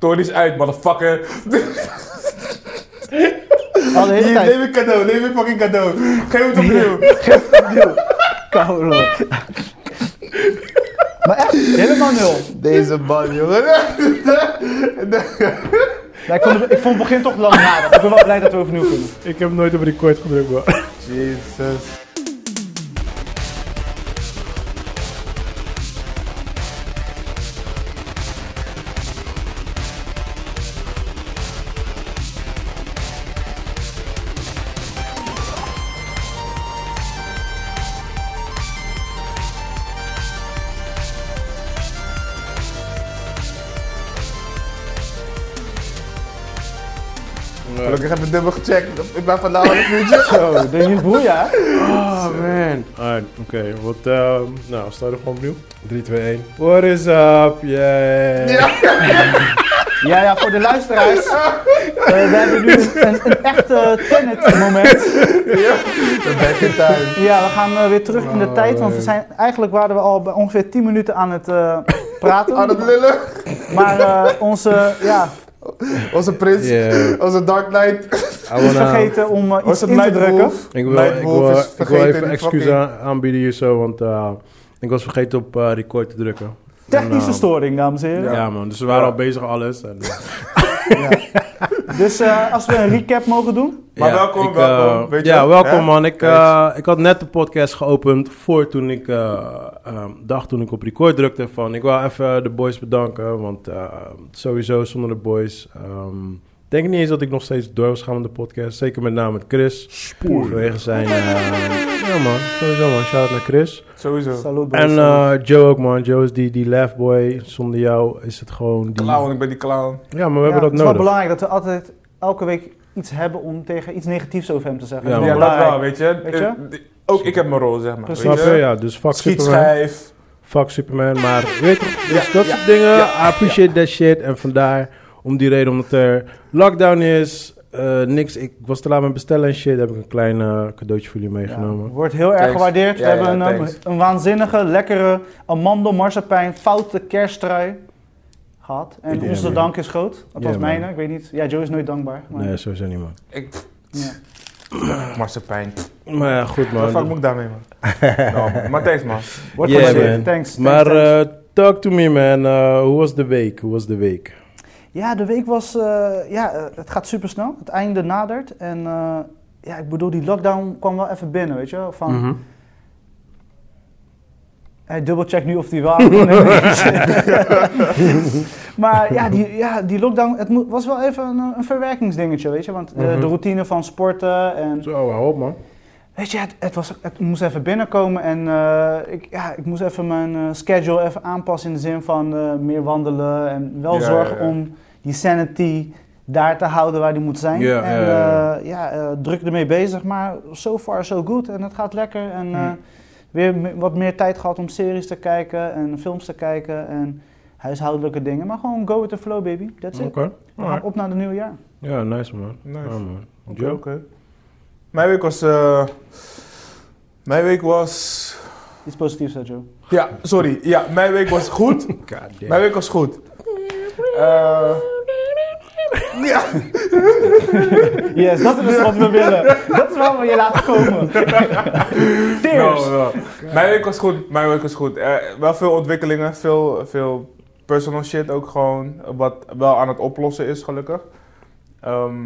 Tony is uit, motherfucker. We hadden de hele Hier, tijd. neem een cadeau, neem een fucking cadeau. Geef het opnieuw. Geef het opnieuw. Kauwlo. Maar echt, helemaal nul. Deze man, jongen. Ja, ik, vond het, ik vond het begin toch langdradig. Ik ben wel blij dat we overnieuw kunnen. Ik heb nooit op record gedrukt, man. Jezus. Gelukkig heb ik dubbel gecheckt. Ik ben van de half uurtje. Zo, de nieuwe boer, ja? Oh, man. Alright, oké. wat, ehm, nou, start er gewoon opnieuw. 3, 2, 1. What is up? Yeah. Ja, ja, voor de luisteraars. eh, we hebben nu een, een, een echte tenet moment. Back in time. Ja, we gaan eh, weer terug in Ah, de tijd, want we zijn, eigenlijk waren we al bij ongeveer 10 minuten aan het eh, praten. Aan het lullen. Maar eh, onze, ja, Onze prins. Yeah. Onze Dark Knight. I is wanna- vergeten om eh, iets Onze in te drukken. Nightwolf. Ik wil, ik Nightwolf wil, is ik wil vergeten even in excuses fucking- aan- aanbieden hier zo, want eh, ik was vergeten op eh, record te drukken. Technische En, eh, storing, dames en heren. Ja. man, dus we waren al bezig alles. En, Dus eh, als we een recap mogen doen. Ja, Maar welkom, eh, welkom, weet je ja, wel, welkom hè? man. Ik, eh, ik had net de podcast geopend voor toen ik eh, ehm, dacht toen ik op record drukte van ik wil even de boys bedanken, want eh, sowieso zonder de boys. ehm, ik denk niet eens dat ik nog steeds door was gaan met de podcast. Zeker met name met Chris. Spoor. Vanwege zijn... eh, ja man, sowieso man. Shout-out naar Chris. Sowieso. Salut, boys. En eh, Joe ook, man. Joe is die, die laughboy. Zonder jou is het gewoon die... Clown, ik ben die clown. Ja, maar we Ja, hebben dat het is wel nodig. belangrijk dat we altijd elke week iets hebben om tegen iets negatiefs over hem te zeggen. Ja, Dat Ja, is dat belangrijk. wel, weet je. Weet je? Eh, die- Ook ik heb mijn rol, zeg maar. Precies. Snap weet je? Ja, dus fuck Superman. Schietschijf. Fuck Superman. Maar je weet toch, dus Ja, dat ja, soort dingen. ja, I appreciate that shit. En vandaar, om die reden, omdat er lockdown is... eh, niks, ik was te laat met bestellen en shit. Heb ik een klein eh, cadeautje voor jullie Ja, meegenomen. wordt heel erg Thanks. gewaardeerd. We Ja, ja, hebben een, thanks. een waanzinnige, lekkere amandel marsepein foute kersttrui gehad. En Ja, onze man. dank is groot. Dat was Ja, mijn, man. ik weet niet. Ja, Joe is nooit dankbaar. Maar, Nee, sowieso niet, man. Ik, ja. marsepein. Wat Maar ja, goed, de man. fuck moet ik daarmee, man? Nou, man. Maar thanks, man. Wordt Yeah, gewaardeerd. man. Thanks, thanks, Maar thanks. eh, talk to me, man. Eh, hoe was de week? Hoe was de week? Ja, de week was. eh, ja, eh, het gaat super snel. Het einde nadert. En eh, ja, ik bedoel, die lockdown kwam wel even binnen, weet je wel. Ah. Van, Mhm. Hij dubbelcheckt nu of die waar. Nee, nee. maar ja die, ja, die lockdown, het mo- was wel even een, een verwerkingsdingetje, weet je. Want eh, Mhm. de routine van sporten en... Zo, hou op, man. Weet je, het, het, was, het moest even binnenkomen en eh, ik, ja, ik moest even mijn eh, schedule even aanpassen in de zin van eh, meer wandelen en wel Ja, zorgen ja, ja. om die sanity daar te houden waar die moet zijn. Ja, en ja, ja. eh, ja, eh, druk ermee bezig, maar so far so good en het gaat lekker. Hm. En eh, Hmm. weer me- wat meer tijd gehad om series te kijken en films te kijken en huishoudelijke dingen. Maar gewoon go with the flow baby, that's Oké. it. We gaan op naar het nieuwe jaar. Ja, nice, man. Nice. Ja, man. Oké, Joe? oké. Mijn week was... eh, mijn week was... Iets positiefs, hè, Joe. Ja, sorry. Ja, mijn week was goed. God damn. Mijn week was goed. Eh, ja. Yes, dat is dus wat we willen. Dat is waar we je laten komen. Tears. Nou, nou. Mijn week was goed. Mijn week was goed. Eh, wel veel ontwikkelingen, veel, veel personal shit ook gewoon. Wat wel aan het oplossen is, gelukkig. Ehm,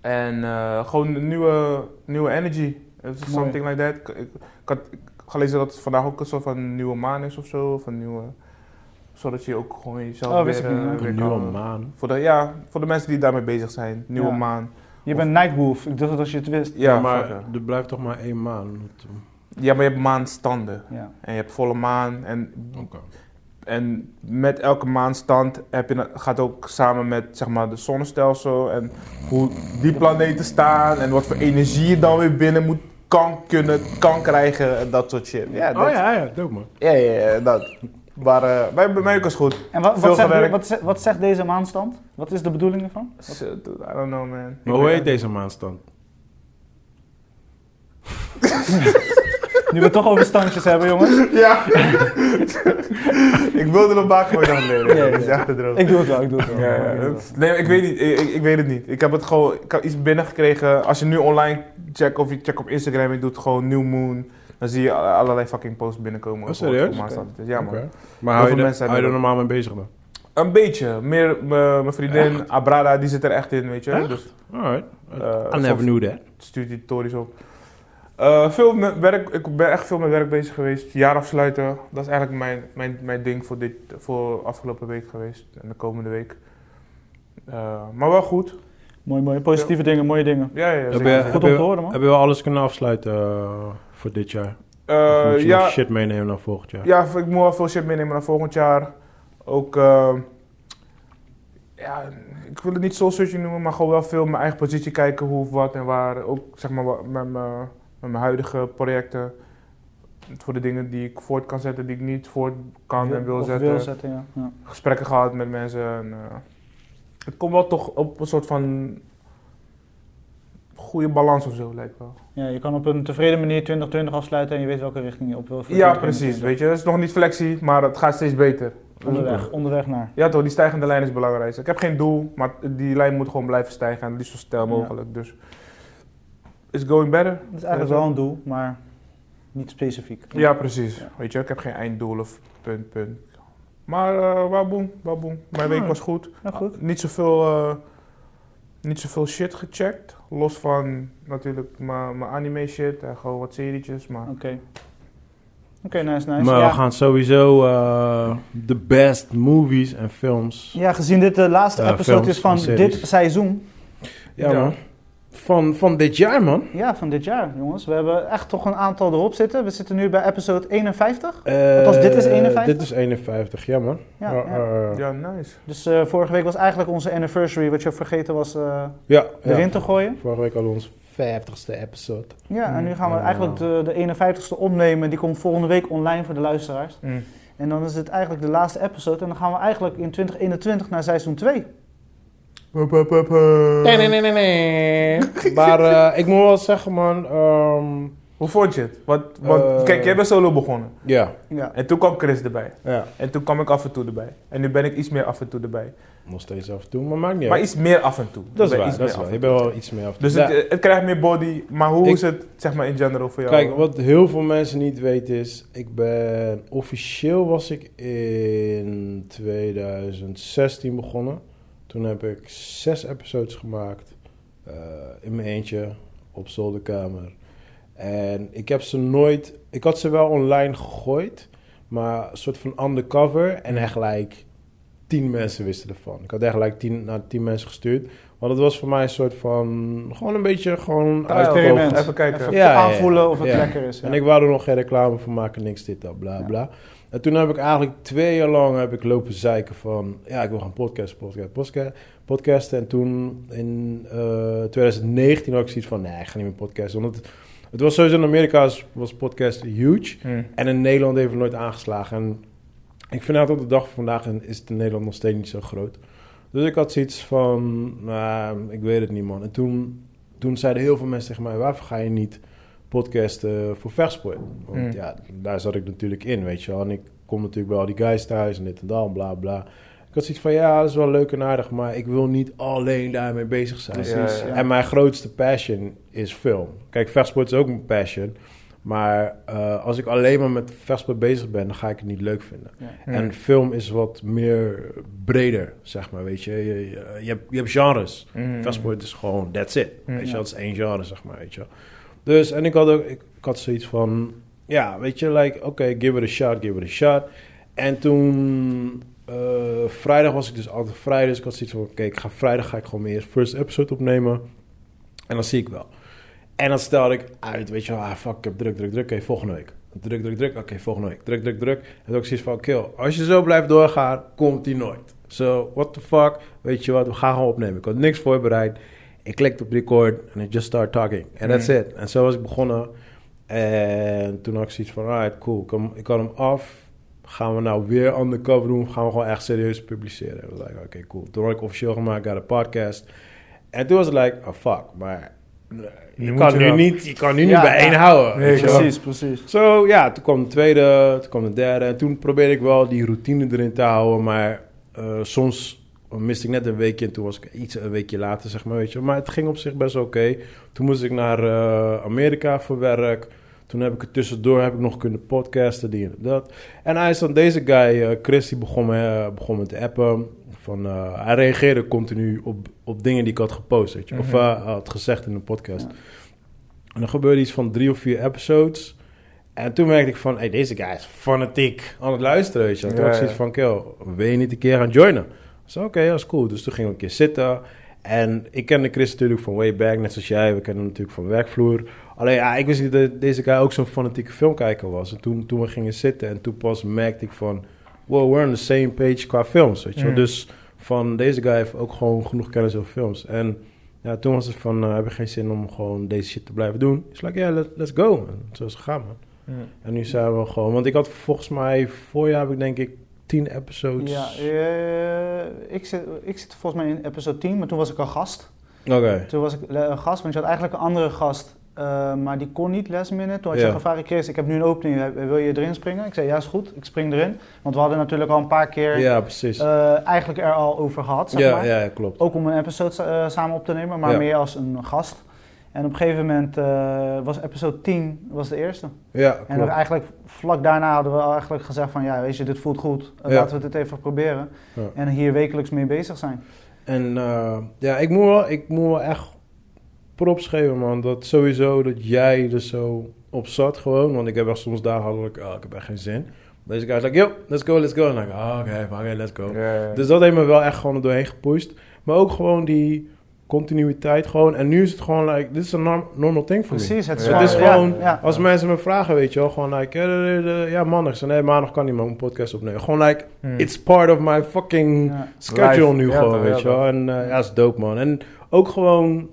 en eh, gewoon een nieuwe, nieuwe energy. It's Mooi. Something like that. Ik, ik- ik had gelezen dat het vandaag ook een soort van nieuwe maan is of zo. Van nieuwe, zodat je ook gewoon jezelf Oh, weer, wist ik niet, eh, man. weer Een nieuwe kan- maan. Voor de, ja, voor de mensen die daarmee bezig zijn. Nieuwe Ja. maan. Je bent Nightwolf. Ik dacht dat als je het wist. Ja, maar fuck, ja. er blijft toch maar één maan. ja, maar je hebt maanstanden. Ja. En je hebt volle maan. En Oké. En met elke maanstand heb je, gaat ook samen met zeg maar, de zonnestelsel en hoe die planeten staan en wat voor energie je dan weer binnen moet, kan kunnen, kan krijgen en dat soort shit. Ja, dat, Oh ja, ja, dope man. ja, ja, ja, dat. Maar eh, bij, bij mij ook is goed. En wat, Veel wat, zegt, gewerkt. wat, zegt, wat zegt deze maanstand? Wat is de bedoeling ervan? Shit, dude, I don't know man. Maar hoe heet deze maanstand? Nu we het toch over standjes hebben, jongens. Ja. ik wilde hem maken, maar ik dacht nee, nee, Ja, nee, ja. dat is echt de droom. Ik doe het wel, ik doe het wel. Ja, ja, Ik doe het dat- nee, ik weet, niet, ik, ik- ik weet het niet. Ik heb het gewoon, ik heb iets binnengekregen. Als je nu online checkt of je checkt op Instagram, je doet gewoon New Moon, dan zie je a- allerlei fucking posts binnenkomen. Oh, over serieus? wat voor maand staat het. Ja man. Oké. Maar hou je, Heel veel er- mensen zijn hou je er er ook. normaal mee bezig dan? Een beetje. Meer m- mijn vriendin Abrada, die zit er echt in, weet je. Echt? Dus Alright. eh, I never soms knew that. stuurt die tutorials op. Eh, veel met werk, ik ben echt veel met werk bezig geweest. Jaar afsluiten, dat is eigenlijk mijn, mijn, mijn ding voor, dit, voor afgelopen week geweest en de komende week. Eh, maar wel goed. wel. Mooi, mooi. Positieve dingen, mooie dingen. Ja, ja, Heb zeker, je, zeker. heb, om je, te horen, man. heb je wel alles kunnen afsluiten eh, voor dit jaar? Of Eh, moet je nog ja, shit meenemen naar volgend jaar? ja, ik moet wel veel shit meenemen naar volgend jaar. Ook, eh, ja, ik wil het niet soul searching noemen, maar gewoon wel veel mijn eigen positie kijken, hoe, wat en waar. Ook zeg maar wa- met mijn, met mijn huidige projecten. Voor de dingen die ik voort kan zetten, die ik niet voort kan en wil Of zetten. Wil zetten, ja. ja. Gesprekken gehad met mensen. En, eh, het komt wel toch op een soort van goede balans of zo, lijkt wel. Ja, je kan op een tevreden manier 2020 afsluiten en je weet welke richting je op wil. Dus voor Ja, 2021. precies. Weet je, het is nog niet flexie, maar het gaat steeds beter. Onderweg, onderweg naar. Ja toch, die stijgende lijn is belangrijk. Ik heb geen doel, maar die lijn moet gewoon blijven stijgen. En liefst zo snel mogelijk. Dus it's going better. Dat is eigenlijk wel een doel, maar niet specifiek. Ja, precies. Ja. Weet je, ik heb geen einddoel of punt, punt. Maar eh waboem, waboem. Mijn week Ah. was goed. Nou goed. Niet zoveel, eh, niet zoveel shit gecheckt. Los van natuurlijk mijn mijn anime shit en gewoon wat serietjes. Maar Oké. Oké, nice, nice. Maar ja. we gaan sowieso eh, de best movies en films. ja, gezien dit de laatste Eh, episode films is van en series. dit seizoen. Ja, Ja. man. Van, van dit jaar, man. Ja, van dit jaar, jongens. We hebben echt toch een aantal erop zitten. We zitten nu bij episode 51. Eh, Althans, dit is 51? Dit is 51, ja, man. Ja, Eh, ja. eh, ja, nice. Dus eh, vorige week was eigenlijk onze anniversary, wat je vergeten was eh, ja, ja. erin te gooien. Vorige week al ons 50ste episode. Ja, en nu gaan we Mm. Ja. eigenlijk de, de 51ste opnemen. Die komt volgende week online voor de luisteraars. Mm. En dan is het eigenlijk de laatste episode. En dan gaan we eigenlijk in 2021 naar seizoen 2. Hup, hup, hup, hup. Nee, nee, nee, nee, nee. maar eh, ik moet wel zeggen, man. ehm, Hoe vond je het? Wat, want, Eh. Kijk, jij bent solo begonnen. ja, Ja. En toen kwam Chris erbij. ja. En toen kwam ik af en toe erbij. En nu ben ik iets meer af en toe erbij. Nog steeds af en toe, maar maakt niet Maar uit. iets meer af en toe. Dat Ik is ben waar, iets dat meer is af waar. en Je toe. bent wel iets meer af en toe. Dus Ja. het, het krijgt meer body, maar hoe Ik- is het zeg maar in general voor jou? Kijk, wat heel veel mensen niet weten is, ik ben officieel was ik in 2016 begonnen. Toen heb ik zes episodes gemaakt eh, in mijn eentje op zolderkamer. En ik heb ze nooit, ik had ze wel online gegooid, maar een soort van undercover en echt gelijk tien mensen wisten ervan. Ik had echt gelijk tien, naar tien mensen gestuurd. Want het was voor mij een soort van, gewoon een beetje gewoon Trial. uitproberen. Even kijken. Even Ja, ja, ja. aanvoelen of het Ja. lekker is. Ja. Dus, En ik wou er nog geen reclame voor maken, niks dit, dat, bla, Ja. bla. En toen heb ik eigenlijk twee jaar lang heb ik lopen zeiken van... ja, ik wil gaan podcasten, podcasten, podcasten. podcasten. En toen in eh, 2019 had ik zoiets van, nee, ik ga niet meer podcasten. Want het, het was sowieso in Amerika was- was podcast huge. Hmm. En in Nederland heeft het nooit aangeslagen. En ik vind dat op de dag van vandaag en is het in Nederland nog steeds niet zo groot. Dus ik had zoiets van, nou, ik weet het niet man. En toen, toen zeiden heel veel mensen tegen mij, waarvoor ga je niet podcasten voor vechtsport? Want Mm. ja, daar zat ik natuurlijk in, weet je wel. En ik kom natuurlijk bij al die guys thuis en dit en dat, bla bla. Ik had zoiets van, ja, dat is wel leuk en aardig, maar ik wil niet alleen daarmee bezig zijn. Precies, Ja, ja. ja. En mijn grootste passion is film. Kijk, vechtsport is ook mijn passion. Maar eh, als ik alleen maar met vechtsport bezig ben, dan ga ik het niet leuk vinden. Hmm. En film is wat meer breder, zeg maar, weet je. Je, je, je hebt, je hebt genres. Hmm. Vechtsport is gewoon, that's it. Hmm. Weet je, Ja. dat is één genre, zeg maar, weet je. Dus, en ik had ook, ik, ik had zoiets van, ja, weet je, like, oké, give it a shot, give it a shot. En toen, eh, vrijdag was ik dus altijd vrij, dus ik had zoiets van, oké, ik ga vrijdag ga ik gewoon mijn eerste first episode opnemen. En dan zie ik wel. En dan stelde ik uit, weet je wel, ah, fuck, ik heb druk, druk, druk, oké, volgende week. Druk, druk, druk, oké, volgende week. Druk, druk, druk. En toen had ik zoiets van, kill, als je zo blijft doorgaan, komt die nooit. So, what the fuck, weet je wat, we gaan gewoon opnemen. Ik had niks voorbereid. Ik klikte op record en I just start talking. And that's it. En zo was ik begonnen. En toen had ik zoiets van, alright, cool, ik had hem- ik had hem af. Gaan we nou weer undercover doen? Gaan we gewoon echt serieus publiceren? Ik was like, oké, cool. Toen had ik officieel gemaakt, got a podcast. En toen was het like, oh fuck, maar Je kan, nu wel- niet, je kan Ja, nu niet bij ja. één houden. Nee, weet je wel. Precies, precies. Zo ja, toen kwam de tweede, toen kwam de derde. En toen probeerde ik wel die routine erin te houden. Maar eh, soms miste ik net een weekje en toen was ik iets een weekje later, zeg maar. Weet je. wel. Maar het ging op zich best oké. Toen moest ik naar eh, Amerika voor werk. Toen heb ik er tussendoor heb ik nog kunnen podcasten, die en dat. En hij is dan deze guy, eh, Chris, die begon me, eh, begon me te appen. Van, eh, hij reageerde continu op, op dingen die ik had gepost, weet je. Of Mhm. eh, had gezegd in een podcast. En er gebeurde iets van drie of vier episodes. En toen merkte ik van, hey, deze guy is fanatiek aan het luisteren, weet je. wel. Toen Ja, was ik ja. zoiets van, kill, wil je niet een keer gaan joinen? Ik zei, oké, dat is cool. Dus toen gingen we een keer zitten. En ik kende Chris natuurlijk van way back, net zoals jij. We kennen hem natuurlijk van de werkvloer. Alleen, ja, ik wist niet dat deze guy ook zo'n fanatieke filmkijker was. En toen, toen we gingen zitten en toen pas merkte ik van... Wow, we're on the same page qua films, weet je wel. Mm. Dus van deze guy heeft ook gewoon genoeg kennis over films. En ja, toen was het van, eh, heb ik geen zin om gewoon deze shit te blijven doen? Dus like, ja, let- let's go. En zo is het gegaan, man. En nu zijn we gewoon... Want ik had volgens mij, voorjaar heb ik denk ik tien episodes. Ja, eh, ik, zit, ik zit volgens mij in episode 10, maar toen was ik al gast. Oké. Toen was ik eh, gast, want je had eigenlijk een andere gast, eh, maar die kon niet last minute. Toen had je Ja. gevraagd, Chris, ik heb nu een opening, eh, wil je erin springen? Ik zei, ja is goed, ik spring erin. Want we hadden natuurlijk al een paar keer Ja, precies. eh, eigenlijk er al over gehad, zeg ja, maar. ja, ja, klopt. Ook om een episode sa- eh, samen op te nemen, maar Ja. meer als een gast. En op een gegeven moment eh, was episode 10 was de eerste. Ja, En klopt. er eigenlijk vlak daarna hadden we eigenlijk gezegd van ja, weet je, dit voelt goed, Eh, Ja. laten we dit even proberen. Ja. En hier wekelijks mee bezig zijn. En eh, ja, ik moet, wel, ik moet wel echt props geven, man. Dat sowieso dat jij er zo op zat gewoon. Want ik heb echt soms dagen had ik, ah, ik heb echt geen zin. Deze guy is like, yo, let's go, let's go. En dan denk ik, ah, oké, oké, let's go. Dus dat heeft me wel echt gewoon er doorheen gepusht. Maar ook gewoon die continuïteit gewoon. En nu is het gewoon like, dit is een norm- normal thing voor me. Precies, het is, Ja. Het is ja, gewoon- ja. Als mensen me vragen, weet je wel, gewoon like, eh, eh, eh, ja, maandag. Ik zei, nee, maandag kan niet, maar mijn podcast opnemen. Gewoon like, Hm. it's part of my fucking Ja. schedule Live. nu Ja, gewoon, toch, weet ja, je wel. En eh, ja, is dope, man. En ook gewoon,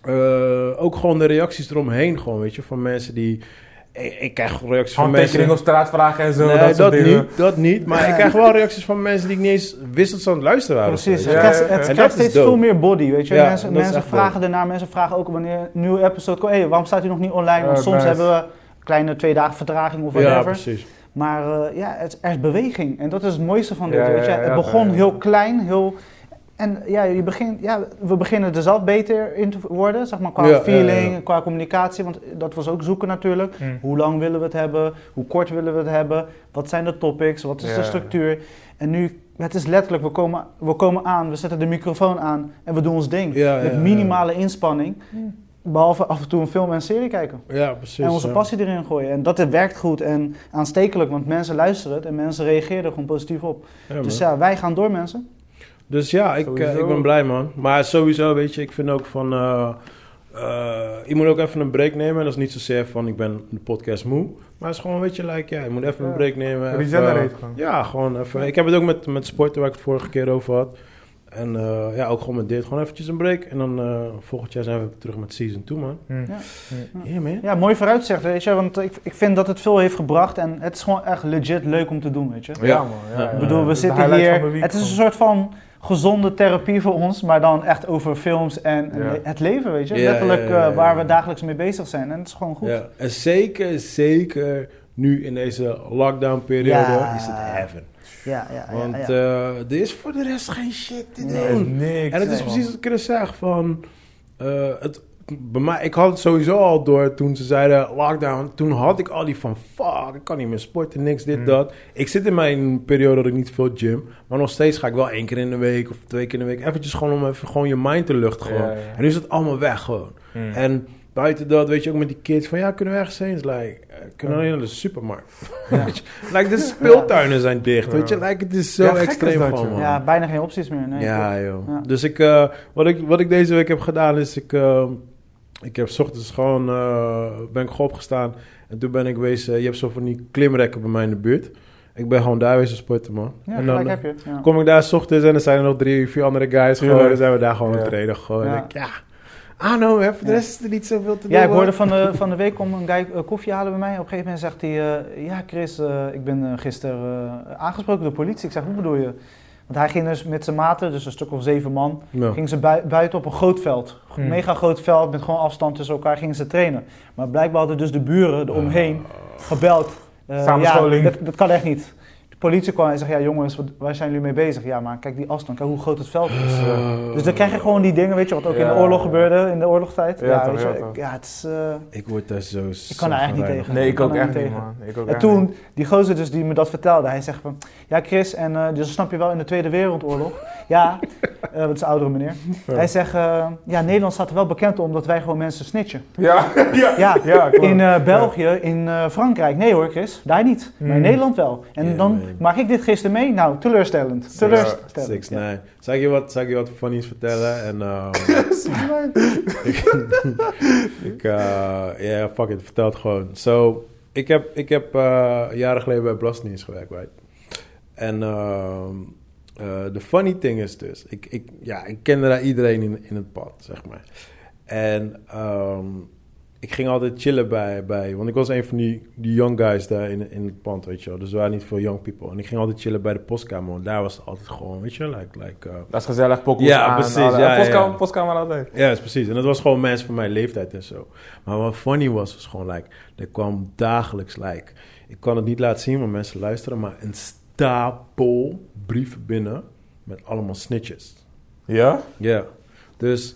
eh, ook gewoon de reacties eromheen, gewoon, weet je, van mensen die... Ik, ik krijg reacties van mensen... Handtekeningen op straat vragen en zo. nee, dat, dat, soort dingen. niet, dat niet. Maar ik krijg wel reacties van mensen die ik niet eens wist dat ze aan het luisteren waren. Precies, het weet Ja, je. krijgt, ja, ja. het En dat krijgt is steeds dope. veel meer body, weet je. Ja, mensen dat is mensen echt vragen daarna, mensen vragen ook wanneer een nieuwe episode komt. Hé, waarom staat hij nog niet online? Want Eh, soms nice. hebben we een kleine twee dagen vertraging of Ja, whatever. precies. maar eh, ja, het, er is beweging en dat is het mooiste van dit, Ja, ja, weet je. ja, Het ja, begon ja. heel klein, heel... En ja, je begint, ja, we beginnen er zelf beter in te worden, zeg maar, qua Ja, ja, feeling, ja. qua communicatie. Want dat was ook zoeken natuurlijk. Mm. Hoe lang willen we het hebben? Hoe kort willen we het hebben? Wat zijn de topics? Wat is de Ja. structuur? En nu, het is letterlijk, we komen, we komen aan, we zetten de microfoon aan en we doen ons ding. Ja, ja, Met ja. minimale inspanning. Behalve af en toe een film en een serie kijken. Ja, precies. Dus, En onze ja. passie erin gooien. En dat het werkt goed en aanstekelijk, want mensen luisteren het en mensen reageren er gewoon positief op. Ja, man. dus ja, wij gaan door mensen. Dus ja, ik, Sowieso. eh, ik ben blij, man. Maar sowieso, weet je, ik vind ook van... eh, eh, je moet ook even een break nemen. En dat is niet zozeer van, ik ben de podcast moe. Maar het is gewoon, weet je, like, ja, je moet even een Ja. break nemen. even- eh, Regenerate gewoon. ja, gewoon even. Ik heb het ook met, met sporten waar ik het vorige keer over had. En eh, ja, ook gewoon met dit. Gewoon eventjes een break. En dan eh, volgend jaar zijn we terug met season 2, man. Mm. Ja. Yeah, man. Ja, mooi vooruitzicht, weet je. Want ik, ik vind dat het veel heeft gebracht en het is gewoon echt legit leuk om te doen, weet je. Ja, man. Ja, Ja. ja. Ik bedoel, we Dat is de zitten highlight van mijn hier. week, Het is een man. soort van gezonde therapie voor ons, maar dan echt over films en en Ja. le- het leven, weet je. Ja, Letterlijk ja, ja, ja, eh, waar ja. we dagelijks mee bezig zijn. En het is gewoon goed. Ja. En zeker, zeker nu in deze lockdown-periode Ja. is het heaven. Ja, ja, ja. Want ja. eh, er is voor de rest geen shit te doen. Nee, is niks. En het is man. precies wat Chris zegt van... eh, het, bij mij, ik had het sowieso al door toen ze zeiden lockdown. Toen had ik al die van fuck, ik kan niet meer sporten, niks, dit, Hmm. dat. Ik zit in mijn periode dat ik niet veel gym. Maar nog steeds ga ik wel één keer in de week of twee keer in de week. Eventjes gewoon om even gewoon je mind te luchten. Gewoon. Ja, ja. En nu is het allemaal weg gewoon. Mm. En buiten dat, weet je, ook met die kids van ja, kunnen we ergens heen? Is like, eh, kunnen we alleen naar de supermarkt? Ja. Weet je, like, de speeltuinen zijn dicht, weet je. Ja. Like, het is zo Ja, gek is extreem dat, gewoon, joh. man. ja, bijna geen opties meer. Nee, klopt. Ja, joh. Ja. Dus ik, eh, wat, ik, wat ik deze week heb gedaan is, ik, eh, ik heb 's ochtends gewoon, eh, ben ik gewoon opgestaan. En toen ben ik geweest, eh, je hebt zo van die klimrekken bij mij in de buurt. Ik ben gewoon daar geweest sporten, man. Ja, en gelijk dan eh, heb je. het, Ja. kom ik daar 's ochtends en dan zijn er nog drie, vier andere guys gewoon. Tuurlijk. Dan zijn we daar gewoon aan het Ja. trainen, gewoon. Ja. En ik, ja. Ah, nou, hè, voor Ja. de rest is er niet zoveel te doen. Ja, ik hoor. hoorde van de, van de week om een guy eh, koffie halen bij mij. Op een gegeven moment zegt hij, eh, ja Chris, eh, ik ben eh, gisteren eh, aangesproken door de politie. Ik zeg, hoe bedoel je? Want hij ging dus met zijn maten, dus een stuk of zeven man, Ja. gingen ze bui- buiten op een groot veld. Een Hmm. mega groot veld met gewoon afstand tussen elkaar gingen ze trainen. Maar blijkbaar hadden dus de buren eromheen gebeld. Eh, Samenscholing. Ja, dat, dat kan echt niet. De politie kwam en zei, ja jongens, wat, waar zijn jullie mee bezig? Ja, maar kijk die afstand, kijk hoe groot het veld is. Eh, Dus dan krijg je gewoon die dingen, weet je, wat ook in Ja. de oorlog gebeurde, in de oorlogstijd. Ja, Ja, toch, weet ja, je, toch. ja, het is... eh, Ik word daar zo... Ik kan er eigenlijk niet tegen. Nee, ik ook Kan er echt niet niet, tegen. man. Ik ook En echt toen, niet. die gozer dus die me dat vertelde, hij zegt van... Ja Chris, en eh, dus snap je wel in de Tweede Wereldoorlog. ja, eh dat is een oudere meneer. Hij zegt, eh, ja Nederland staat er wel bekend om dat wij gewoon mensen snitchen. Ja, ja. Ja, ja klopt. in eh, België, in eh, Frankrijk. Nee hoor Chris, daar niet. Maar in Hmm. Nederland wel. En Ja, dan man. maak ik dit gisteren mee? Nou, teleurstellend. Teleurstellend. Six Ja. Nine. Zal ik je wat, zal ik je wat funnies vertellen? En, ehm, ik, ik, eh, ja, fuck it, vertel het gewoon. So, ik heb, ik heb eh, jaren geleden bij Belastingdienst gewerkt, right? En ehm, eh, de funny thing is dus, ik, ik, ja, ik kende daar iedereen in, in het pad, zeg maar. En ehm, ik ging altijd chillen bij, bij, want ik was een van die, die young guys daar in, in het pand, weet je wel. Dus er waren niet veel young people. En ik ging altijd chillen bij de postkamer, want daar was het altijd gewoon, weet je, like, like eh, Dat is gezellig, pokoes Ja, aan. precies, alle- Eh, ja, Postkamer, ja. postkamer altijd. ja, is precies. En dat was gewoon mensen van mijn leeftijd en zo. Maar wat funny was, was gewoon, like, er kwam dagelijks, like... Ik kan het niet laten zien, want mensen luisteren, maar een stapel brieven binnen met allemaal snitches. Ja? Ja. Dus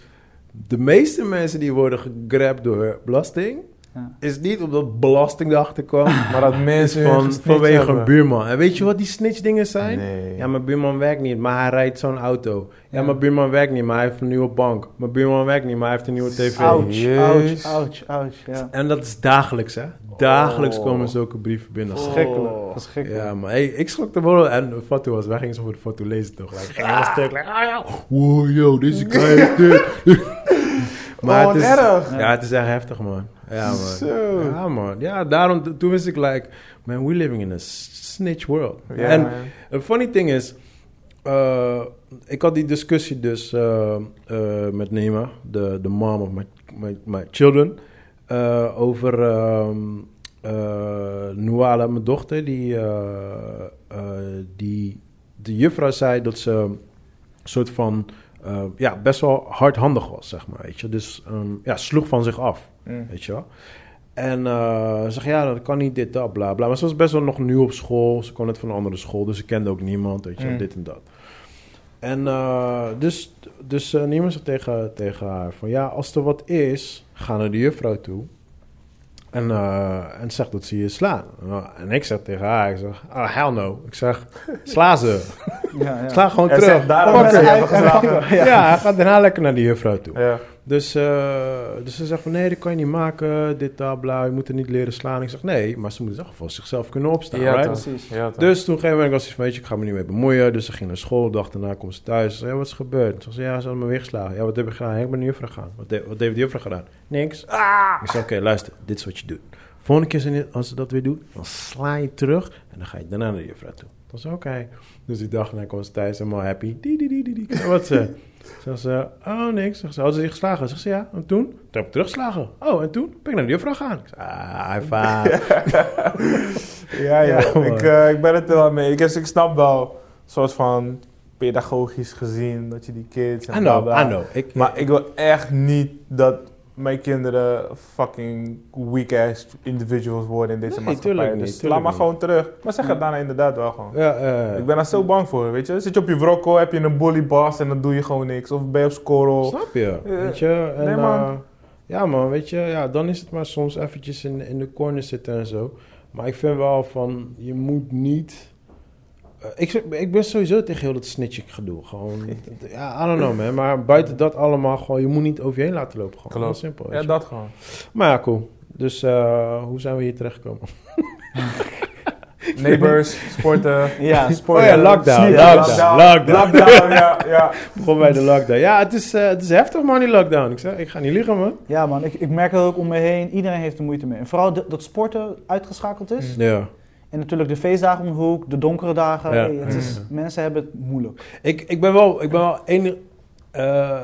de meeste mensen die worden gegrapt door belasting... Ja. is niet omdat belasting erachter kwam... Maar dat mensen hun van, gesnitcht vanwege hebben. een buurman. En weet je wat die snitch dingen zijn? Nee. Ja, mijn buurman werkt niet, maar hij rijdt zo'n auto. Ja, Ja. mijn buurman werkt niet, maar hij heeft een nieuwe bank. Mijn buurman werkt niet, maar hij heeft een nieuwe tv. Ouch, ouch, Jezus. ouch, ouch. Ja. En dat is dagelijks, hè? Dagelijks komen zulke brieven binnen. Verschrikkelijk, verschrikkelijk. Ja, maar hey, ik schrok er wel. En de foto was, wij gingen zo voor de foto lezen toch? Like, ging helemaal stuk. Like, ah, ja. Wow, yo, deze guy is dit. maar Oh, het is, wat erg. Ja, het is echt heftig, man. Ja, man. Zo. Ja, man. Ja, daarom, toen wist ik, like, man, we living in a snitch world. Ja, en man. een funny thing is, eh, ik had die discussie dus eh, eh, met Nema, de, de mom of my, my, my children, eh, over ehm eh, Nuala, mijn dochter, die, eh, eh, die de juffrouw zei dat ze een soort van eh, ja, best wel hardhandig was, zeg maar, weet je. Dus ehm, ja, sloeg van zich af. Mm. Weet je wel? En eh, ze zeg ja, dat kan niet, dit, dat, bla, bla. Maar ze was best wel nog nieuw op school. Ze kwam net van een andere school, dus ze kende ook niemand, weet je wel, Mm. dit en dat. En eh, dus, dus eh, niemand zei tegen, tegen haar van... Ja, als er wat is, ga naar de juffrouw toe. En, eh, en zeg dat ze je slaan. Nou, En ik zeg tegen haar, ik zeg... Oh, hell no. Ik zeg, sla ze. Ja, ja. Sla gewoon En terug. zeg, daarom Pak heb ze. je Ja, hebben geslagen. Ja, hij gaat daarna lekker naar de juffrouw toe. Ja. Dus, eh, dus ze zegt van nee, dat kan je niet maken, dit, dat, bla, je moet er niet leren slaan. Ik zeg nee, maar ze moeten in ieder geval zichzelf kunnen opstaan. Ja, right? toch. Ja, toch. Dus toen op een gegeven moment was ik van, weet je, ik ga me niet mee bemoeien. Dus ze ging naar school, de dag daarna komt ze thuis. Ze zei, ja, wat is er gebeurd? Ze zei, ja, ze had me weer geslagen. Ja, wat heb ik gedaan? Ja, ik ben de juffrouw gegaan. Wat, de- wat heeft de juffrouw gedaan? Niks. Ik zei, oké, luister, dit is wat je doet. Volgende keer ze- als ze dat weer doet, dan sla je terug en dan ga je daarna naar de juffrouw toe. Dat is oké. Dus die dag daarna kwam ze thuis, helemaal happy. Die, die, die, die, die. Ik zei, wat ze? Zeg ze, oh niks. Zeg ze, hadden ze je geslagen? Zeg ze, ja. En toen? Toen heb ik teruggeslagen. Oh, en toen ben ik naar de juffrouw gegaan. Ik zei, ah, high five. Ja, Dus- ja. Ja, man. ik, eh, ik ben het er wel mee. Ik, ik snap wel, soort van pedagogisch gezien, dat je die kids en I bla know, bla. I know. Ik, Maar ik wil echt niet dat mijn kinderen fucking weak-ass individuals worden in deze Nee, maatschappij. tuurlijk dus niet, laat tuurlijk maar niet. gewoon terug. Maar zeg het daarna inderdaad wel gewoon. Ja, eh, ja, ja. Ik ben daar zo bang voor, weet je. Zit je op je wrokkel, heb je een bully boss en dan doe je gewoon niks. Of ben je op scorrel. Snap je? Ja. Weet je? En, Nee, man. eh, ja, man, weet je, ja, dan is het maar soms eventjes in, in de corner zitten en zo. Maar ik vind wel van, je moet niet. eh, ik, zeg- ik ben sowieso tegen heel dat snitching gedoe. Gewoon, ja, I don't know, man. Maar buiten dat allemaal, gewoon, je moet niet over je heen laten lopen. Gewoon. Klopt. Heel simpel. weet Ja, je. dat gewoon. Maar ja, cool. Dus eh, hoe zijn we hier terechtgekomen? Neighbors, sporten. Ja, sport. Oh ja, lockdown, Sneaker. lockdown. Lockdown, ja, ja. Begon bij de lockdown. Ja, het is, eh, het is heftig, man, die lockdown. Ik, zeg, ik ga niet liegen, man. Ja man, ik, ik merk dat ook om me heen. Iedereen heeft er moeite mee. En vooral dat- dat sporten uitgeschakeld is. Ja. En natuurlijk de feestdagen om de hoek, de donkere dagen. Ja. Hey, het is, Mm. Mensen hebben het moeilijk. Ik, ik ben wel, ik ben wel één, eh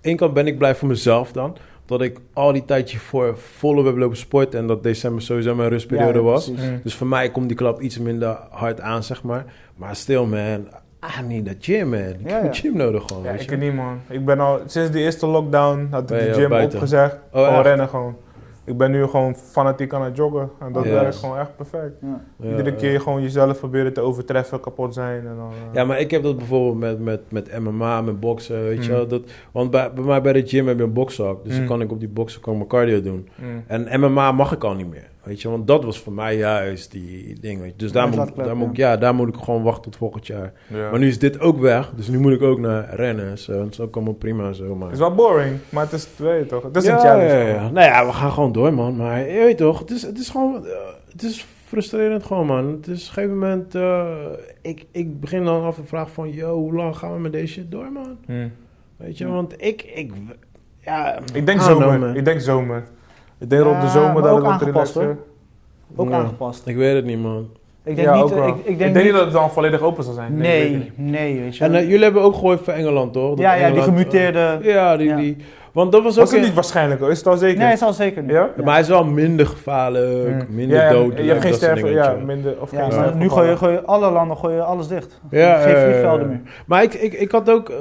één kant ben ik blij voor mezelf dan. Dat ik al die tijdje voor volop heb lopen sporten en dat december sowieso mijn rustperiode Ja, was. precies. Mm. Dus voor mij komt die klap iets minder hard aan, zeg maar. Maar still man, I need a gym, man. Ik Ja, heb ja. een gym nodig gewoon, Ja, weet ik je. ken niet, man. Ik ben al sinds de eerste lockdown had ik Ben je de gym buiten? opgezegd. Oh, gewoon echt? rennen gewoon. Ik ben nu gewoon fanatiek aan het joggen. En dat Ja. werkt gewoon echt perfect. Ja, Iedere ja. keer gewoon jezelf proberen te overtreffen, kapot zijn en dan... eh, Ja, maar ik heb dat bijvoorbeeld met, met, met MMA, met boksen, weet je Mm. wel. Dat, want bij, bij mij bij de gym heb je een bokzak. Dus dan Mm. kan ik op die boksen kan ik mijn cardio doen. mm. En MMA mag ik al niet meer, weet je. Want dat was voor mij juist die ding, weet je. Dus daar Met moet, ik- laatklep, daar, ja. moet ik, ja, daar moet ik gewoon wachten tot volgend jaar. Ja. Maar nu is dit ook weg, dus nu moet ik ook naar rennen. Zo, dat is ook allemaal prima zo, maar... Het is wel boring, maar het is, weet je toch, het is ja, een challenge. Ja, ja. man. Nou ja, we gaan gewoon door, man. Maar je weet toch, het is, het is gewoon... eh, het is frustrerend gewoon, man. Het is op een gegeven moment... eh, ik, ik begin dan af te vragen van... Yo, hoe lang gaan we met deze shit door, man? Mm. Weet je, Ja. want ik... ik ja, Ik denk I don't zomer, know, man. ik denk zomer. Ik denk rond de Ja, zomer Eh, maar dat ook het wat aangepast, relaxer- Ook Ja. aangepast. Ik weet het niet, man. Ik denk Ja, niet, ook wel. ik, ik denk niet niet, dat het dan volledig open zal zijn. nee, ik nee, weet je En wel. eh, jullie hebben ook gehoord voor Engeland, toch? Dat ja, ja, die Engeland, gemuteerde... eh, ja, die, Ja. die... Want dat was ook... Was het een- niet waarschijnlijk, is het al zeker? nee, is al zeker niet. Ja? Maar hij is wel minder gevaarlijk, Mm. minder Ja, ja, dood. Je hebt geen sterven, ja, ja. minder, of Ja, geen maar sterven- nu gooi je, gooi je alle landen gooi je alles dicht. Ja, Geen eh, vliegvelden meer. Maar ik, ik, ik had ook... eh,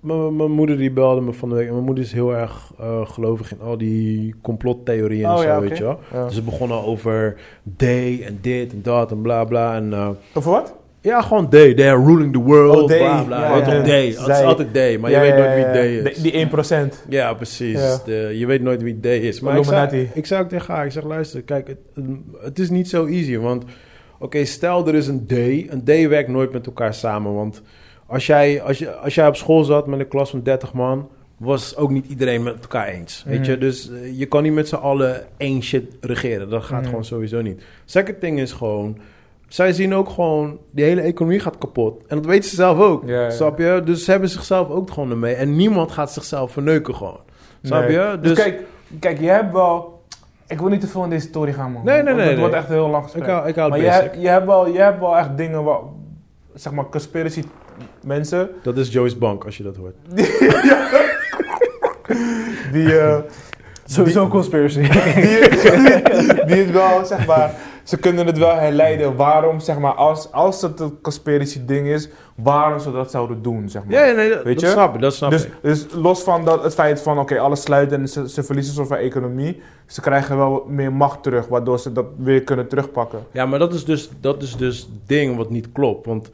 m- m- Mijn moeder die belde me van de week. En mijn moeder is heel erg eh, gelovig in al die complottheorieën en Oh, zo, ja, oké. weet je wel. Ja. Dus het begon al over D en dit en dat en bla bla. En, eh, Over wat? ja, gewoon D. They are ruling the world, Oh, they. bla bla. Ja, Wat ja. toch they? Het is Zij. altijd D, maar Ja, je weet ja, nooit ja, wie ja. D is. De- Die 1%. Ja, precies. Ja. De- je weet nooit wie D is. Maar ik zei, Illuminati. ik zei ook tegen haar, ik zeg luister, kijk, het, het is niet zo easy. Want oké, stel er is een D. Een D werkt nooit met elkaar samen. Want als jij, als, je, als jij op school zat met een klas van 30 man, was ook niet iedereen met elkaar eens. Weet je, Mhm. dus eh, je kan niet met z'n allen één shit regeren. Dat gaat Mhm. gewoon sowieso niet. Second thing is gewoon, zij zien ook gewoon, die hele economie gaat kapot. En dat weten ze zelf ook. Ja, ja. Snap je? Dus ze hebben zichzelf ook gewoon ermee. En niemand gaat zichzelf verneuken gewoon. Snap Nee. je? Dus, kijk, kijk, je hebt wel... Ik wil niet te veel in deze story gaan, man. Nee, nee, Want nee, Het nee. wordt echt een heel lang gesprek. ik hou, ik hou maar het je basic. hebt, je, hebt wel, je hebt wel echt dingen waar... Zeg maar, conspiracy mensen... Dat is Joey's bank, als je dat hoort. Die, eh, Sowieso een conspiracy. die, die het wel, zeg maar... Ze kunnen het wel herleiden waarom, zeg maar... Als, als het een conspiracy ding is... Waarom ze dat zouden doen, zeg maar. Ja, ja, nee, dat, Weet dat je? snap ik. Dat snap Dus, ik. dus los van dat, het feit van, oké, alles sluit en ze, ze verliezen een soort van economie. Ze krijgen wel meer macht terug, waardoor ze dat weer kunnen terugpakken. Ja, maar dat is dus dat is dus ding wat niet klopt. Want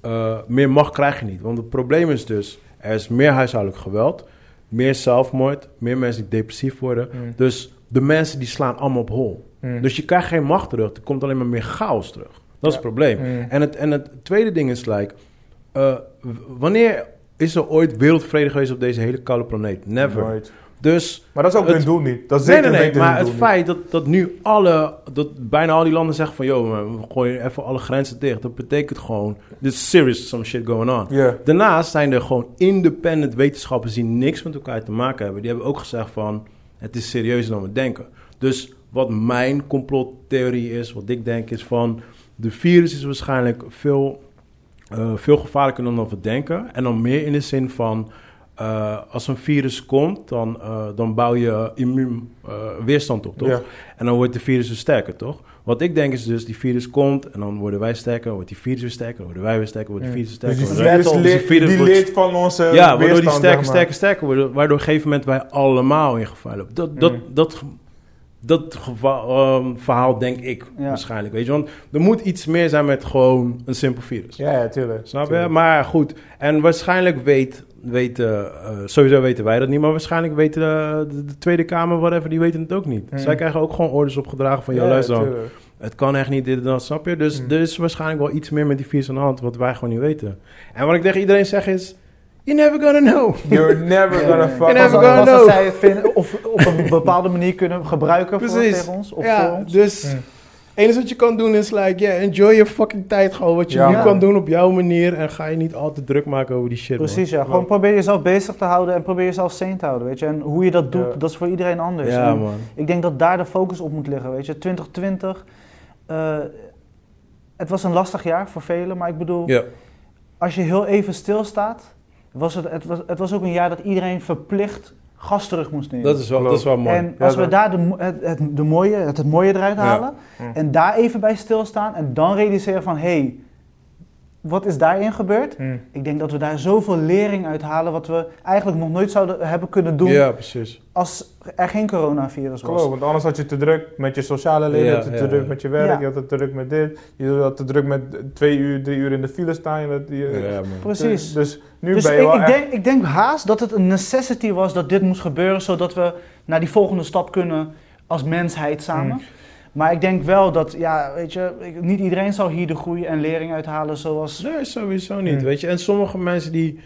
eh, meer macht krijg je niet. Want het probleem is dus, er is meer huishoudelijk geweld, meer zelfmoord, meer mensen die depressief worden. Mm. Dus de mensen die slaan allemaal op hol. Hmm. Mm. Dus je krijgt geen macht terug. Er komt alleen maar meer chaos terug. Dat is het probleem. Mm. En, het, en het tweede ding is, like, eh, w- wanneer is er ooit wereldvrede geweest op deze hele koude planeet? Never. Nooit. Dus Maar dat is ook Het- hun doel niet. Dat is Nee, zeker nee, nee, weten maar hun het doel feit dat, dat nu alle, dat bijna al die landen zeggen van, joh, man, we gooien even alle grenzen dicht. Dat betekent gewoon, there's serious some shit going on. niet. Ja. Daarnaast zijn er gewoon independent wetenschappers die niks met elkaar te maken hebben. Die hebben ook gezegd van, het is serieuzer dan we denken. Dus wat mijn complottheorie is, wat ik denk is van, de virus is waarschijnlijk veel, eh, veel gevaarlijker dan dat we denken. En dan meer in de zin van, eh, als een virus komt, dan, eh, dan bouw je immuun eh, weerstand op, toch? Ja. En dan wordt de virus weer sterker, toch? Wat ik denk is dus, die virus komt en dan worden wij sterker, wordt die virus weer sterker, worden wij weer sterker, wordt de Ja. virus sterker. Dus die worden wij- virus dus leert- die virus die wordt- leert van onze ja, waardoor die weerstand, sterker, zeg maar. sterker, sterker worden. Waardoor op een gegeven moment wij allemaal in gevaar lopen. Dat, dat, Mm. dat, dat geva- ehm, verhaal denk ik Ja. waarschijnlijk, weet je. Want er moet iets meer zijn met gewoon een simpel virus. Ja, ja, tuurlijk. Snap je? Tuurlijk. Maar goed, en waarschijnlijk weet, weten, eh, sowieso weten wij dat niet, maar waarschijnlijk weten eh, de, de Tweede Kamer, whatever, die weten het ook niet. Mm. Zij krijgen ook gewoon orders opgedragen van, ja, Ja, luister dan, tuurlijk. het kan echt niet dit en dat, snap je? Dus Mm. er is waarschijnlijk wel iets meer met die virus aan de hand, wat wij gewoon niet weten. En wat ik tegen iedereen zeg is, you're never gonna know. You're never Ja, gonna ja. fuck Als, En hebben us we up. als, als ook. zij het vinden, of op een bepaalde manier kunnen gebruiken voor, Precies. tegen ons. Of voor ja, ons. dus Mm. het enige wat je kan doen is like, yeah, enjoy your fucking tijd gewoon, wat je Ja, nu man. kan doen op jouw manier en ga je niet al te druk maken over die shit, man. Precies, ja. Gewoon probeer jezelf bezig te houden en probeer jezelf sane te houden, weet je. En hoe je dat doet, Ja. dat is voor iedereen anders. Ja, En man. Ik denk dat daar de focus op moet liggen, weet je. 2020, eh, het was een lastig jaar voor velen, maar ik bedoel, Ja. als je heel even stilstaat, was het, het, was, het was ook een jaar dat iedereen verplicht gas terug moest nemen. Dat is wel, dat is wel mooi. en als Ja, we dat- daar de, mo- het, het, de mooie, het, het mooie eruit Ja. halen Hm. en daar even bij stilstaan en dan realiseren van hé, hey, wat is daarin gebeurd? Hm. Ik denk dat we daar zoveel lering uit halen wat we eigenlijk nog nooit zouden hebben kunnen doen Ja, precies. als er geen coronavirus was. Klopt, want anders had je te druk met je sociale leven, je Ja, had het ja, te druk ja. met je werk, Ja. je had het te druk met dit, je had te druk met twee uur, drie uur in de file staan. Je had- je- Ja, man. Precies. Dus nu dus ben je ik, wel ik, echt- denk, ik denk haast dat het een necessity was dat dit moest gebeuren, zodat we naar die volgende stap kunnen als mensheid samen. Mm. Maar ik denk wel dat, ja, weet je, ik- niet iedereen zal hier de groei en lering uithalen zoals... Nee, sowieso niet, Hmm. weet je. En sommige mensen die,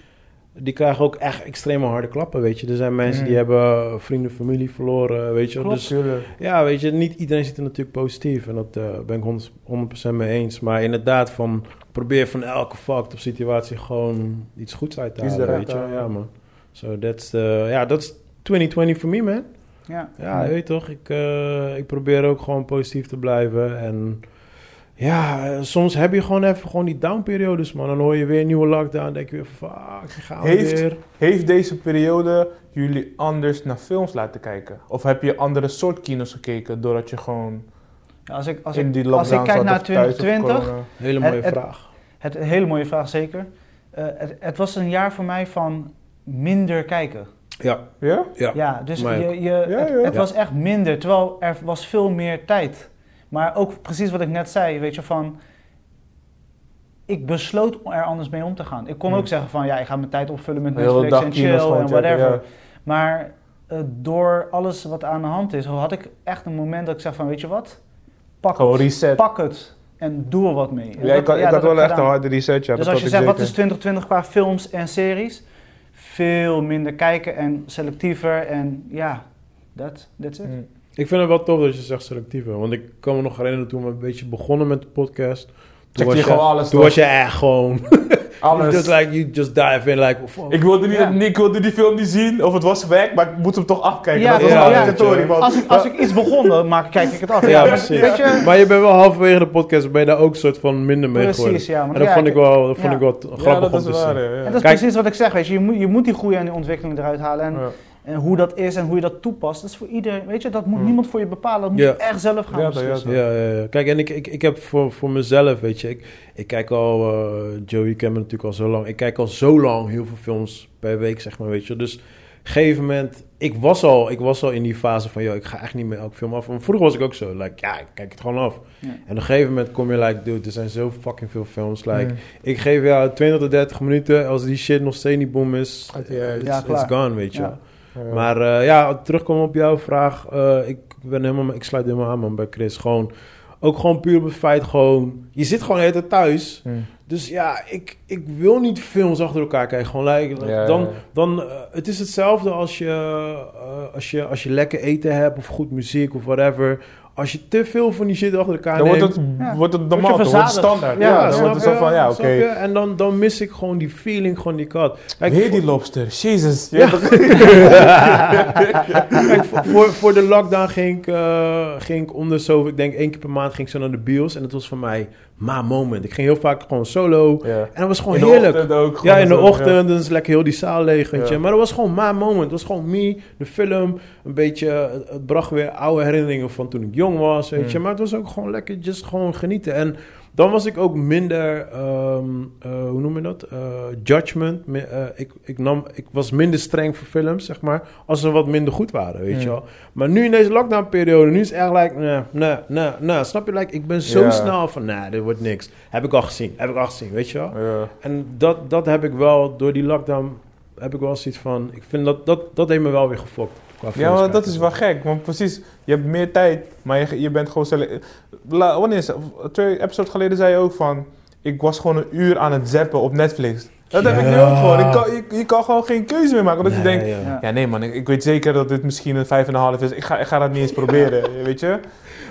die krijgen ook echt extreme harde klappen, weet je. Er zijn mensen Hmm. die hebben vrienden, familie verloren, weet je. Klopt. Dus Tuurlijk. ja, weet je, niet iedereen zit er natuurlijk positief. En dat eh, ben ik 100%, 100% mee eens. Maar inderdaad, van, probeer van elke fucked up situatie gewoon iets goeds uit te Iets halen, eruit weet te je. halen. Ja, man. So that's, eh, ja, dat is 2020 voor me, man. Ja. Ja, je weet toch, ik, eh, ik probeer ook gewoon positief te blijven. En ja, eh, soms heb je gewoon even gewoon die downperiodes, man. Dan hoor je weer een nieuwe lockdown. denk je weer, fuck, hier gaan we Heeft- weer. Heeft deze periode jullie anders naar films laten kijken? Of heb je andere soort kino's gekeken doordat je gewoon Ja, als ik, als in ik, die als lockdown ik kijk zat naar of thuis of 2020, corona? Hele mooie Het- het- vraag. het, een hele mooie vraag zeker. Eh, het, het was een jaar voor mij van minder kijken. Ja, Ja? ja. Ja, dus mij je, je, Ja, het, ja. het Ja. was echt minder, terwijl er was veel meer tijd. Maar ook precies wat ik net zei, weet je, van... Ik besloot er anders mee om te gaan. Ik kon Hm. ook zeggen van, ja, ik ga mijn tijd opvullen met De hele Netflix dag en kino's chill gewoon en checken, whatever. ja. Maar eh, door alles wat aan de hand is, had ik echt een moment dat ik zeg van, weet je wat? Pak Gewoon het, reset. pak het en doe er wat mee. En Ja, ik dat- had, ik had dat wel heb echt gedaan. een harde reset, ja. Dus dat als je had zegt, ik wat zeker. is 2020 qua films en series? Veel minder kijken en selectiever en ja, dat that's it. Hm. Ik vind het wel tof dat je zegt selectief. hè. Want ik kan me nog herinneren toen we een beetje begonnen met de podcast. Toen Check was je gewoon alles, Toen toch? was je echt gewoon... Alles. just like, you just dive in like... fuck. Ik wilde, niet, Ja. ik wilde die film niet zien, of het was weg, maar ik moet hem toch afkijken. Ja, dat was ja, altijd ja. de theorie, want- Als ik, als ik iets begon, dan maak, kijk ik het af. ja, maar- precies. Weet je? Maar je bent wel halverwege de podcast, ben je daar ook soort van minder mee geworden. Precies, ja. want En dat ja, vond ik wel, dat ja. vond ik wel t- Ja, grappig dat om te is waar, zien. ja, ja. En dat is Kijk- precies wat ik zeg, weet je. Je moet, je moet die groei en die ontwikkeling eruit halen. En, Ja. en hoe dat is en hoe je dat toepast, dat is voor ieder. Weet je, dat moet Hmm. niemand voor je bepalen. Dat moet Ja. je echt zelf gaan Ja, dat- ja, beslissen. dat- Ja, ja, ja. Kijk, en ik, ik, ik heb voor, voor mezelf, weet je, ik, ik kijk al, eh, Joey kent me natuurlijk al zo lang, ik kijk al zo lang heel veel films per week, zeg maar, weet je. Dus op een gegeven moment, ik was al, ik was al in die fase van, joh, ik ga echt niet meer elke film af. Want vroeger was ik ook zo, like, ja, ik kijk het gewoon af. Ja. En op een gegeven moment kom je, like, dude, er zijn zo fucking veel films, like, Hm. ik geef jou 20 tot 30 minuten, als die shit nog steeds niet boom is, Gaat het die uit. it's, Ja, it's klaar. gone, weet je. Ja. Ja. Maar eh, ja, terugkomen op jouw vraag. eh, ik, ben helemaal, ik sluit helemaal aan man, bij Chris. Gewoon, ook gewoon puur op het feit gewoon... Je zit gewoon de hele tijd thuis. Hm. Dus ja, ik, ik wil niet films achter elkaar kijken. Gewoon, like, Ja, dan, ja, ja. Dan, eh, het is hetzelfde als je, eh, als, je, als je lekker eten hebt of goed muziek of whatever. Als je te veel van die shit achter elkaar Dan neemt... wordt het, Ja. wordt het normaal, Word dan je wordt het verzadigd. standaard. Ja, Ja, snap dan wordt het je? zo van, ja, Snap oké. je? En dan, dan mis ik gewoon die feeling, gewoon die kat. Kijk, Weer voor- die lobster, jezus. Ja. Kijk, voor- voor, voor de lockdown ging ik, eh, ging ik om de zoveel, ik denk één keer per maand ging ik zo naar de bios. En dat was voor mij ma moment. Ik ging heel vaak gewoon solo. Ja. En dat Oh, was gewoon In de heerlijk. ochtend ook. ja, gewoon in de zo, ochtend, dan is lekker heel die zaal leeg, weet je. Ja. Maar dat was gewoon ma moment. Het was gewoon me, de film, een beetje, het- het bracht weer oude herinneringen van toen ik jong was, weet je. Mm. Maar het was ook gewoon lekker, just gewoon genieten. En dan was ik ook minder, ehm, eh, hoe noem je dat? Eh, judgment. Mi- eh, ik, ik, nam, ik was minder streng voor films, zeg maar, als ze wat minder goed waren, weet Mm. je wel. Maar nu in deze lockdownperiode, nu is het echt like, nee, nee, nee, nee. Snap je? Like, ik ben zo Ja. snel van, nee, dit wordt niks. Heb ik al gezien, heb ik al gezien, weet je wel. Ja. En dat, dat heb ik wel, door die lockdown, heb ik wel zoiets van... Ik vind dat, dat, dat heeft me wel weer gefokt. qua Ja, films maar dat kijken. is wel gek, want precies, je hebt meer tijd, maar je, je bent gewoon... sele- La- wanneer is Twee episodes geleden zei je ook van, ik was gewoon een uur aan het zappen op Netflix. Dat heb ik nu ook Ja. gewoon. Ik kan, je, je kan gewoon geen keuze meer maken, omdat je Nee, denkt... ja. Ja. Ja, nee man, ik, ik weet zeker dat dit misschien een vijf en een half is. Ik ga, ik ga dat niet eens proberen, weet je?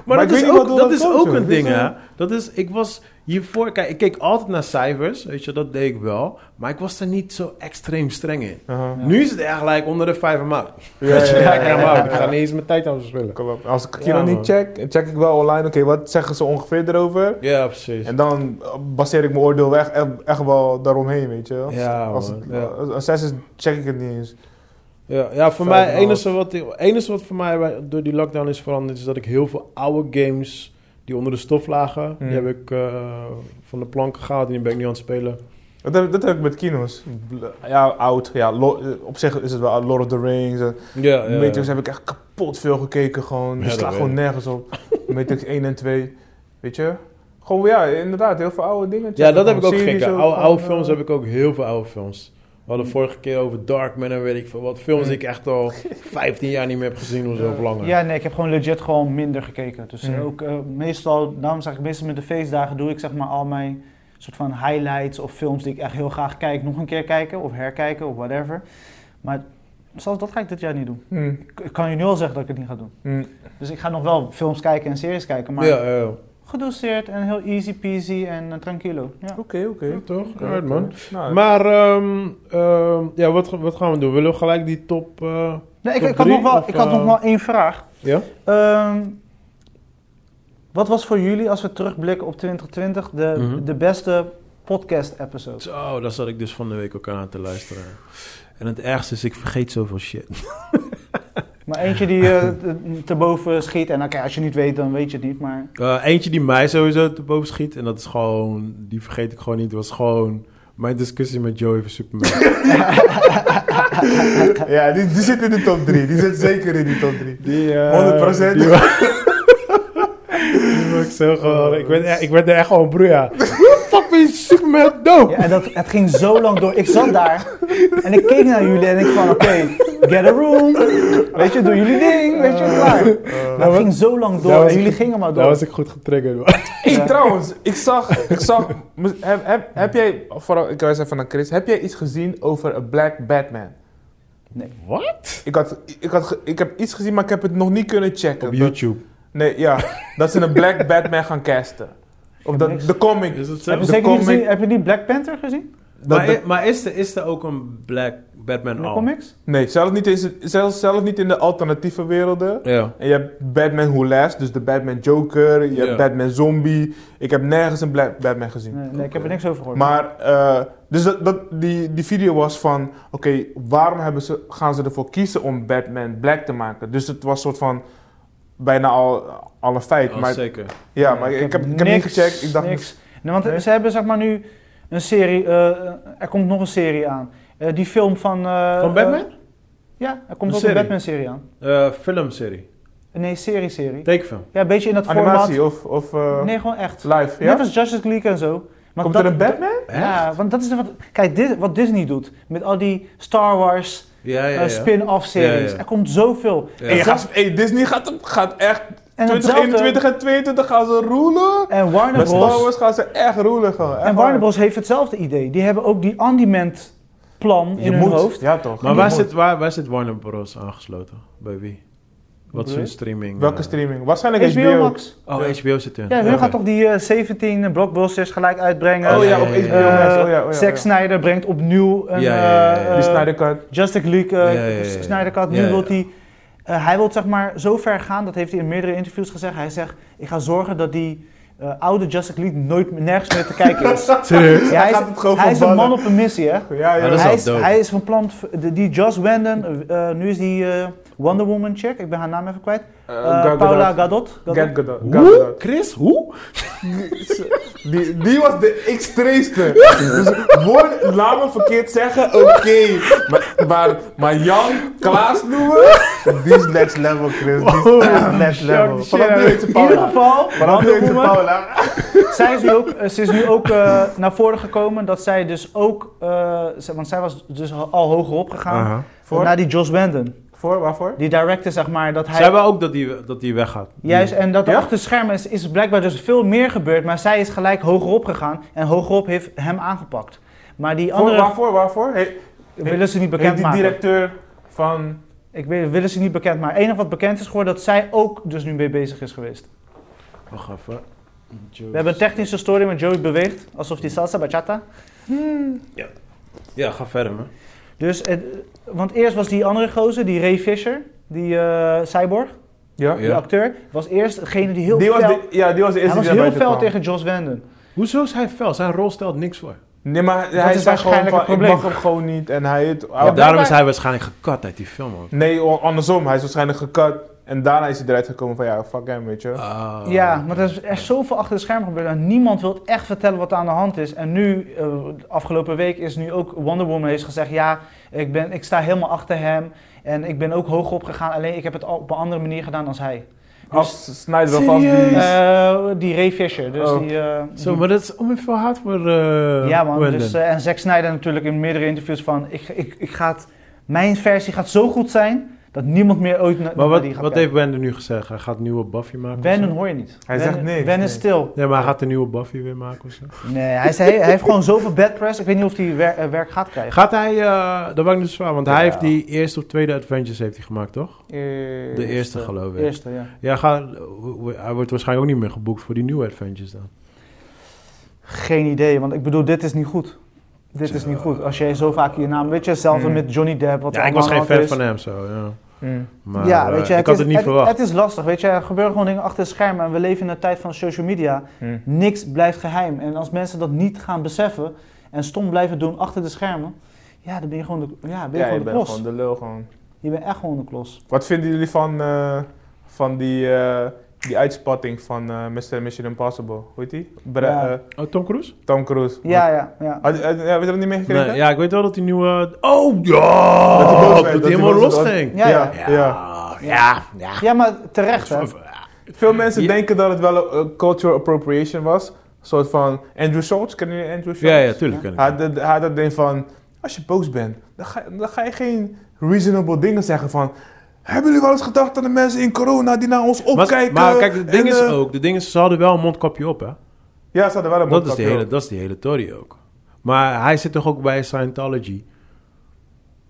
Maar, Maar ik dat weet is niet ook, wat- wat dat is komt, ook joh. een Dit ding, is, eh, hè. Dat is, ik was hiervoor... Kijk, ik keek altijd naar cijfers, weet je, dat deed ik wel. Maar ik was er niet zo extreem streng in. Aha. Nu is het echt like onder de vijf en maand. Ja, ja, ja, ja, ja. Ik ga niet eens mijn tijd aan verspillen. Klopt. Als ik Ja, Kino man. niet check, check ik wel online, oké, wat zeggen ze ongeveer erover? Ja, precies. En dan eh, baseer ik mijn oordeel echt, echt, echt wel daaromheen, weet je wel. Ja, Als man, het- ja. als- als zes is, check ik het niet eens. Ja, ja voor Vijf mij, en het een enige wat, ik- enige wat voor mij bij- door die lockdown is veranderd, is dat ik heel veel oude games die onder de stof lagen. Hmm. Die heb ik eh, van de planken gehaald en die ben ik nu aan het spelen. Dat heb, dat heb ik met kino's. Bl- Ja, oud. Ja, Lo- eh, op zich is het wel Lord of the Rings. En Ja, ja. Matrix heb ik echt kapot veel gekeken. Gewoon. Ja, Die dat slaat weet gewoon ik. nergens op. Matrix 1 en 2. Weet je? Gewoon ja, inderdaad. Heel veel oude dingen. Ja, dat heb ik ook Series gekeken. Oude, van, oude eh, films heb ik ook heel veel oude films. We hadden vorige keer over Darkman en weet ik veel wat. Films die ik echt al 15 jaar niet meer heb gezien of zo of langer. Ja, nee, ik heb gewoon legit gewoon minder gekeken. Dus eh, Mhm. ook eh, meestal, daarom zeg ik meestal met de feestdagen doe ik zeg maar al mijn soort van highlights of films die ik echt heel graag kijk, nog een keer kijken of herkijken of whatever. Maar zelfs dat ga ik dit jaar niet doen. mm, Ik, ik kan je nu al zeggen dat ik het niet ga doen. mm. Dus ik ga nog wel films kijken en series kijken, maar ja, ja, ja. gedoseerd en heel easy peasy en eh, tranquilo. Ja. Oké, oké. Ja, toch? Oké, Alright, man. oké. Nou, Maar, ehm, ehm, ja, wat, ga- wat gaan we doen? Willen we gelijk die top... eh, Nee, ik, Top ik, had, drie, nog wel, of, ik had nog eh, wel één vraag. Ja? Ehm, wat was voor jullie, als we terugblikken op 2020, de, Mhm. de beste podcast-episode? Zo, daar zat ik dus van de week ook aan te luisteren. En het ergste is, ik vergeet zoveel shit. Maar eentje die eh te- te boven schiet. En oké, als je niet weet, dan weet je het niet. Maar Eh, eentje die mij sowieso te boven schiet, en dat is gewoon... Die vergeet ik gewoon niet, was gewoon... Mijn discussie met Joey over Superman. Ja, die, die zit in de top 3. Die zit zeker in die top 3. Die, eh, 100%. Die wa- Die was ik zo gewoon... Ik werd, e- ik werd er echt gewoon broer, ja. Fucking Superman dope! ja, en dat, het ging zo lang door. Ik zat daar en ik keek naar jullie en ik van oké, get a room. Weet je, doe jullie ding. Weet je, klaar. Maar dat het was- ging zo lang door Eh, nou, dat was en jullie ik- gingen maar door. Nou, Daar was ik goed getriggerd, man. Hey, Ja. trouwens, ik zag, ik zag heb, heb, heb jij, vooral, ik wijs even naar Chris, heb jij iets gezien over een Black Batman? Wat? Ik, had, ik, had, ge- ik heb iets gezien, maar ik heb het nog niet kunnen checken. Dat- Op YouTube. Nee, ja, dat ze een Black Batman gaan casten. Of heb dat, niks. de comic. het heb, de je zeker niet comic- gezien, heb je die Black Panther gezien? Dat maar de- i- maar is, er, is er ook een Black In Batman de al? comics? nee, zelfs niet, in, z- zelfs, zelfs niet in de alternatieve werelden. Ja. En je hebt Batman Who Laughs, dus de Batman Joker. Je hebt Ja. Batman Zombie. Ik heb nergens een Black Batman gezien. Nee, nee, ik heb er niks over gehoord. Maar, eh, dus dat, dat, die, die video was van, oké, waarom hebben ze, gaan ze ervoor kiezen om Batman black te maken? Dus het was soort van, bijna al, al een feit. Oh, maar, zeker. ja, maar ik, heb, ik heb niet niks, gecheckt. Ik dacht, niks. Nee, want Nee? ze hebben zeg maar nu een serie, eh, er komt nog een serie aan. Eh, die film van... eh, Van Batman? eh, ja, er komt Een ook serie? een Batman-serie aan. Eh, filmserie. Nee, serie-serie. Tekenfilm. Ja, een beetje in dat animatie of, of eh, format. Nee, gewoon echt. live, ja? Net als Justice League en zo. Maar Komt dat- er een Batman? Ja, want dat is wat... Kijk, dit, wat Disney doet met al die Star Wars Ja, eh, ja, ja. spin-off-series. Ja, ja. Er komt zoveel. Ja. Hey, Ja. gaat- hey, Disney gaat, gaat echt, En 2021 hetzelfde- en 2022 gaan ze roelen. En Warner Met Star Bros. Wars gaan ze echt roelen gewoon. echt En waar. Warner Bros. heeft hetzelfde idee. Die hebben ook die on-demand-plan in je hun moet, hoofd. Ja toch. Maar Je waar moet. zit, waar, waar zit Warner Bros. aangesloten? Bij wie? Wat bedoel is hun je? streaming? Welke eh, streaming? Waarschijnlijk HBO, HBO. Max. Oh, HBO zit in. Ja, hun Oké. gaat toch die eh, 17 blockbusters gelijk uitbrengen. Oh ja, Eh, op HBO Max. Oh eh, ja, oh ja, oh ja. Zack Snyder brengt opnieuw een Ja, ja, ja, ja. eh, Die eh, Snyder Cut. Justice League eh, Ja, ja, ja, ja. Snyder Cut. Nu Ja, ja. wil hij... eh, hij wil zeg maar zo ver gaan, dat heeft hij in meerdere interviews gezegd. Hij zegt, ik ga zorgen dat die eh, oude Justice League nooit meer- nergens meer te kijken is. Ja, Serieus? hij gaat het gewoon hij is een verbannen. man op Eh, een missie, hè. Ja, ja. Maar dat is hij, wel is, dope. hij is van plan, v- de- die Joss Whedon, eh, eh, nu is die eh, Wonder Woman chick, ik ben haar naam even kwijt. Eh, Eh, Gal Paula Gadot. Gal Gadot. Gadot. Gadot. Gal Hoe? Gadot. Chris, hoe? Die, die was de extreemste. Dus woord, laat me verkeerd zeggen, oké. Maar, maar, maar Jan, Klaas noemen? Die is next level, Chris. Die is echt next level. shit Vanaf nu out. heet ze In ieder Paula. geval, Vanaf nu Wonder heet ze Woman, Paula. zij is nu ook, eh, ze is nu ook eh, naar voren gekomen dat zij dus ook, eh, ze- want zij was dus al al hoger opgegaan, Aha. Voor? naar die Joss Whedon. Voor, waarvoor? Die director zeg maar, dat hij... Zij wou ook dat die, dat die weggaat. Hmm. Juist, en dat Ja? achter de schermen is, is blijkbaar dus veel meer gebeurd, maar zij is gelijk hogerop gegaan en hogerop heeft hem aangepakt. Maar die Voor, andere waarvoor, waarvoor? He, willen ze niet heet die bekendmaken. directeur van... Ik weet, willen ze niet bekend, maar enig wat bekend is geworden dat zij ook dus nu mee bezig is geweest. Wacht even. We hebben een technische story met Joey beweegt, alsof die salsa bachata. Ja, ga verder, man. Dus, het- want eerst was die andere gozer, die Ray Fisher, die eh, cyborg, Ja? Ja. die acteur, was eerst degene die heel Die was fel, de, ja, die was de hij eerste was die naar heel buiten fel kwam. tegen Joss Whedon. Hoezo is hij fel? Zijn rol stelt niks Oh, voor. Nee, maar hij is zei gewoon waarschijnlijk van, het ik probleem. mag hem gewoon niet. En hij... Het, daarom blijkbaar- is hij waarschijnlijk gekat uit die film, man. Nee, o- andersom. Hij is waarschijnlijk gekat. En daarna is hij eruit gekomen van ja, fuck hem, weet je. Ah. Ja, maar er is echt zoveel achter de schermen gebeurd. En niemand wil echt vertellen wat er aan de hand is. En nu, eh, de afgelopen week, is nu ook Wonder Woman heeft gezegd... ja, ik, ben, ik sta helemaal achter hem. En ik ben ook hoog opgegaan. Alleen ik heb het al op een andere manier gedaan als hij. Dus, Als Snyder alvast die... eh, die Ray Fisher. Dus Oh. die, eh, Zo, maar dat is ongeveer hard voor eh ja man, Wendell. dus, eh, en Zack Snyder natuurlijk in meerdere interviews van... Ik, ik, ik ga het, mijn versie gaat zo goed zijn dat niemand meer ooit na- maar naar wat, die gaat wat heeft kijken. Wendel nu gezegd? Hij gaat een nieuwe Buffy maken? of Wennen zo? hoor je niet. Hij Wennen- zegt niks, Wennen is nee. stil. Nee, maar hij gaat een nieuwe Buffy weer maken of zo. Nee, hij, is, hij, hij heeft gewoon zoveel bad press. Ik weet niet of hij wer- eh, werk gaat krijgen. Gaat hij, eh dat maakt niet zo zwaar, want Ja. hij heeft die eerste of tweede Adventures heeft hij gemaakt, toch? Eerste. De eerste, geloof ik. Eh, Eerste, ja. Ja, ga, hij wordt waarschijnlijk ook niet meer geboekt voor die nieuwe Adventures dan. Geen idee, want ik bedoel, dit is niet goed. Dit is niet goed. Als jij zo vaak je naam... Weet je, hetzelfde Hmm. met Johnny Depp. Wat ja, ik er was allemaal geen aan de hand fan is. van hem zo, ja. Mm. Maar ja, eh, weet je, ik had is, het niet verwacht. Het is lastig, weet je. Er gebeuren gewoon dingen achter de schermen. En we leven in een tijd van social media. Mm. Niks blijft geheim. En als mensen dat niet gaan beseffen en stom blijven doen achter de schermen... Ja, dan ben je gewoon de, ja, ben je Ja, je gewoon de bent klos. gewoon de lul gewoon. Je bent echt gewoon de klos. Wat vinden jullie van, eh, van die, eh, die uitspatting van eh Mr. Mission Impossible? Hoe heet die? Bra- Ja. eh, Oh, Tom Cruise? Tom Cruise. Ja, ja, ja. Had, had, heb je dat niet meegekregen? Nee, ja, ik weet wel dat die nieuwe... Oh, ja! Dat hij boos werd, Dat dat hij hij helemaal boos los werd. ging. Ja, ja. Ja, ja. ja. ja. Ja, maar terecht, hè. Veel mensen Ja. denken dat het wel een eh, cultural appropriation was. Een soort van Andrew Schultz. Kennen jullie Andrew Schultz? Ja, ja, tuurlijk kan ik. Hij had dat- hij had dat ding van, als je boos bent, dan ga, dan ga je geen reasonable dingen zeggen van... Hebben jullie wel eens gedacht aan de mensen in corona die naar ons Maar, opkijken? maar kijk, het ding En, is eh, ook, de ding is, ze hadden wel een mondkapje op, hè? Ja, ze hadden wel een Dat is, de mondkapje hele, op. dat is die hele tory ook. Maar hij zit toch ook bij Scientology?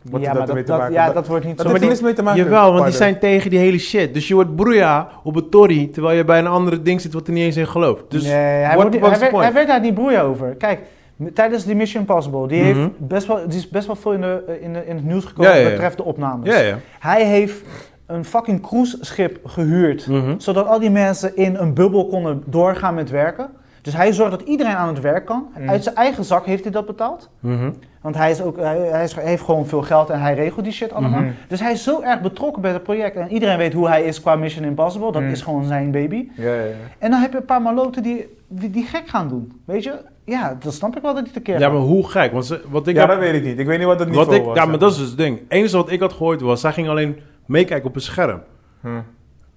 Wat ja, heeft maar dat ermee dat, te dat- maken? ja, Dat- dat wordt niet Dat zo. heeft niks mee te maken. Jawel, want die Pardon. zijn tegen die hele shit. Dus je wordt broeia op het tory, terwijl je bij een andere ding zit wat er niet eens in gelooft. Dus nee, hij, what wordt, niet- was hij, the werd, point? hij werd daar niet broeien over. Kijk, m- tijdens die Mission Impossible, die, Mhm. heeft best wel, die is best wel veel in, de, eh, in, de- in het nieuws gekomen Ja, ja, ja. wat betreft de opnames. ja, ja. Hij heeft een fucking cruiseschip gehuurd, Mhm. zodat al die mensen in een bubbel konden doorgaan met werken. Dus hij zorgt dat iedereen aan het werk kan. Mm. Uit zijn eigen zak heeft hij dat betaald. Mhm. Want hij, is ook, hij, hij is, heeft gewoon veel geld en hij regelt die shit allemaal. Mhm. Dus hij is zo erg betrokken bij het project. En iedereen weet hoe hij is qua Mission Impossible. Dat Mhm. Mm. is gewoon zijn baby. Ja, ja, ja. En dan heb je een paar maloten die, die, die gek gaan doen. Weet je? Ja, dat snap ik wel dat die tekeer Ja, gaat. maar hoe gek? Want ze- wat ik ja, heb- dat weet ik niet. Ik weet niet wat het niveau wat ik, was. ja, maar dat is dus het ding. Het enige wat ik had gehoord was, zij ging alleen meekijken op een scherm. Hm.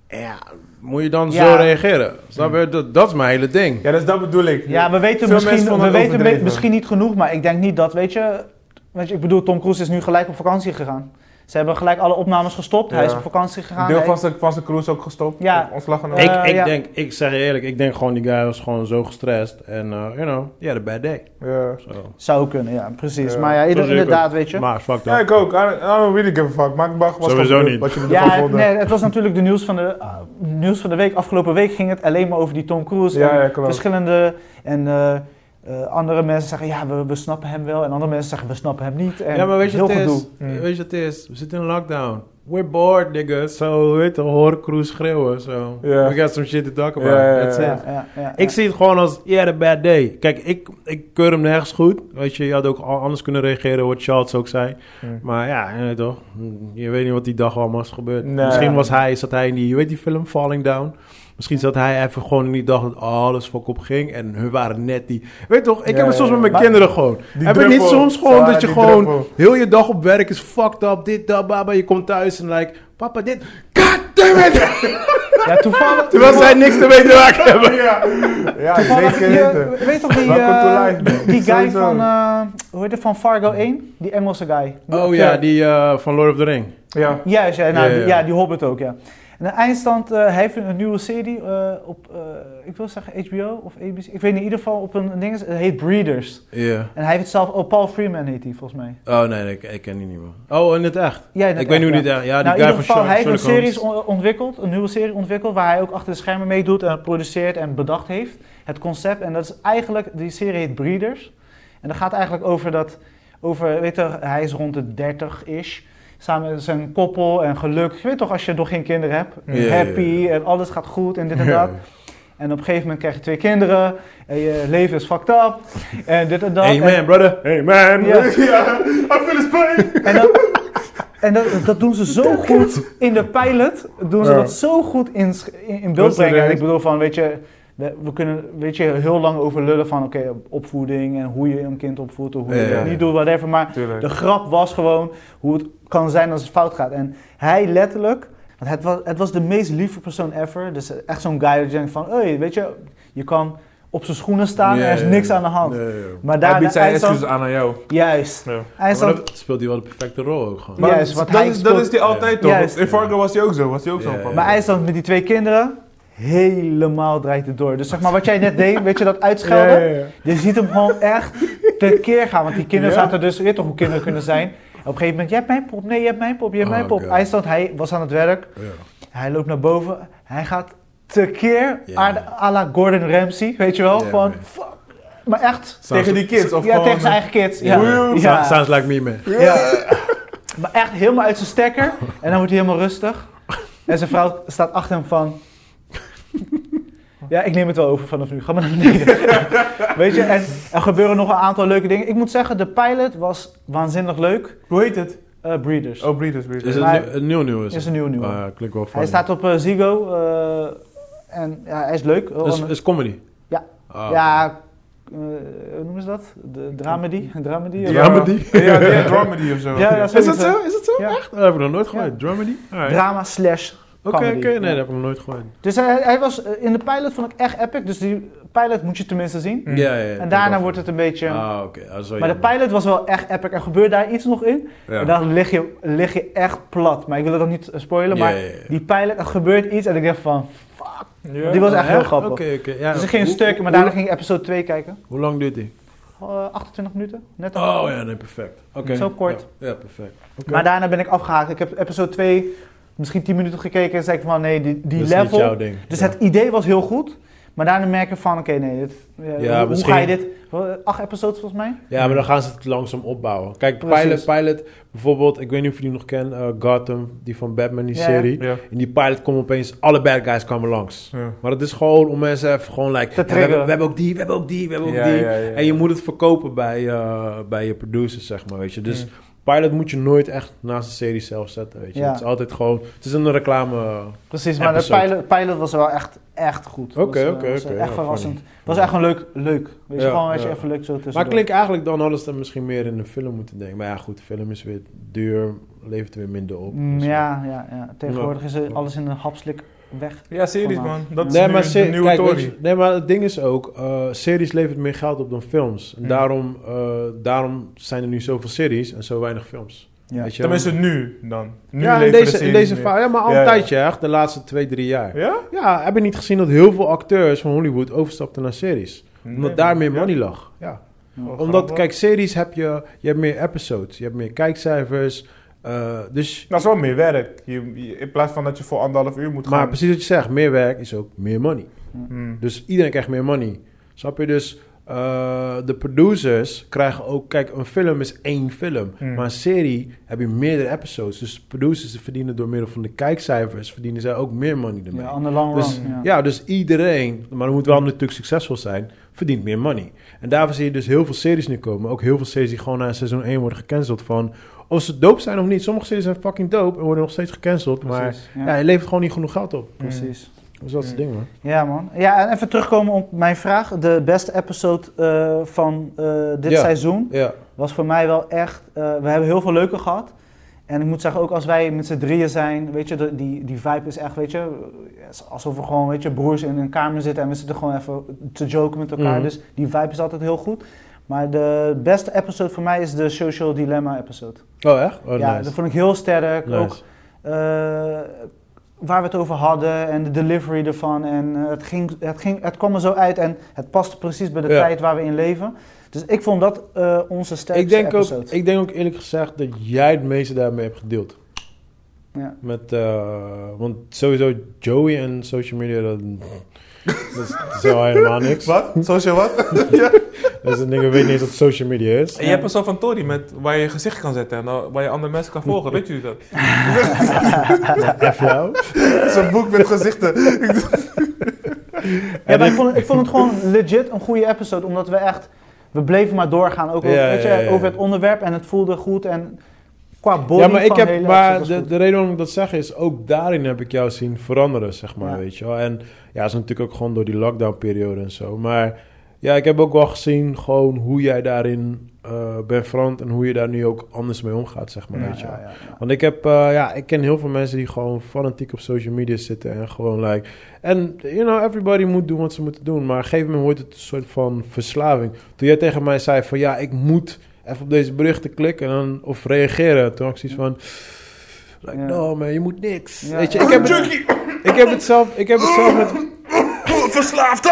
En Ja, moet je dan Ja. zo reageren? Snap je? Dat, dat is mijn hele ding. Ja, dus dat bedoel ik. Ja, we weten, Veel mensen misschien, vonden we het weten overdreven. misschien niet genoeg, maar ik denk niet dat, weet je, weet je... Ik bedoel, Tom Cruise is nu gelijk op vakantie gegaan. Ze hebben gelijk alle opnames gestopt. Hij Ja. is op vakantie gegaan. Deel Hij- van zijn, van zijn cruise ook gestopt. Ja. Ontslag genomen. Eh, ik ik ja. denk, ik zeg je eerlijk, ik denk gewoon die guy was gewoon zo gestrest. En, eh, you know, ja, yeah, the bad day. ja. Zo. Zou kunnen, ja, precies. Ja, maar ja, ieder- Zo zie ik inderdaad, ook. weet je. Maar, fuck ja, dat. ik ook. I don't, I don't really give a fuck. Maak bag was Sowieso gewoon niet. Wat je ervan ja, vond. nee, het was natuurlijk de nieuws van de, ah, nieuws van de week. Afgelopen week ging het alleen maar over die Tom Cruise. Ja, en ja, klopt. verschillende... En, eh, eh, andere mensen zeggen, ja, we, we snappen hem wel. En andere mensen zeggen, we snappen hem niet. En Ja, maar weet je heel wat het gedoe. is? Mm. Weet je wat het is? We zitten in lockdown. We're bored, nigga. So, weet je, hoor Cruz schreeuwen. So, Ja. we got some shit to talk about. Ja, ja, ja. That's it. Ja, ja, ja, Ik ja. zie het gewoon als, yeah, the bad day. Kijk, ik, ik keur hem nergens goed. Weet je, je had ook al anders kunnen reageren, wat Charles ook zei. Hmm. Maar ja, je weet toch, je weet niet wat die dag allemaal is gebeurd. Nee. Misschien was hij, zat hij in die, je weet die film, Falling Down? Misschien zat hij even gewoon in die dag dat alles fuck op ging. En hun waren net die... Weet toch, ik Ja, heb het ja, soms ja. met mijn Maar- kinderen gewoon. Die heb ik niet druppel. soms gewoon Ja, dat je die gewoon... druppel. Heel je dag op werk is fucked up, dit, dat, baba. Je komt thuis en like, papa dit... God damn it! Ja, toevallig... Terwijl zij niks ermee te maken hebben. Ja, ja Toevallig, zeker je- weten. weet toch die, Welcome eh, to life, man. die guy Sowieso. van, eh, hoe heet het, van Fargo 1? Die Engelse guy. Oh ja, die eh, van Lord of the Ring. Ja. Juist, ja, nou, Ja, ja, die- ja. ja, die Hobbit ook, ja. En in eindstand, eh, hij heeft een nieuwe serie eh, op, eh, ik wil zeggen HBO of ABC, ik weet niet, in ieder geval op een ding, het heet Breeders. Ja. En hij heeft het zelf, oh, Paul Freeman heet hij volgens mij. Oh nee, nee, ik, ik ken die niet meer. Oh, in het echt? Ja, ik weet nu niet echt. Ja, nou, die in guy ieder van geval, hij heeft een Sherlock Holmes. serie on- ontwikkeld, een nieuwe serie ontwikkeld, waar hij ook achter de schermen meedoet en produceert en bedacht heeft. Het concept, en dat is eigenlijk, die serie heet Breeders. En dat gaat eigenlijk over dat, over, weet je, hij is rond de 30-ish. Samen met zijn koppel en geluk. Je weet toch, als je nog geen kinderen hebt, Ja, ja, happy ja, en alles gaat goed en dit en dat. En op een gegeven moment krijg je twee kinderen en je leven is fucked up en dit en dat. Hey En- man, brother. Hey man. Ja. Ja, I feel his pain. en dan, En dat, dat doen ze zo goed in de pilot. Doen ze Ja. dat zo goed in, sch- in, in beeld Dat is brengen. En het. ik bedoel van, weet je, we we kunnen weet je, heel lang over lullen van oké, opvoeding en hoe je een kind opvoedt of hoe je Ja, ja, dat ja. niet doet, whatever. Maar Tuurlijk. de grap was gewoon hoe het kan zijn als het fout gaat. En hij letterlijk, want het was, het was de meest lieve persoon ever. Dus echt zo'n guy dat je denkt van, hey, weet je, je kan op zijn schoenen staan en er is Ja, ja, niks ja. aan de hand. Ja, ja, ja. Maar Hij daar biedt zijn IJsland- excuses aan aan jou. Juist. Ja. Maar IJsland dat speelt hij wel een perfecte rol ook gewoon. Ja, Maar is wat dat, hij is, dat speelt. is die altijd toch? Juist. In Fargo was hij ook zo. Was hij ook Ja, zo ja. Maar IJsland met die twee kinderen, helemaal draait het door. Dus zeg maar wat jij net deed, weet je dat uitschelden? Je ziet hem gewoon echt tekeer gaan. Want die kinderen Ja. zaten dus, je weet toch hoe kinderen kunnen zijn. En op een gegeven moment, jij hebt mijn pop, nee, je hebt mijn pop, je hebt Oh, mijn pop. God. IJsland, hij was aan het werk, Ja. hij loopt naar boven, hij gaat tekeer Ja. aan à la Gordon Ramsay, weet je wel? Ja, Van, man. fuck. Maar echt, Tegen die kids of ja, gewoon... tegen zijn eigen kids. Ja. Ja. Sa- Sounds like me, man. Ja. Maar echt helemaal uit zijn stekker. En dan wordt hij helemaal rustig. En zijn vrouw staat achter hem van... Ja, ik neem het wel over vanaf nu. Ga maar naar beneden. Weet je, en er gebeuren nog een aantal leuke dingen. Ik moet zeggen, de pilot was waanzinnig leuk. Hoe heet het? Eh, Breeders. Oh, Breeders, Breeders. Is het Maar- een, een nieuw nieuw? Is is het? een nieuw nieuw. Ah, klinkt wel hij funny. staat op eh, Ziggo. eh, en ja, hij is leuk. Is, is comedy? Ja. Ah. ja, eh, hoe noemen ze dat? De dramedy? dramedy? Ja. Dramedy? Ja, ja, dramedy of zo. Ja, ja, Is zoiets, dat hè? zo? Is dat zo? Ja. Echt? Dat heb ik nog nooit Ja. gehoord. Dramedy? Alright. Drama slash Oké, oké. comedy. Nee, Ja. dat heb ik nog nooit gehoord. Dus hij, hij was eh, in de pilot vond ik echt epic. Dus die pilot moet je tenminste zien. Mm. Ja, ja, ja. En daarna wordt het een beetje. Ah, oké. Ah, zo, maar de ja. pilot was wel echt epic. Er gebeurt daar iets nog in. Ja. En dan lig je, lig je echt plat. Maar ik wil dat niet eh, spoilen. Ja, Maar ja, ja. die pilot, er gebeurt iets. En ik dacht van. Ja. Die was echt heel Echt? grappig. Oké, oké. Ja. Dus ik ging een Hoe- stuk, maar hoe- daarna ging ik episode 2 kijken. Hoe lang duurt die? Eh, 28 minuten, net al. Oh ja, nee, perfect. Oké. Zo kort. Ja, ja, perfect. Oké. Maar daarna ben ik afgehaakt. Ik heb episode 2 misschien 10 minuten gekeken. En zei ik van nee, die, die Dat is niet level. jouw ding. Dus Ja. het idee was heel goed. Maar daarna merk je van, oké, nee, dit, eh, Ja, hoe, hoe misschien- ga je dit... wel, Acht episodes volgens mij? Ja, maar dan gaan ze het langzaam opbouwen. Kijk, Precies. Pilot, Pilot, bijvoorbeeld, ik weet niet of jullie nog kennen, eh, Gotham, die van Batman, die Ja, ja. serie. Ja. In die pilot komen opeens, alle bad guys kwamen langs. Ja. Maar dat is gewoon om mensen even gewoon like, ja, we, triggeren. hebben, we hebben ook die, we hebben ook die, we hebben ook Ja, die. ja, ja. En je moet het verkopen bij, eh, bij je producers, zeg maar, weet je. Dus Mm. pilot moet je nooit echt naast de serie zelf zetten, weet je. Ja. Het is altijd gewoon, het is een reclame. Precies, maar de Episode. pilot, pilot was wel echt, echt goed. Oké, Was, eh, oké, was, eh, oké, Echt ja, verrassend. was echt een leuk, leuk. Weet je, Ja, gewoon als je ja. even leuk zo tussen. Maar het klinkt eigenlijk, dan hadden ze dat misschien meer in een film moeten denken. Maar ja, goed, film is weer duur, levert weer minder op. Dus- Mm, Ja, ja, ja. Tegenwoordig is eh, alles in een hapslik weg. Ja, series man. Dat is nee, nu maar de se- nieuwe kijk, Tory. weet je, nee, maar het ding is ook, eh, series levert meer geld op dan films. En Hmm. daarom, eh, daarom zijn er nu zoveel series en zo weinig films. Ja. Weet je? Tenminste nu dan. Nu ja, in leveren deze, in series deze meer. fase. Ja, maar al Ja, een ja. tijdje echt, de laatste twee, drie jaar. Ja? Ja? heb je niet gezien dat heel veel acteurs van Hollywood overstapten naar series? Omdat Nee, daar meer ja. money lag. Ja. Oh, Omdat, grappig. kijk, series heb je, je hebt meer episodes, je hebt meer kijkcijfers. eh, dus, Dat is wel meer werk. Je, je- in plaats van dat je voor anderhalf uur moet maar gaan. precies wat je zegt, meer werk is ook meer money. Hmm. Dus iedereen krijgt meer money. Snap je? Dus eh, de producers krijgen ook... Kijk, een film is één film. Hmm. Maar een serie heb je meerdere episodes. Dus de producers verdienen door middel van de kijkcijfers... verdienen zij ook meer money ermee. Ja, Ja, on the long run. Dus- ja. dus iedereen... Maar het moet wel natuurlijk succesvol zijn... verdient meer money. En daarvoor zie je dus heel veel series nu komen. Ook heel veel series die gewoon na seizoen 1 worden gecanceld van... Of ze dope zijn of niet. Sommige series zijn fucking dope en worden nog steeds gecanceld. Maar Precies. Ja, ja, het levert gewoon niet genoeg geld op. Mm. precies. Dat is dat soort Hmm. dingen, man. Ja, man. Ja, en even terugkomen op mijn vraag. De beste episode eh, van eh, dit Ja. seizoen. Ja. was voor mij wel echt. eh, we hebben heel veel leuke gehad. En ik moet zeggen, ook als wij met z'n drieën zijn, weet je, de- die, die vibe is echt, weet je, eh, is alsof we gewoon, weet je, broers in een kamer zitten en we zitten gewoon even te joken met elkaar. Mhm. Dus die vibe is altijd heel goed. Maar de beste episode voor mij is de Social Dilemma episode. Oh, echt? Oh, ja, nice. dat vond ik heel sterk. Nice. Ook eh, waar we het over hadden en de delivery ervan. En eh, het, ging, het, ging, het kwam er zo uit en het paste precies bij de Ja. tijd waar we in leven. Dus ik vond dat eh, onze sterkste ik denk, ook, episode. ik denk ook eerlijk gezegd dat jij het meeste daarmee hebt gedeeld. Ja. Met, eh, want sowieso Joey en social media, dat, dat is dat is wel helemaal niks. Wat? Social wat? Dat is een ding, ik weet niet eens wat social media is. Je hebt een soort van Tory met, waar je je gezicht kan zetten en dan- waar je andere mensen kan volgen. Weet jullie dat? En flauw. Zo'n boek met gezichten. Ja, maar ik vond, het- ik vond het gewoon legit een goede episode, omdat we echt, we bleven maar doorgaan, ook over, Ja, weet je, ja, ja, ja. over het onderwerp en het voelde goed en qua body ja, maar, ik van heb, hele maar outfit is de, goed. de reden waarom ik dat zeg is, ook daarin heb ik jou zien veranderen, zeg maar, Ja. weet je wel. En ja, dat is natuurlijk ook gewoon door die lockdown-periode en zo. Maar ja, ik heb ook wel gezien gewoon hoe jij daarin eh, bent veranderd en hoe je daar nu ook anders mee omgaat, zeg maar, Ja, weet je wel. ja, ja, ja. Want ik heb, eh, ja, ik ken heel veel mensen die gewoon fanatiek op social media zitten en gewoon like... En, you know, everybody moet doen wat ze moeten doen, maar op een gegeven moment wordt het een soort van verslaving. Toen jij tegen mij zei van, ja, ik moet even op deze berichten klikken en dan, of reageren, toen had ik zoiets van... Like, Ja. no man, je moet niks. Ja. Weet je, ik heb, het, ik heb het zelf, ik heb het zelf met oh, Verslaafd!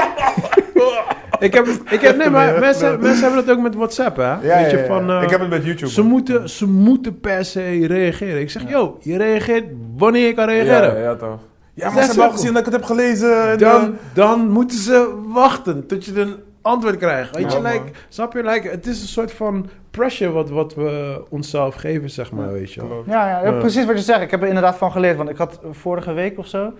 ik heb, ik heb, nee, maar mensen, mensen hebben dat ook met WhatsApp, hè? Ja, Weet je, ja, ja. van, eh, ik heb het met YouTube. ze, moeten, ze moeten per se reageren. Ik zeg, yo, je reageert wanneer je kan reageren. Ja, ja, toch. Ja, maar ze Zes hebben al seconden. gezien dat ik het heb gelezen. en, eh, Dan, dan moeten ze wachten tot je een antwoord krijgt. Weet Ja, je, man. like, snap je? Like, het is een soort van pressure wat, wat we onszelf geven, zeg maar, weet je wel. klopt. Ja, ja, ja, Ja. precies wat je zegt. Ik heb er inderdaad van geleerd. Want ik had eh, vorige week of zo. Op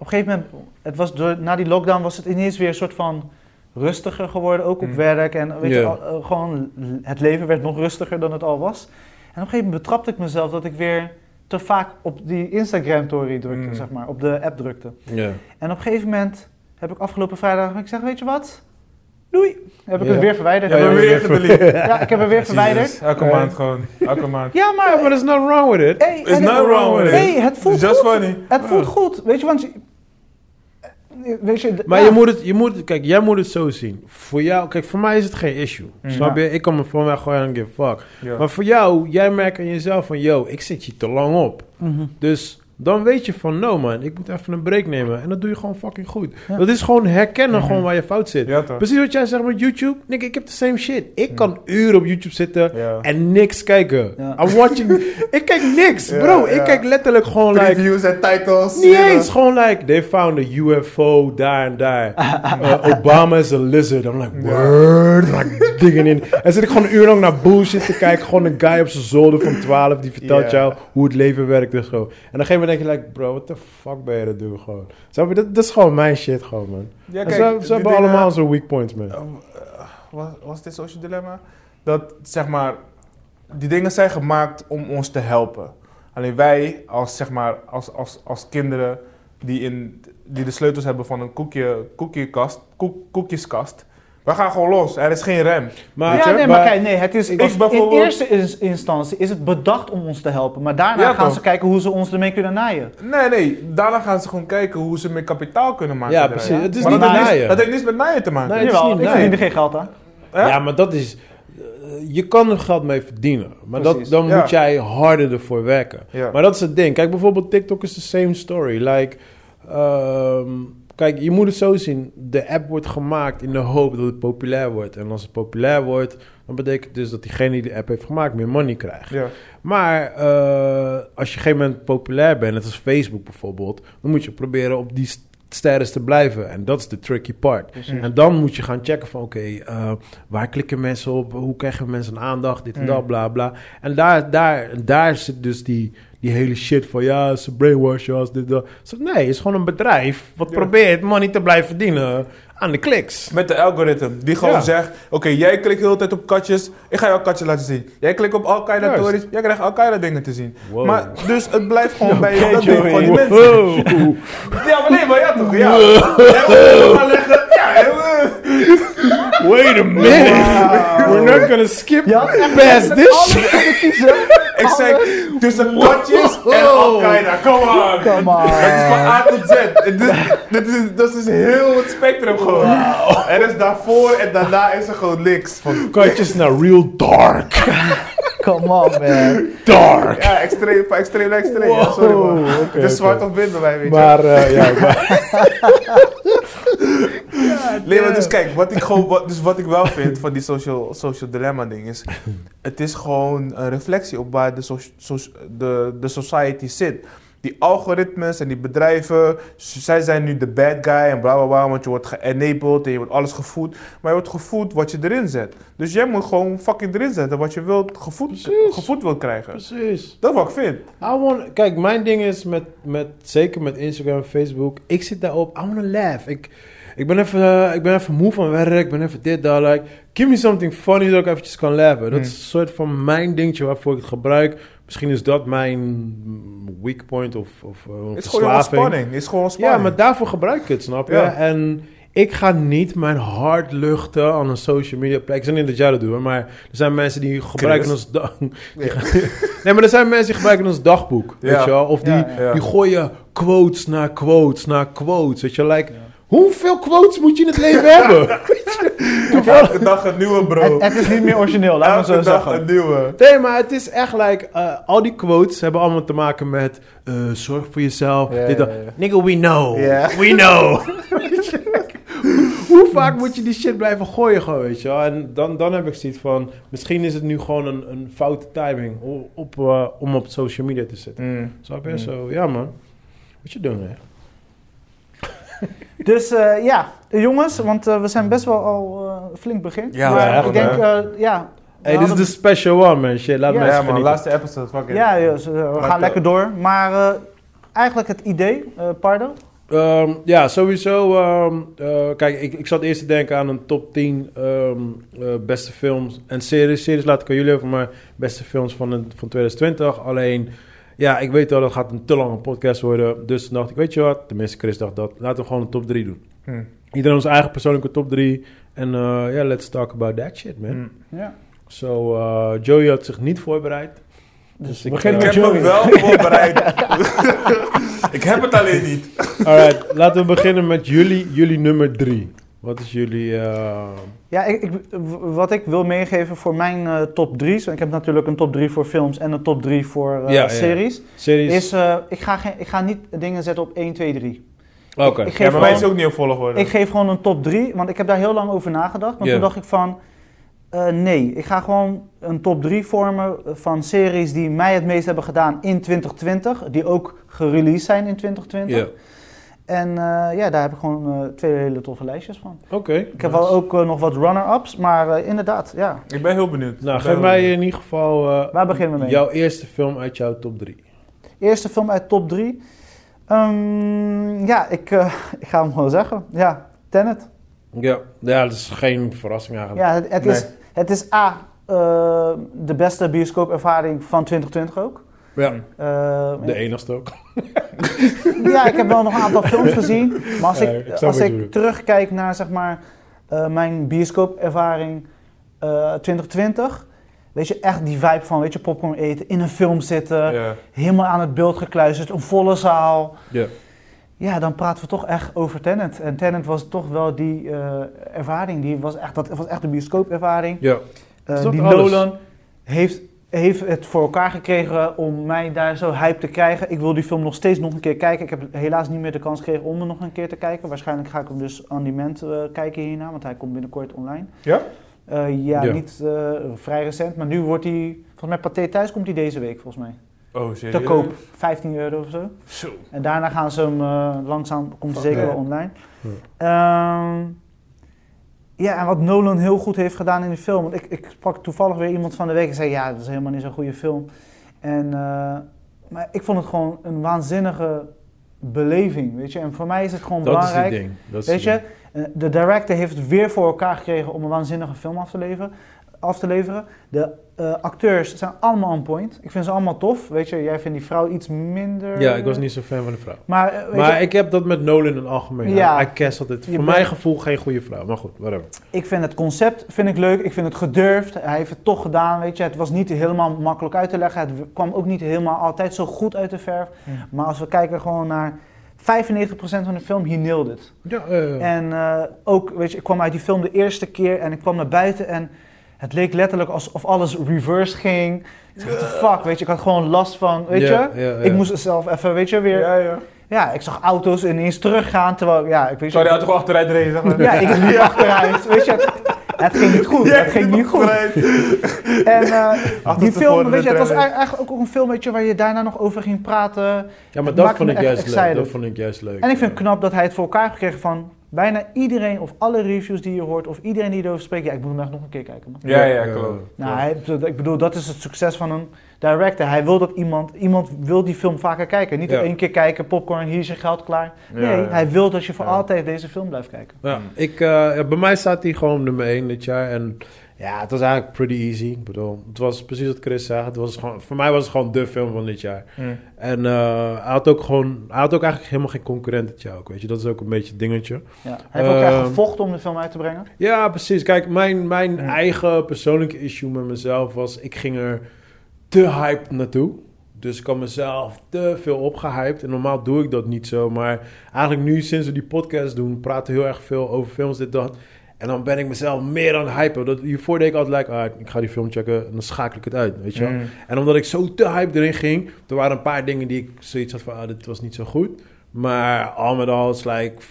een gegeven moment, het was door, na die lockdown, was het ineens weer een soort van rustiger geworden. Ook op Mm. werk. En weet je, Ja. al- eh, gewoon l- het leven werd nog rustiger dan het al was. En op een gegeven moment betrapte ik mezelf dat ik weer te vaak op die Instagram-story drukte, Mm. zeg maar. Op de app drukte. Ja. En op een gegeven moment heb ik afgelopen vrijdag, ik zeg, weet je wat? Doei. Heb ik Ja. het weer verwijderd. Ja, Ja, Hebben we ja, weer gedelete. ik heb het weer verwijderd. Jezus, Elke Ja. maand gewoon. Elke maand. Ja, maar... Ja, maar there's nothing wrong with Eh, it. Hey, en- nothing wrong with it. Hey, het voelt Just goed. funny. Het voelt goed, weet je, want... je- Weet je, d- Maar ja. je, moet het, je moet het, kijk, jij moet het zo zien. Voor jou, kijk, voor mij is het geen issue. Mm. Snap je? Ik kan me van mij gewoon I don't give a fuck. Ja. Maar voor jou, jij merkt aan jezelf van, yo, ik zit hier te lang op. Mhm. Dus dan weet je van, no man, ik moet even een break nemen. En dat doe je gewoon fucking goed. Ja. Dat is gewoon herkennen Mhm. gewoon waar je fout zit. Ja, toch. Precies wat jij zegt met YouTube. Nick, ik heb de same shit. Ik kan uren op YouTube zitten Ja. en niks kijken. Ja. I'm watching... ik kijk niks, Ja, bro. ja. Ik kijk letterlijk gewoon like... Previews en titles. Niet you know. eens, gewoon like, they found a UFO daar en daar. Uh, Obama is a lizard. I'm like, word. Like, digging in. En zit ik gewoon een uur lang naar bullshit te kijken. Gewoon een guy op zijn zolder van 12 die vertelt Ja. jou hoe het leven werkt en zo. En op een gegeven moment denk je like, bro, what the fuck ben je dat doen gewoon. Snap je? Dat, dat is gewoon mijn shit gewoon, man. Ja, En ze ze die hebben dingen- allemaal zo'n weak points, man. Eh, was, was dit social dilemma? Dat zeg maar, die dingen zijn gemaakt om ons te helpen. Alleen wij als, zeg maar, als, als, als kinderen die, in, die de sleutels hebben van een koekje, koekjekast, koek, koekjeskast, wij gaan gewoon los. Er is geen rem. Maar, ja, weet je, nee, maar, kijk, nee, het is, Ik als- in bijvoorbeeld- eerste ins- instantie is het bedacht om ons te helpen, maar daarna Ja, gaan toch. ze kijken hoe ze ons ermee kunnen naaien. Nee, nee. Daarna gaan ze gewoon kijken hoe ze meer kapitaal kunnen maken. Ja, eruit. precies. Het is Maar niet dat, naaien. heeft niks- dat heeft niks met naaien te maken. Nee, het is Jawel, niet ik naaien. verdien er geen geld aan. Hè? Ja, maar dat is... eh, Je kan er geld mee verdienen. Maar dat, Precies. dan Ja. moet jij harder ervoor werken. Ja. Maar dat is het ding. Kijk, bijvoorbeeld TikTok is de same story. Like, ehm, kijk, je moet het zo zien. De app wordt gemaakt in de hoop dat het populair wordt. En als het populair wordt, dan betekent dus dat diegene die de app heeft gemaakt meer money krijgt. Ja. Maar eh, als je op een gegeven moment populair bent, net als Facebook bijvoorbeeld, dan moet je proberen op die st- sterren te blijven. En dat is de tricky part. En dan moet je gaan checken van oké, eh, waar klikken mensen op? Hoe krijgen mensen aandacht? Dit en dat, Mm. bla bla. En daar, daar, daar zit dus die, die hele shit van ja, ze brainwashen als dit dat. Zo, nee, het is gewoon een bedrijf wat Ja. probeert money te blijven verdienen aan de kliks. Met de algoritme, die gewoon Ja. zegt: Oké, jij klikt de hele tijd op katjes, ik ga jou katje laten zien. Jij klikt op Juist. Al-Qaeda-tories, jij krijgt Al-Qaeda-dingen te zien. Wow. Maar dus het blijft gewoon bij dat ding van die Wow. mensen. Ja, maar nee, maar ja toch? Ja. Ja, we gaan leggen. Ja, eh, Wait a minute. We're not gonna skip Ja, past this shit. ik zeg tussen katjes en Wow. Al-Qaeda, come on. Dat Come on. is van A tot Z. Dit, dit is, dat is heel het spectrum gewoon. Er is daarvoor en daarna is er gewoon niks. Katjes naar real dark. Come on, man. Dark. Ja, extreem, van extreem naar extreem. Ja, sorry man. Wow, oké, het is zwart oké. of wit bij mij, weet je. Maar eh, ja, maar- Nee, maar dus kijk, wat ik, gewoon, wat, dus wat ik wel vind van die social, social dilemma ding is... Het is gewoon een reflectie op waar de, so- so- de, de society zit. Die algoritmes en die bedrijven, z- zij zijn nu de bad guy en bla bla bla, want je wordt geënabled en je wordt alles gevoed. Maar je wordt gevoed wat je erin zet. Dus jij moet gewoon fucking erin zetten wat je wilt, gevoed, Precies. gevoed wilt krijgen. precies. Dat is wat ik vind. I want, kijk, mijn ding is met, met, zeker met Instagram en Facebook, ik zit daarop, I wanna laugh. Ik, ik, ben even, eh, ik ben even moe van werk, ik ben even dit, dat, like, give me something funny dat ik eventjes kan lachen. Dat Hmm. is een soort van mijn dingetje waarvoor ik het gebruik. Misschien is dat mijn weak point of, of eh, Het is gewoon heel verslaving. spanning. Het is gewoon Ja, spanning. maar daarvoor gebruik ik het, snap je? Ja. En ik ga niet mijn hart luchten aan een social media plek. Ik zeg niet dat jij dat doet, hoor, maar er zijn mensen die gebruiken ons... da- die gaan- nee, maar er zijn mensen die gebruiken ons dagboek, Ja. weet je wel? Of die, Ja, ja. die gooien quotes na quotes na quotes, weet je? Like, hoeveel quotes moet je in het leven hebben? Elke dag een nieuwe bro. Het, het is niet meer origineel, laat me Elke zo dag een zeggen. nieuwe. Nee, maar het is echt like, eh, al die quotes hebben allemaal te maken met eh, zorg voor jezelf. Ja, dit, ja, dat. ja. Nigga, we know. Ja. We know. Weet je? Hoe vaak moet je die shit blijven gooien gewoon, weet je wel? En dan, dan heb ik zoiets van, misschien is het nu gewoon een, een foute timing o- op, eh, om op social media te zitten. Mm. Snap je? Mm. Zo, ja man. Wat je doen, hè? Dus eh, ja, jongens, want eh, we zijn best wel al eh, flink begin. Ja, maar echt, ik denk, hè? eh, ja. we Hey, dit is hadden- de special one, man. Shit, laat Ja, me Ja, even man, genieten. laatste episode. Fuck it. Ja, dus, eh, we gaan eh, lekker door. Maar eh, eigenlijk het idee, eh, Pardo. Ehm, ja, sowieso. ehm, eh, kijk, ik, ik zat eerst te denken aan een top 10 ehm, eh, beste films en series. Series laat ik aan jullie over, maar beste films van, het- van 2020. Alleen, ja, ik weet wel, dat gaat een te lange podcast worden. Dus toen dacht ik, weet je wat? Tenminste, Chris dacht dat. Laten we gewoon een top 3 doen. Hm. Iedereen onze eigen persoonlijke top 3. En eh, ja, let's talk about that shit, man. Hm. Ja. So, eh, Joey had zich niet voorbereid. Dus ik, begin eh, Ik met heb Joey. me wel voorbereid. ik heb het alleen niet. Alright, laten we beginnen met jullie, jullie nummer 3. Wat is jullie... eh, Ja, ik, ik- w- wat ik wil meegeven voor mijn eh, top 3's. Ik heb natuurlijk een top 3 voor films en een top 3 voor eh, Ja, ja. series. Series. Is, eh, ik, ga geen, ik ga niet dingen zetten op 1, 2, 3. Oké. Ik Ja, geef maar gewoon- mij is ook niet op volgorde. Ik geef gewoon een top 3, want ik heb daar heel lang over nagedacht. Want Ja. toen dacht ik van, eh, nee, ik ga gewoon een top 3 vormen van series die mij het meest hebben gedaan in 2020. Die ook gereleased zijn in 2020. Ja. En eh, ja, daar heb ik gewoon eh, twee hele toffe lijstjes van. Oké. Nou, Ik heb wel ook eh, nog wat runner-ups, maar eh, inderdaad, ja. Ik ben heel benieuwd. Nou, Ik ben geef heel mij benieuwd. in ieder geval eh, Waar beginnen we mee? jouw eerste film uit jouw top 3. Eerste film uit top 3. ja, ik, eh, ik ga hem gewoon zeggen. Ja, Tenet. Oh, Ja. ja, dat is geen verrassing eigenlijk. Ja, het, het is, het is A, eh, de beste bioscoopervaring van 2020 ook. Ja. Eh, De enigste ook. ja, ik heb wel nog een aantal films gezien. Maar als Ja, ik, ik als snap wat je ik bedoelt. terugkijk naar zeg maar, eh, mijn bioscoopervaring eh 2020... Weet je, echt die vibe van weet je, popcorn eten, in een film zitten... Ja. helemaal aan het beeld gekluisterd, een volle zaal. Ja. Ja, dan praten we toch echt over Tenet. En Tenet was toch wel die eh, ervaring, die was echt, dat was echt de bioscoopervaring. Ja. Eh, is dat die alles? Nolan heeft, heeft het voor elkaar gekregen om mij daar zo hype te krijgen. Ik wil die film nog steeds nog een keer kijken. Ik heb helaas niet meer de kans gekregen om hem nog een keer te kijken. Waarschijnlijk ga ik hem dus on demand eh, kijken hierna, want hij komt binnenkort online. Ja? Eh, ja, Ja. niet eh, vrij recent, maar nu wordt hij... Volgens mij Pathé Thuis komt hij deze week, volgens mij. Oh, serieus? Te koop, 15 euro of zo. Zo. En daarna gaan ze hem eh, langzaam, komt hij Fuck, zeker ja. wel online. Ehm, ja, en wat Nolan heel goed heeft gedaan in de film. Want ik, ik sprak toevallig weer iemand van de week en zei: Ja, dat is helemaal niet zo'n goede film. En, eh, maar ik vond het gewoon een waanzinnige beleving, weet je. En voor mij is het gewoon Dat belangrijk. is het ding. Dat is Weet het je, ding. eh, de director heeft het weer voor elkaar gekregen om een waanzinnige film af te leveren. Af te leveren. De eh, acteurs zijn allemaal on point. Ik vind ze allemaal tof. Weet je, jij vindt die vrouw iets minder. Ja, ik was niet zo fan van de vrouw. Maar, eh, weet Maar je, ik heb dat met Nolan in het algemeen. Ja. Ja. Hij cancelt het. Je Voor bent- mijn gevoel geen goede vrouw. Maar goed, whatever. ik vind het concept vind ik leuk. Ik vind het gedurfd. Hij heeft het toch gedaan. Weet je, het was niet helemaal makkelijk uit te leggen. Het kwam ook niet helemaal altijd zo goed uit de verf. Hmm. Maar als we kijken gewoon naar 95% van de film, he nailed it. Ja, eh, En eh, ook, weet je, ik kwam uit die film de eerste keer en ik kwam naar buiten en het leek letterlijk alsof alles reverse ging. Ik dacht, what the fuck, weet je, ik had gewoon last van, weet ja, je. ja, ja. Ik moest zelf even, weet je, weer... Ja, Ja, ja. ik zag auto's ineens teruggaan, terwijl, ja, ik weet je... Sorry, had toch achteruit reden, zeg maar. Ja, ik liep achteruit, weet je. Het, het ging niet goed, Ja, het ging niet goed. achteruit. En eh, Achter die tevoren film, weet je, wedrennen. het was ei- eigenlijk ook een film, weet je, waar je daarna nog over ging praten. Ja, het maar dat maakt vond me ik echt juist leuk. excited. Dat vond ik juist leuk. En ik vind het Ja. knap dat hij het voor elkaar heeft gekregen van bijna iedereen of alle reviews die je hoort of iedereen die erover spreekt. Ja, ik moet hem echt nog een keer kijken. Man. Ja, ja, klopt. Nou, hij, ik bedoel, dat is het succes van een director. Hij wil dat iemand, iemand wil die film vaker kijken. Niet Ja. één keer kijken, popcorn, hier is je geld klaar. Nee, Ja, ja. hij wil dat je voor Ja. Hmm. altijd deze film blijft kijken. Ja, ik, eh, bij mij staat hij gewoon nummer 1 dit jaar. En Ja, het was eigenlijk pretty easy. Ik bedoel, het was precies wat Chris zei. Het was gewoon, voor mij was het gewoon de film van dit jaar. Mm. En eh, hij had ook gewoon, hij had ook eigenlijk helemaal geen concurrent dit jaar ook, weet je. Dat is ook een beetje het dingetje. Ja. Hij heeft ook echt Ehm, gevochten om de film uit te brengen. Ja, precies. Kijk, mijn, mijn Ja. eigen persoonlijke issue met mezelf was... ik ging er te hyped naartoe. Dus ik had mezelf te veel opgehyped. En normaal doe ik dat niet zo. Maar eigenlijk nu, sinds we die podcast doen... praten we heel erg veel over films, dit, dat. En dan ben ik mezelf meer aan het hypen. Dat, hiervoor deed ik altijd, like, ah, ik ga die film checken... en dan schakel ik het uit, weet je wel. Mm. En omdat ik zo te hype erin ging... er waren een paar dingen die ik zoiets had van... ah, dit was niet zo goed... Maar al met al is like 95%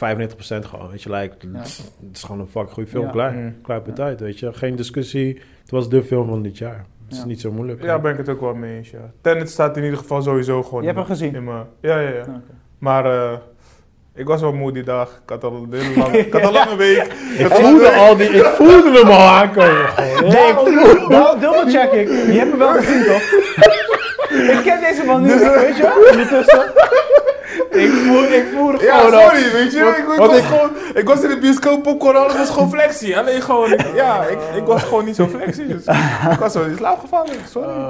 gewoon, weet je, like, Ja. het is gewoon een fucking goede film, Ja. klaar. Mm. Klaar punt uit, weet je. Geen discussie. Het was de film van dit jaar. Het is Ja. niet zo moeilijk. Ja, ben ik het ook wel mee eens, ja. Tenet staat in ieder geval sowieso gewoon... Je hebt in- hem gezien? in mijn- ja, ja, ja. Nou, Oké. Maar eh, ik was wel moe die dag. Ik had al een hele lange, ik had al een lange week. ik, voelde al die, ik voelde hem al aankomen. gewoon. Nee, ik Dou- Nou, Double check ik. Je hebt me wel gezien, toch? ik ken deze man nu, weet je wel? Ondertussen. Ik voelde, ik voelde Ja, gewoon al- sorry, weet je. Ik, ik, wat was ik- gewoon, ik was in de bioscoop, popcorn, alles was gewoon flexie. Alleen gewoon, ik- ja, ik, ik was gewoon niet zo flexie. Dus ik was zo in slaap gevallen, sorry.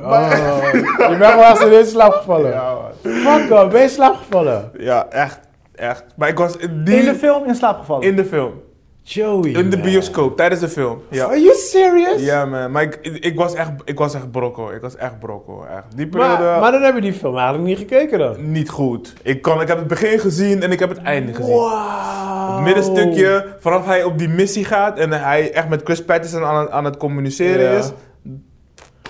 Oh man, oh. je bent wel eens in slaap gevallen. Ja, man. Fuck man, ben je in slaap gevallen? ja, echt, echt. Maar ik was in, die, In de film in slaap gevallen. in de film. Joey. In de man. bioscoop, tijdens de film. Ja. Are you serious? Ja man, maar ik, ik, ik was echt, ik was echt brokko. Ik was echt brokko, echt. Die periode... Maar, maar dan heb je die film eigenlijk niet gekeken dan. Niet goed. Ik, kan, ik heb het begin gezien en ik heb het einde gezien. Wow. Het middenstukje, vanaf hij op die missie gaat en hij echt met Chris Patterson aan, aan het communiceren Ja. is.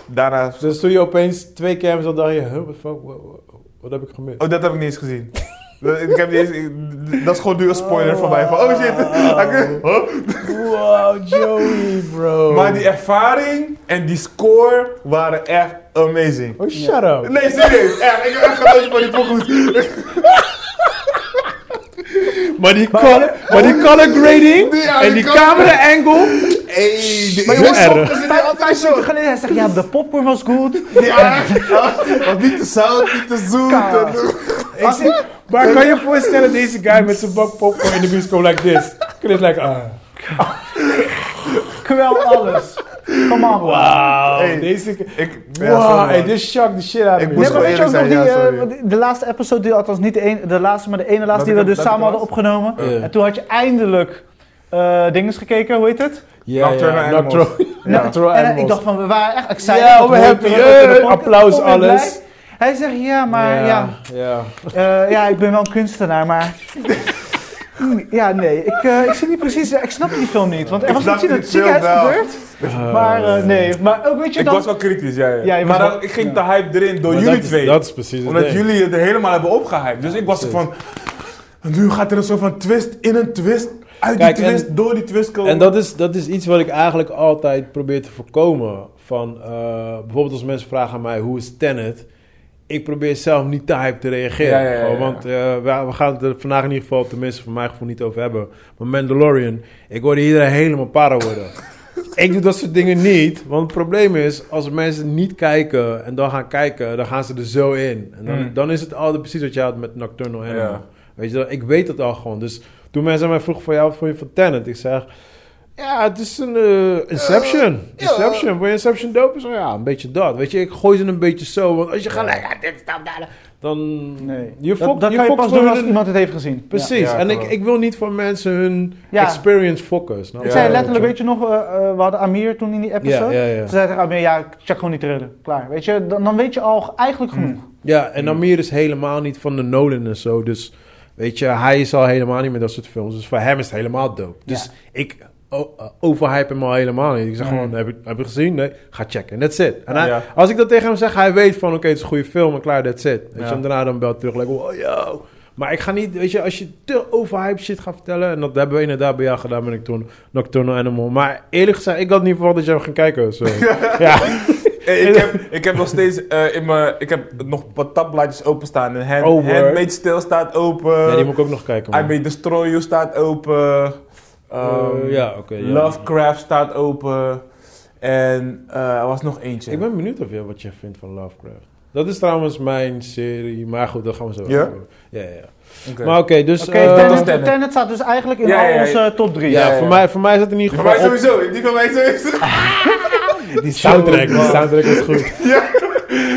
Daarna... Dus toen je opeens twee cams had, dacht je, huh, what the fuck, wat, wat, wat heb ik gemist? Oh, dat heb ik niet eens gezien. Dat- ik heb niet eens, ik- dat is gewoon nu een spoiler voor mij. Van, oh shit. Huh? Wow, Joey, bro. Maar die ervaring en die score waren echt amazing. Oh, shut up. Nee, serieus. Echt, ik heb echt genoten van die pokoes. Maar die, color, maar die color grading Ja, die en die color- camera angle. Hey, Maar jongens, soms is Vijf minuten geleden, hij zegt, ja, de popcorn was goed. Ja, was niet te zout, niet te zoet. Kaas. Ik zie- maar kan je voorstellen deze guy met zijn bak popcorn in de bioscoop like this? Chris like, ah. Kwel alles. Kom on, bro. Wauw. Hey, deze... Ik, Wow, hey, dit shocked the shit out of Ik me. moest Nee, maar gewoon weet je ook nog eerlijk die, zijn, ja, eh, sorry. die- de laatste episode, die, althans niet de, een, de laatste, maar de ene ik laatste die we hem- dus laat ik samen hem hadden opgenomen. Ja. En toen had je eindelijk eh dinges gekeken, hoe heet het? Ja, Nocturnal ja, Animals. Nocturnal- Ja. Nocturnal En eh, ik Animals. dacht van, we waren echt excited. Ja, Dat we hoor je happy. terug in de eh, podcast. Applaus, Ik ben blij. alles. Hij zegt, ja, maar ja, ja. eh, ja, ik ben wel een kunstenaar, maar... Hmm, Ja, nee, ik, eh, ik zie niet precies, ja, ik snap die film niet, want er Ik was snap iets in het die film ziekenhuis wel. gebeurd, Ah. maar eh, nee, maar ook weet je ik dan... was wel kritisch, ja. ja. Ja, je was maar dan- wel- ik ging ja. te hype erin door Maar jullie dat is- twee. Dat is precies het omdat ding. jullie het helemaal hebben opgehyped. Dus ik was precies. van... Nu gaat er een soort van twist in een twist. Uit Kijk, die en- twist, door die twist komen. En dat is, dat is iets wat ik eigenlijk altijd probeer te voorkomen. Van, eh, bijvoorbeeld als mensen vragen aan mij, hoe is Tenet? Ik probeer zelf niet te hype te reageren. Ja, ja, ja, Gewoon, ja. Want eh, we, we gaan het er vandaag in ieder geval, tenminste voor mijn gevoel, niet over hebben. Maar Mandalorian, ik hoorde iedereen helemaal para worden. ik doe dat soort dingen niet. Want het probleem is, als mensen niet kijken en dan gaan kijken, dan gaan ze er zo in. En dan, Hmm. dan is het altijd precies wat je had met Nocturnal Animal. Ja. Weet je, wel, ik weet het al gewoon. Dus toen mensen mij vroegen van jou, wat vond je van Tenet? Ik zeg, ja, het is een eh, Inception. Inception. Vond je Inception dope? Ik zeg, ja, een beetje dat. Weet je, ik gooi ze een beetje zo. Want als je gaat, like, ah, dit is dat, dat, dat, dan... Nee, Je dat, fokt- dat je kan je fokt pas gewoon doen als een- iemand het heeft gezien. Ja. Precies. Ja, en ik, klopt. ik wil niet van mensen hun Ja. experience fokken. snap je? Ik Ja, ja, zei letterlijk, weet je nog, eh, eh, we hadden Amir toen in die episode. Ja, ja, ja. Ze zei tegen Amir, ja, check gewoon niet redden. Klaar, weet je, dan, dan weet je al eigenlijk genoeg. Ja, en Amir is helemaal niet van de Nolan en zo. Dus weet je, hij is al helemaal niet met dat soort films. Dus voor hem is het helemaal dope. Dus Ja. ik o- eh, overhype hem al helemaal niet. Ik zeg gewoon, heb je, heb je gezien? Nee, ga checken. That's it. En hij- Ja. als ik dat tegen hem zeg, hij weet van, oké, het is een goede film en klaar, that's it. Weet Ja. je, en daarna dan belt hij terug, like, oh, yo. Maar ik ga niet, weet je, als je te overhype shit gaat vertellen... en dat hebben we inderdaad bij jou gedaan, ben ik toen Nocturnal Animal. Maar eerlijk gezegd, ik had niet verwacht dat jij hem ging kijken. Zo. ja. Eh, ik, heb, ik heb nog steeds eh, in mijn... Ik heb nog wat tabblaadjes openstaan. En hand, Oh, word. Handmaid's Tale staat open. ja, die moet ik ook nog kijken. I man. May Destroy You staat open. Ehm, Eh, ja, oké, ja. Lovecraft staat open. En eh, er was nog eentje. Ik ben benieuwd of je, wat je vindt van Lovecraft. Dat is trouwens mijn serie, maar goed, daar gaan we zo Ja? over. Ja, ja, ja. Oké. Maar oké, dus... Oké, eh, dat Tenet, is Tenet. Tenet staat dus eigenlijk in Ja, ja, al ja. onze top 3. ja, ja, Voor, ja. mij, voor mij zit het in ieder Voor geval mij op... sowieso, die van mij sowieso. Die soundtrack, die soundtrack is goed.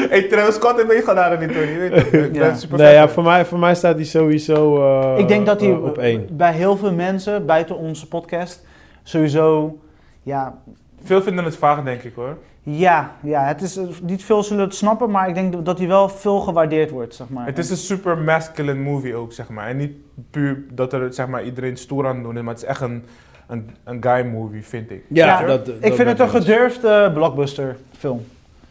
hey, Travis Scott en meegaan daar niet hoor, je weet het. Ik Ja. ben super nee, fan. ja, voor, mij, voor mij staat die sowieso eh, Ik denk dat die eh, op één. bij heel veel mensen buiten onze podcast sowieso. Ja, Veel vinden het vaag, denk ik hoor. ja, ja het is, eh, niet veel zullen het snappen, maar ik denk dat die wel veel gewaardeerd wordt. Zeg maar. Het is een super masculine movie ook, zeg maar. En niet puur dat er zeg maar, iedereen stoer aan het doen is, maar het is echt een, een, een guy movie, vind ik. Ja, Ja, dat, Ik vind het een gedurfde blockbuster film.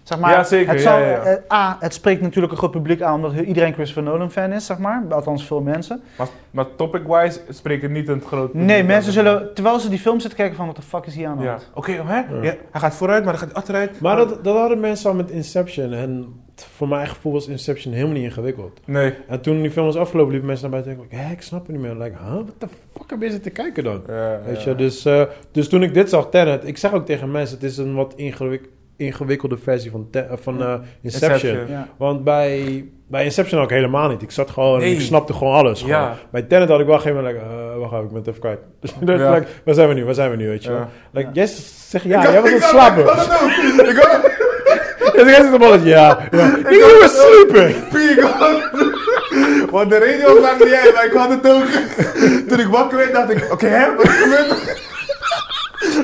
Zeg maar, Ja, zeker, Het ja, zal- ja, ja. eh, A, het spreekt natuurlijk een groot publiek aan omdat iedereen Christopher Nolan fan is, zeg maar. Althans veel mensen. Maar, maar topic-wise spreekt het niet een groot publiek Nee, aan. mensen zullen, terwijl ze die film zitten kijken van, wat de fuck is hier aan de Ja. hand? Oké, hè? Ja. Ja. hij gaat vooruit, maar hij gaat achteruit. Maar dat, dat hadden mensen al met Inception. En t- voor mijn gevoel was Inception helemaal niet ingewikkeld. Nee. En toen die film was afgelopen, liepen mensen naar buiten en dachten... Hé, ik snap het niet meer. Like, huh? Wat de fuck heb je zitten kijken dan? Weet je, dus, eh, dus toen ik dit zag, Tenet... Ik zeg ook tegen mensen, het is een wat ingewik- ingewikkelde versie van, Te- eh, van eh, Inception. Inception. Ja. Want bij, bij Inception ook helemaal niet. Ik zat gewoon, Nee. ik snapte gewoon alles. Gewoon. Ja. Bij Tenet had ik wel geen moment, like, eh, wacht even, ik ben het even kwijt. Dus dat Ja. like, waar zijn we nu, waar zijn we nu, weet je Ja. wel. Like, Ja. jij s- zeg ja, jij was aan het slapen. Wat dan ook? Ik had Dus jij zit op alles, ja. ja. Ik was sleeping. piek, Want de radio maakte jij, maar ik had het ook. Toen ik wakker werd, dacht ik, oké, hè? Wat gebeurt er?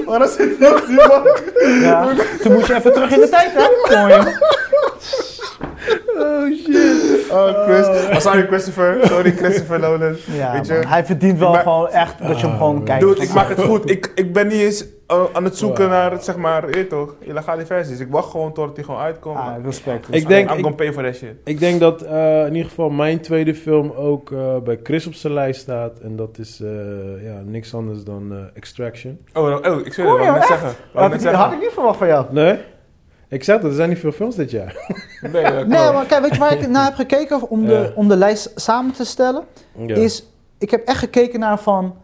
Maar dat zit nog niemand. Ja. Toen moet je even terug in de tijd, hè? Mooi. Oh shit. Oh, Chris. Oh, sorry, Christopher. Sorry, Christopher Nolan. Ja, Weet je? man, hij verdient wel Ik ma- gewoon echt dat je hem gewoon kijkt. Dude, ik maak het goed. Ik, ik ben niet eens eh, aan het zoeken Wow. naar, zeg maar, je weet toch, illegale versies. Ik wacht gewoon totdat die gewoon uitkomen. Ah, respect. Ik denk- I'm ik- gonna pay for that shit. Ik denk dat eh, in ieder geval mijn tweede film ook eh, bij Chris op zijn lijst staat. En dat is eh, ja, niks anders dan eh, Extraction. Oh, oh, ik zweer Cool, het, joh, wat ik zeggen. Had Wat ik ik, had ik zeggen. niet verwacht van jou. Nee? Ik zeg dat, er zijn niet veel films dit jaar. Nee, ja, Nee, klopt. maar kijk, weet je waar ik naar heb gekeken om Ja. de, om de lijst samen te stellen? Ja. Is, ik heb echt gekeken naar van,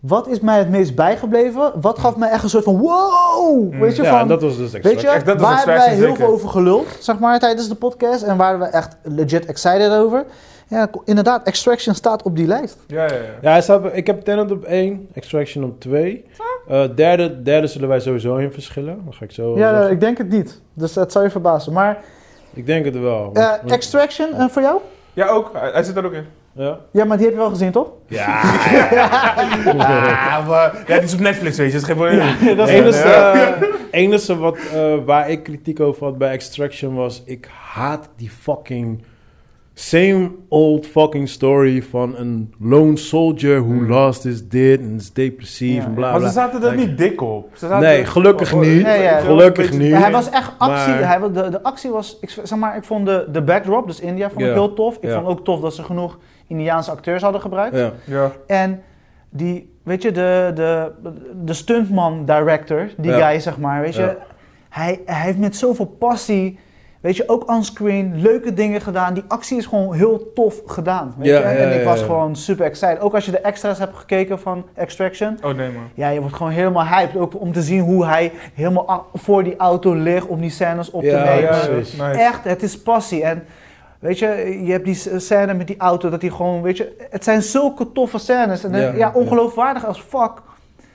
wat is mij het meest bijgebleven? Wat Hm. gaf mij echt een soort van, wow! Mm, Weet je, ja, en van, dat was dus Extraction. weet je Echt, dat is waar hebben wij extraction, heel veel zeker. over geluld, zeg maar, tijdens de podcast. En waar we echt legit excited over. Ja, ko- inderdaad, Extraction staat op die lijst. Ja, ja, ja. Ja, hij staat, op- ik heb Tenet op 1, Extraction op 2. Eh derde, derde zullen wij sowieso in verschillen. Dan ga ik Oh, zo. Ja, zeggen. ik denk het niet. Dus dat zou je verbazen. Maar Ik denk het wel. want- eh, want- Extraction eh, voor jou? Ja, ook. Hij hij zit er ook in. Ja. Ja, maar die heb je wel gezien, toch? Ja. Ah, maar... Ja, die is op Netflix, weet je. Dat is geen probleem. Het Ja. dus, enige, Ja. eh, enige wat, eh, waar ik kritiek over had bij Extraction was... Ik haat die fucking... Same old fucking story van een lone soldier who lost his did en is depressief Ja. en bla Maar ze bla. zaten er niet dik op. Ze zaten- Nee, gelukkig Oh, oh, niet. Nee, ja. Gelukkig Beetje- niet. Maar hij was echt actie. Maar- Hij, wa- de, de actie was, ik, v- zeg maar, ik vond de, de backdrop, dus India, vond Ja. ik heel tof. Ik Ja. vond ook tof dat ze genoeg Indiaanse acteurs hadden gebruikt. Ja. Ja. En die, weet je, de, de, de stuntman director, die Ja. guy, zeg maar, weet je, Ja. hij, hij heeft met zoveel passie, weet je, ook onscreen leuke dingen gedaan. Die actie is gewoon heel tof gedaan. Weet Ja, je? En, ja, ik ja, was ja. gewoon super excited. Ook als je de extra's hebt gekeken van Extraction. Oh, nee, man. Ja, je wordt gewoon helemaal hyped. Ook om te zien hoe hij helemaal a- voor die auto ligt om die scènes op te Ja, nemen. ja, nice. precies. Echt, het is passie. En weet je, je hebt die s- scène met die auto dat hij gewoon, weet je, het zijn zulke toffe scènes. En dan- Ja, ja, ja. ongeloofwaardig als fuck.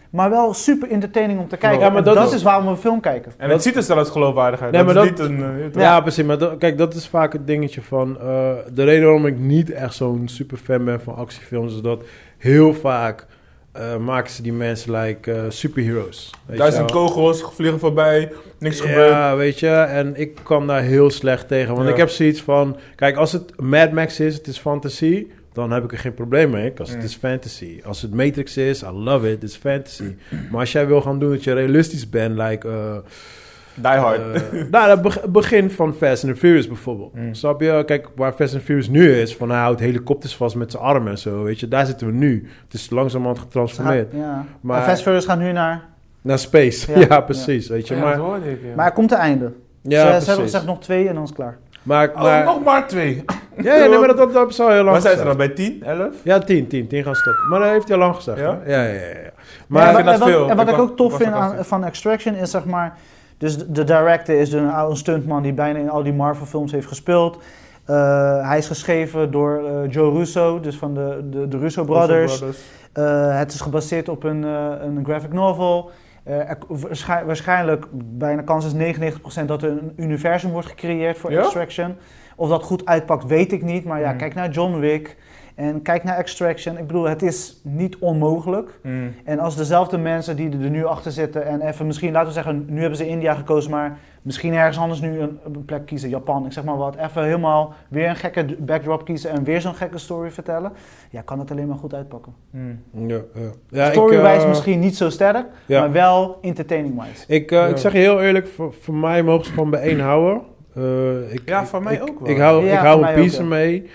Maar wel super entertaining om te kijken. Ja, maar En dat dat, is- is... waarom we een film kijken. En het ziet er zelfs geloofwaardig uit. Nee, dat maar is dat- niet een... eh, je Ja, weet toch. precies. Maar dat- kijk, dat is vaak het dingetje van... eh, de reden waarom ik niet echt zo'n super fan ben van actiefilms... is dat heel vaak eh, maken ze die mensen like eh, superheroes. Weet je Duizend wel. kogels, vliegen voorbij, niks gebeurt. Ja, weet je. En ik kwam daar heel slecht tegen. Want Ja. ik heb zoiets van... Kijk, als het Mad Max is, het is fantasie... dan heb ik er geen probleem mee. Als het Mm. is fantasy. Als het Matrix is, I love it, het is fantasy. Maar als jij wil gaan doen dat je realistisch bent... like eh, Die hard. eh, nou, het beg- begin van Fast and the Furious bijvoorbeeld. Mm. Snap je? Kijk, waar Fast and the Furious nu is, van hij houdt helikopters vast met zijn armen en zo, weet je. Daar zitten we nu. Het is langzamerhand getransformeerd. Ja. Maar- Maar... En Fast Furious gaat nu naar... Naar space. Ja, Ja. precies, weet je. Ja, dat maar, hoorde ik, ja. Maar hij komt te einde. ja, ze, ze precies. hebben gezegd nog twee en dan is het klaar. Maar, Oh, maar, nog maar twee. ja, ja, nee, maar dat, dat, dat is al heel lang Waar zijn ze gezegd. dan? Bij 10, 11? Ja, tien, tien, tien gaan stoppen. Maar dat heeft hij al lang gezegd. Ja? hè? Ja, ja, ja. ja. ik Maar, vind en dat wat, veel. en wat Ik ik wacht- ook ik tof wacht vind ook aan- altijd. van Extraction is zeg maar Dus de- de director is een oude stuntman die bijna in al die Marvel films heeft gespeeld. Eh, hij is geschreven door eh, Joe Russo, dus van de, de, de Russo Brothers. Eh, het is gebaseerd op een, eh, een graphic novel. Eh, er- waarsch- waarschijnlijk, bijna kans is 99% dat er een universum wordt gecreëerd voor Ja? Extraction. Of dat goed uitpakt, weet ik niet. Maar ja, Mm. kijk naar John Wick en kijk naar Extraction. Ik bedoel, het is niet onmogelijk. Mm. En als dezelfde mensen die er nu achter zitten en even misschien, laten we zeggen, nu hebben ze India gekozen, maar misschien ergens anders nu een, een plek kiezen, Japan, ik zeg maar wat, even helemaal weer een gekke d- backdrop kiezen en weer zo'n gekke story vertellen, ja, kan het alleen maar goed uitpakken. Mm. Ja, ja. Ja, ik, Story-wise eh, misschien niet zo sterk, ja. maar wel entertaining-wise. Ik, eh, Ja. ik zeg je heel eerlijk, voor, voor mij mogen ze gewoon bijeenhouden. Eh ik, Ja, ik- van mij ik- ook wel. Ik hou, Ja, ik van hou mij een ook, piece ja. mee.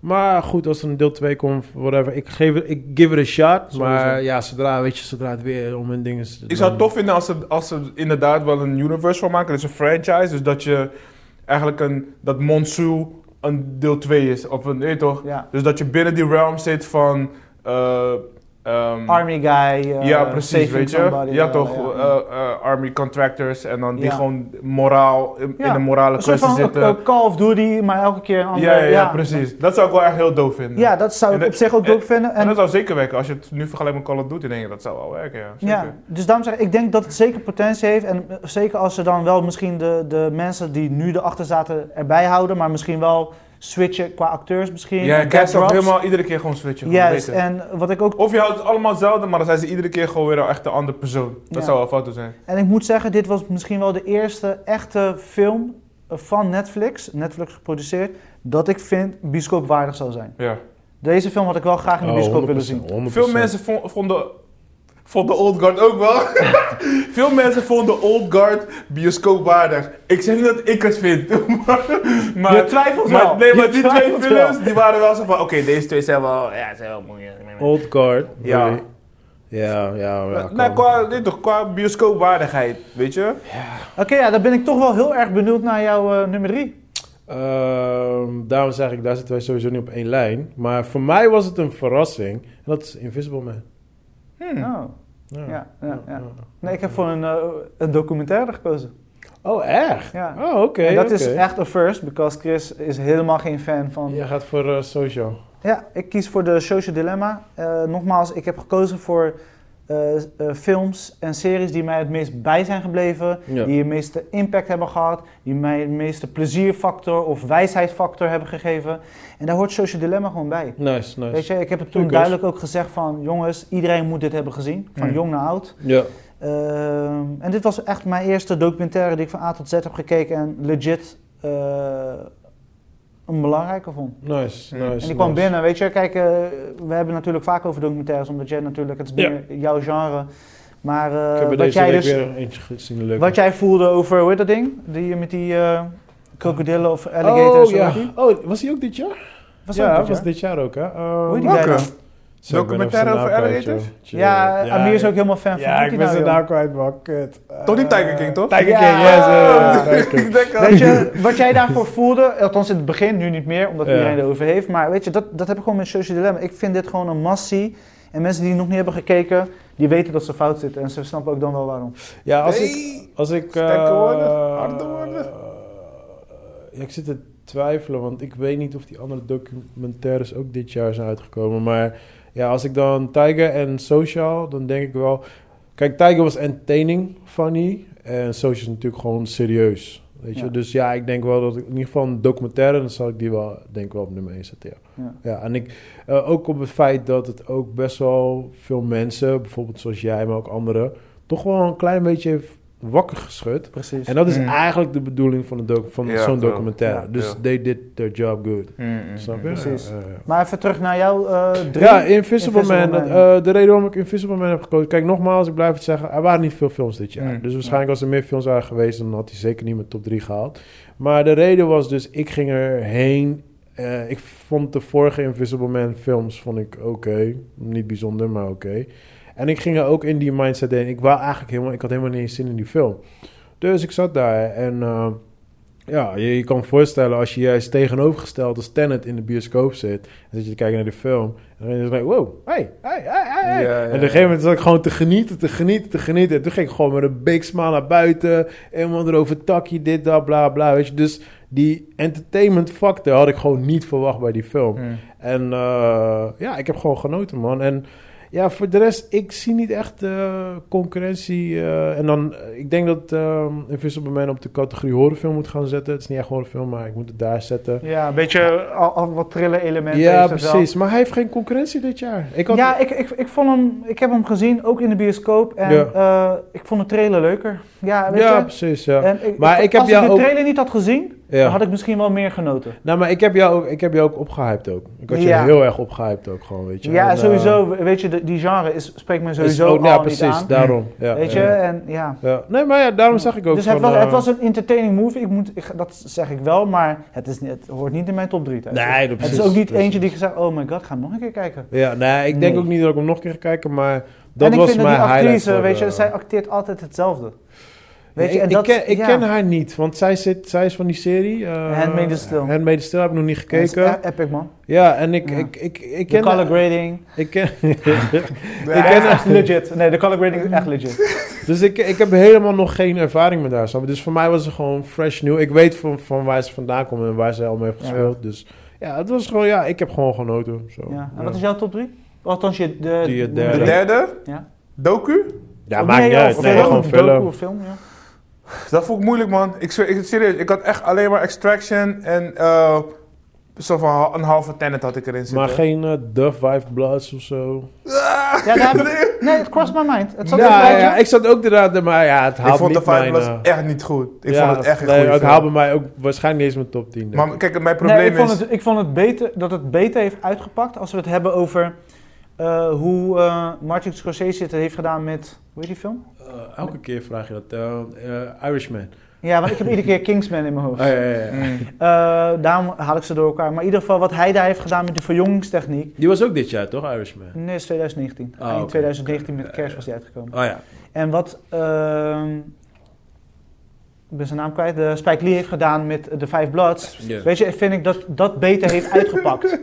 Maar goed, als er een deel 2 komt, whatever. Ik, geef, het- ik give it a shot. Maar Sowieso. ja, zodra, weet je, zodra het weer om hun dingen is. Ik zou het dan- tof vinden als ze, als ze inderdaad wel een universe van maken. Dus een franchise. Dus dat je eigenlijk een, dat Monsoon een deel 2 is. Of een, weet je toch? Ja. Dus dat je binnen die realm zit van... eh, ehm, Army guy, eh, ja, precies, saving weet je. somebody, ja, eh, toch. ja. eh, eh, army contractors en dan die Ja. gewoon moraal, in Ja, in een morale Een soort kwestie van zitten. eh, Call of Duty, maar elke keer een andere... ja, ja, ja, precies. Dat zou ik wel echt heel doof vinden. Ja, dat zou En ik dat- op zich ook en- dope vinden. en, En dat zou zeker werken. Als je het nu vergelijkt met Call of Duty, denk je dat zou wel werken, ja. Zeker. Ja, dus daarom zeg ik, ik denk dat het zeker potentie heeft. En eh, zeker als ze dan wel misschien de, de mensen die nu erachter zaten erbij houden, maar misschien wel switchen qua acteurs misschien. Ja, ik zou backdrops. helemaal iedere keer gewoon switchen. gewoon Juist, beter. en wat ik ook. Of je houdt het allemaal hetzelfde, maar dan zijn ze iedere keer gewoon weer echt een andere persoon. Dat Ja. zou wel fout zijn. En ik moet zeggen, dit was misschien wel de eerste echte film eh, van Netflix, Netflix geproduceerd, dat ik vind bioscoopwaardig zou zijn. Ja. Deze film had ik wel graag in de Oh, bioscoop willen 100%, zien. 100%. Veel mensen vo- vonden, vonden Old Guard ook wel. Veel mensen vonden Old Guard bioscoopwaardig. Ik zeg niet dat ik het vind. maar, maar, Je twijfelt maar- wel. nee, maar Je die twee twijfelt wel. films die waren wel zo van: oké, deze twee zijn wel. Ja, zijn wel mooi. Old Guard. Ja. really. Ja, ja, ja. Nou, kan. qua, dit toch, qua bioscoopwaardigheid, weet je? Oké, ja, dan ben ik toch wel heel erg benieuwd naar jouw eh, nummer drie. Ehm, daarom zeg ik, daar zitten wij sowieso niet op één lijn. Maar voor mij was het een verrassing. En dat is Invisible Man. Oh, ja, ja, ja. Nee, ik heb voor een, eh, een documentaire gekozen. Oh, echt? Ja. Oh, oké. en dat is oké. echt een first, because Chris is helemaal geen fan van... Ja, Jij gaat voor eh, social. ik kies voor de Social Dilemma. Eh, nogmaals, ik heb gekozen voor eh, eh, films en series die mij het meest bij zijn gebleven. Ja. Die het meeste impact hebben gehad. Die mij het meeste plezierfactor of wijsheidsfactor hebben gegeven. En daar hoort Social Dilemma gewoon bij. Nice, nice. Weet je, ik heb het toen Goed, Chris. duidelijk ook gezegd van... jongens, iedereen moet dit hebben gezien. Van Mm. jong naar oud. Ja. Ehm, en dit was echt mijn eerste documentaire die ik van A tot Z heb gekeken en legit eh, een belangrijke vond. Nice, nice. En die En die nice. kwam binnen, weet je, kijk, eh, we hebben natuurlijk vaak over documentaires, omdat jij natuurlijk, het is Ja. meer jouw genre. Maar eh, Ik heb er wat, deze jij week dus, weer eentje gezien. Leuk. wat jij voelde over, hoe heet dat ding? Die met die eh, krokodillen of alligators. oh, hoe heet ja. die? oh, was die ook dit jaar? Was ja, ook dit, was ja? dit jaar ook, hè? Ehm, Hoe heet die Welke? guy dan? zo, ik ben Documentaire op zijn over naam kwijt, alligators? joh. Chill. Ja, eh, Amir is ook helemaal fan van. Ja, Hoe ik heet ben die zijn nou, naam kwijt, man. Kut. Toch niet Eh, Tiger King, toch? Tiger Ja. King, yes. eh, Ja. Tiger King. Ik denk joh? Weet je, wat jij daarvoor voelde, althans in het begin, nu niet meer, omdat Ja. iedereen erover heeft. Maar weet je, dat, dat heb ik gewoon met Social Dilemma. Ik vind dit gewoon een massie. En mensen die nog niet hebben gekeken, die weten dat ze fout zitten. En ze snappen ook dan wel waarom. Ja, als ik... Nee. Als ik eh, Sterke woorden, harde woorden. eh, ja, ik zit te twijfelen, want ik weet niet of die andere documentaires ook dit jaar zijn uitgekomen. Maar ja, als ik dan Tiger en Social, dan denk ik wel. Kijk, Tiger was entertaining, funny. En Social is natuurlijk gewoon serieus. Weet je? Ja. Dus ja, ik denk wel dat ik in ieder geval een documentaire, dan zal ik die wel, denk ik wel op nummer 1 zetten. Ja. Ja. Ja, en ik, eh, ook op het feit dat het ook best wel veel mensen, bijvoorbeeld zoals jij, maar ook anderen, toch wel een klein beetje heeft wakker geschud. Precies. En dat is Mm. eigenlijk de bedoeling van, een docu- van Ja, zo'n klopt. documentaire. Ja, dus ja. they did their job good. Mm, mm, Snap je? mm. Precies. Ja, ja, ja. Maar even terug naar jou eh drie. Ja, Invisible, Invisible Man. Man. eh, de reden waarom ik Invisible Man heb gekozen... Kijk, nogmaals, ik blijf het zeggen. Er waren niet veel films dit jaar. Hmm, Mm. Dus waarschijnlijk als er meer films waren geweest... dan had hij zeker niet mijn top 3 gehaald. Maar de reden was dus, ik ging erheen. Eh, ik vond de vorige Invisible Man films vond ik oké. Niet bijzonder, maar oké. En ik ging er ook in die mindset in. Ik, wou eigenlijk helemaal, ik had helemaal niet eens zin in die film. Dus ik zat daar en... eh, Ja, je, je kan je voorstellen als je juist tegenovergesteld als Tenet in de bioscoop zit. En zit je te kijken naar de film. En dan denk je, wow, hey, hey, hey, hey. hey. Ja, ja, en op een gegeven ja. moment zat ik gewoon te genieten, te genieten, te genieten. En toen ging ik gewoon met een big smile naar buiten. Helemaal erover takje, dit, dat, bla, bla. Weet je, dus die entertainment factor had ik gewoon niet verwacht bij die film. Hmm. En eh, ja, ik heb gewoon genoten, man. En ja, voor de rest, ik zie niet echt eh, concurrentie. eh, en dan, eh, ik denk dat ehm Invisible Man op de categorie horrorfilm moet gaan zetten. Het is niet echt horrorfilm, maar ik moet het daar zetten. Ja, een beetje al, al wat thriller elementen. ja, heeft het wel. precies. Maar hij heeft geen concurrentie dit jaar. Ik had, Ja, ik, ik, ik, vond hem, ik heb hem gezien, ook in de bioscoop. En Ja. eh, ik vond de trailer leuker. Ja, weet ja, je. precies. Ja. En ik, Maar ik heb als jou ik de ook- trailer niet had gezien, Ja. dan had ik misschien wel meer genoten. Nou, maar ik heb, jou ook, ik heb jou ook opgehyped ook. Ik had je Ja. heel erg opgehyped ook gewoon, weet je. Ja, En, eh, sowieso, weet je, de- die genre is, spreekt me is sowieso ook- al Ja, niet precies. aan. Daarom. Ja, weet je, ja. en ja. Ja. Nee, maar ja, daarom zag ik ook Dus het van, was, eh, het was een entertaining movie, ik moet, ik, dat zeg ik wel, maar het, is, niet- het hoort niet in mijn top 3. Nee, dat het precies. is ook niet precies. eentje die gezegd, oh my god, ga hem nog een keer kijken. Ja, nee, ik denk Nee. ook niet dat ik hem nog een keer ga kijken, maar dat en ik was vind dat mijn die highlight. actrice, voor weet je, de- zij acteert altijd hetzelfde. Nee, Weet je, en ik, dat, ik ken, ik ja. ken haar niet, want zij, zit, zij is van die serie. eh Handmaid's Tale. Handmaid's Tale heb ik nog niet Dat is gekeken. e- epic, man. ja, en ik, Ja. Ik, ik, ik De ken... color grading. ik ken, Ik ken echt legit. Nee, de color grading is echt legit. dus ik, ik heb helemaal nog geen ervaring met haar. snap je? Dus voor mij was het gewoon fresh nieuw. Ik weet van, van waar ze vandaan komt en waar ze allemaal heeft Ja. gespeeld. Dus ja, het was gewoon... Ja, ik heb gewoon genoten. Zo. Ja. En Ja. wat is jouw top 3? Althans, je de, Oh. Die, eh, De Ja. derde, Ja. Doku, Ja, maakt niet uit. Nee, film, gewoon Docu film. of film, ja. dat vond ik moeilijk man. Ik zweer, ik, serieus, ik had echt alleen maar Extraction en eh zo van ha- een halve Tenet had ik erin zitten. Maar geen eh, Dove Five Bloods of zo. Ah, Ja, daar heb nee. ik- nee, het crossed my mind. Het zat ja, in ja, mijn- ik zat ook inderdaad, maar ja, het haalt Ik vond de niet Five mijn, was eh, echt niet goed. Ik ja, vond het echt een nee, goede Het film. haalt bij mij ook waarschijnlijk niet eens mijn top 10. denk Maar ik. kijk, mijn Nee, probleem ik, vond is... het, ik vond het beter, dat het beter heeft uitgepakt als we het hebben over eh, hoe eh, Martin Scorsese het heeft gedaan met, hoe heet die film? Eh, elke keer vraag je dat. eh, eh, Irishman. Ja, want ik heb iedere keer Kingsman in mijn hoofd. Oh, ja, ja, ja. Mm. Eh, daarom haal ik ze door elkaar. Maar in ieder geval wat hij daar heeft gedaan met de verjongingstechniek. Die was ook dit jaar, toch? Irishman. Nee, is 2019. Ah, Eind oké. 2019 met Ja, kerst ja. was hij uitgekomen. Oh ja. En wat, ehm, ik ben zijn naam kwijt, de Spike Lee heeft gedaan met eh, The Five Bloods. Ja. Weet je, vind ik dat dat beter heeft uitgepakt.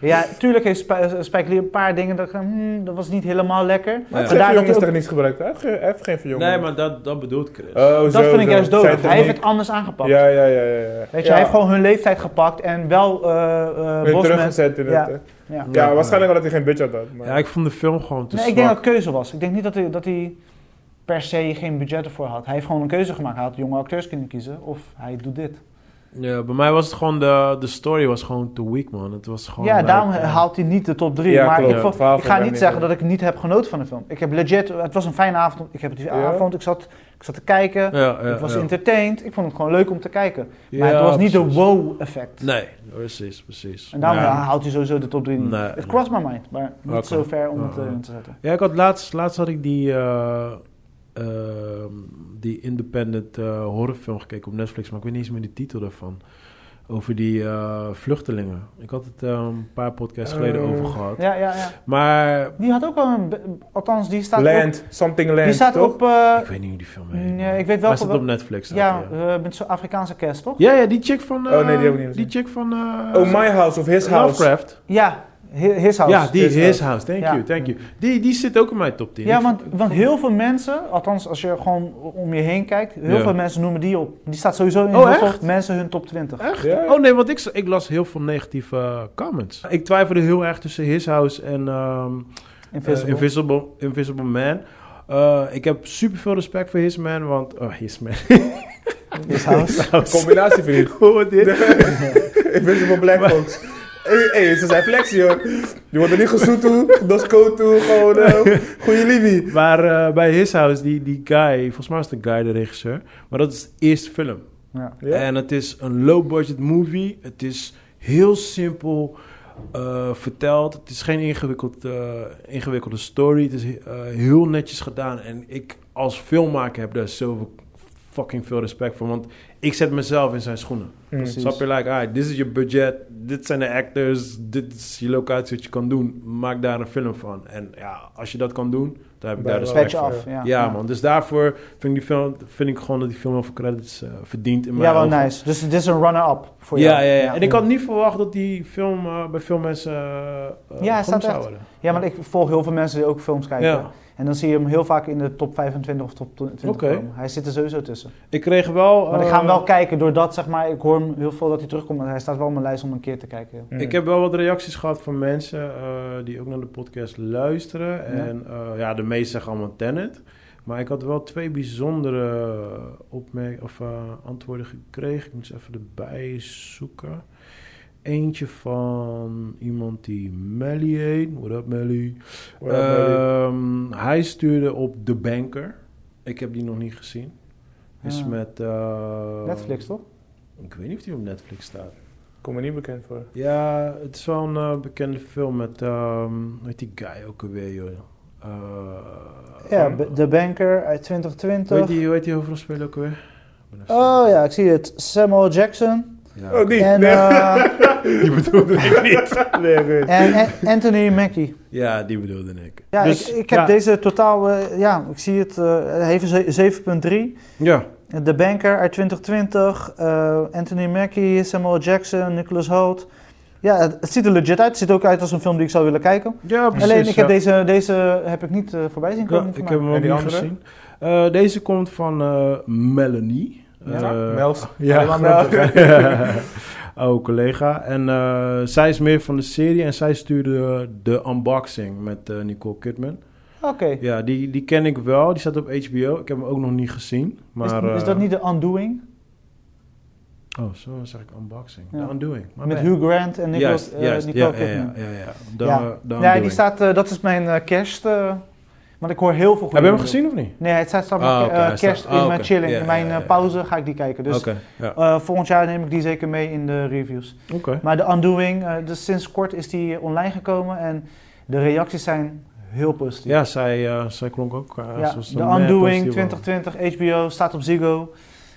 ja, tuurlijk heeft Sp- eh, Spike Lee een paar dingen dat, ik dacht, hmm, dat was niet helemaal lekker. Maar Maar ja. daar daar heb jongens ik ook- techniek gebruikt. Hij heeft geen- hij heeft geen verjonging. Nee, maar dat, dat bedoelt Chris. Oh, dat zo, vind ik zo. juist Zijn dodelijk. Hij heeft techniek. het anders aangepakt. Ja, ja, ja, ja. ja. Weet je, Ja. hij heeft gewoon hun leeftijd gepakt en wel eh eh Weer Bosman. teruggezet in Ja. het... eh. Ja. Ja, waarschijnlijk omdat hij geen budget had. Maar... Ja, ik vond de film gewoon te nee, zwak. ik denk dat het keuze was. Ik denk niet dat hij, dat hij per se geen budget ervoor had. Hij heeft gewoon een keuze gemaakt. Hij had jonge acteurs kunnen kiezen of hij doet dit. Ja, bij mij was het gewoon de, de story was gewoon te weak, man. Het was gewoon... ja, like, daarom eh, haalt hij niet de top 3. Ja, maar klopt. ik, vond- Het verhaal ik vond ga ik niet niet zeggen goed. dat ik niet heb genoten van de film. Ik heb legit, het was een fijne avond. Ik heb het die Ja. avond, ik zat, ik zat te kijken. Ja, ja, ik was ja. entertained. Ik vond het gewoon leuk om te kijken. Maar Ja, het was niet de precies. wow effect. Nee, precies, precies. En daarom Ja. haalt hij sowieso de top 3 niet. Nee, het nee. crossed my mind, maar niet Oké. zo ver om het Ja, eh, ja. in te zetten. Ja, ik had laatst, laatst had ik die, eh, ehm, die independent eh, horrorfilm gekeken op Netflix, maar ik weet niet eens meer de titel daarvan. Over die eh, vluchtelingen. Ik had het eh, een paar podcasts geleden Eh. over gehad. Ja, ja, ja. Maar Die had ook wel een... be- Althans, die staat ook Land, something land, Die staat toch? op. eh, ik weet niet hoe die film heet. nee, man. ik weet wel Hij staat wel- op Netflix. staat ja, hij, eh, met zo'n Afrikaanse kerst, toch? ja, ja, die chick van... eh, Oh, nee, die heb ik niet Die gezien. chick van... eh, Oh, My House of His House. Lovecraft. Ja, hi- His House. Ja, die His His, House. House. Thank Ja. you, thank you. Die, die zit ook in mijn top 10. Ja, Ik- want, want heel veel mensen, althans als je gewoon om je heen kijkt, heel Ja. veel mensen noemen die op. Die staat sowieso in Oh, heel veel echt? mensen hun top 20. Echt? Ja. Oh nee, want ik, ik las heel veel negatieve eh, comments. Ik twijfelde heel erg tussen His House en ehm, Invisible. eh, Invisible, Invisible Man. Eh, ik heb super veel respect voor His Man, want... Oh, His Man. His House. Combinatie vriend. Hoor dit? Invisible Black Folks. Hé, hey, ze zijn flexie hoor. Je wordt er niet gezoet toe, dat koot toe, gewoon eh, goede Libby. Maar eh, bij His House, die, die guy, volgens mij is de guy de regisseur, maar dat is de eerste film. Ja. Ja. En het is een low-budget movie. Het is heel simpel eh, verteld. Het is geen ingewikkeld, eh, ingewikkelde story. Het is eh, heel netjes gedaan. En ik als filmmaker heb daar zoveel fucking veel respect voor. Want ik zet mezelf in zijn schoenen. Mm. Snap je, like, alright, dit is je budget, dit zijn de actors, dit is je locatie wat je kan doen. Maak daar een film van. En ja, als je dat kan doen, dan heb ik Bij daar de respect Pet je voor. af. Ja, Ja, man. Dus daarvoor vind ik, die film, vind ik gewoon dat die film heel veel credits eh, verdient in mijn Ja, wel ogen. nice. Dus dit is een runner-up voor ja, jou. ja, ja, En ik had niet verwacht dat die film eh, bij veel mensen eh Ja, hij ja, staat staat zou echt- worden. Ja, want ik volg heel veel mensen die ook films kijken. Ja. En dan zie je hem heel vaak in de top 25 of top 20 Oké. komen. Hij zit er sowieso tussen. Ik kreeg wel... Maar ik eh, ga hem wel kijken doordat, zeg maar, ik hoor hem heel veel dat hij terugkomt. maar Hij staat wel op mijn lijst om een keer te kijken. Mm. Ik heb wel wat reacties gehad van mensen eh, die ook naar de podcast luisteren. En eh, ja, de meesten zeggen allemaal Tenet. Maar ik had wel twee bijzondere opmerk of, eh, antwoorden gekregen. Ik moet ze even erbij zoeken. Eentje van iemand die Melly heet. What up, Melly? What up, Melly? Ehm, hij stuurde op The Banker. Ik heb die nog niet gezien. Is Ah. met... eh, Netflix, toch? Ik weet niet of die op Netflix staat. Kom me niet bekend voor. Ja, het is wel een eh, bekende film met, ehm hoe heet die guy ook alweer, joh? Eh, Ja, van- B- The Banker uit hoe, heet 2020. die, hoe heet die hoofdrolspeler ook alweer? Ik ben even- Oh ja, ik zie het. Samuel Jackson. Ja. Oh, die. En, nee. eh, die bedoelde ik niet. Nee, goed. en A- Anthony Mackie. Ja, die bedoelde ik. Ja, Dus, ik, ik heb ja. deze totaal, eh, ja, ik zie het, eh, hij heeft een ze- 7.3. Ja, The Banker uit 2020, eh, Anthony Mackie, Samuel Jackson, Nicholas Holt. Ja, het, het ziet er legit uit. Het ziet ook uit als een film die ik zou willen kijken. ja precies. Alleen, ik ja. heb deze, deze heb ik niet eh, voorbij zien Ja, komen. voor ik mij. heb hem En ook die niet andere? gezien. Eh, deze komt van eh, Melanie. Ja, Eh, Mels. Ja, Helemaal grappig, Mels. hè? Oude collega. En eh, zij is meer van de serie en zij stuurde de unboxing met eh, Nicole Kidman. Oké. Ja, die, die ken ik wel. Die staat op HBO. Ik heb hem ook nog niet gezien. Is- Maar, is, eh, dat niet de Undoing? Oh, zo zeg ik unboxing. Ja. De Undoing. My Met bad. Hugh Grant en Nicole, Juist, eh, juist. Nicole ja, ja, Kidman. ja, ja, ja. De, Ja. de Ja, die Undoing. staat, eh, dat is mijn eh, kerst. eh, want ik hoor heel veel goede Heb je hem dingen. gezien of niet? Nee, het staat staat Ah, mijn, oké, eh, hij staat- kerst ah, in mijn oké. chilling. Ja, in mijn ja, ja, eh, ja. pauze ga ik die kijken. Dus Oké, ja. eh, volgend jaar neem ik die zeker mee in de reviews. Oké. Maar de Undoing, eh, dus sinds kort is die online gekomen en de reacties zijn heel positief. Ja, zij, eh, zij klonk ook. eh, Ja, zoals de een, eh, Undoing positieve- 2020 HBO staat op Ziggo.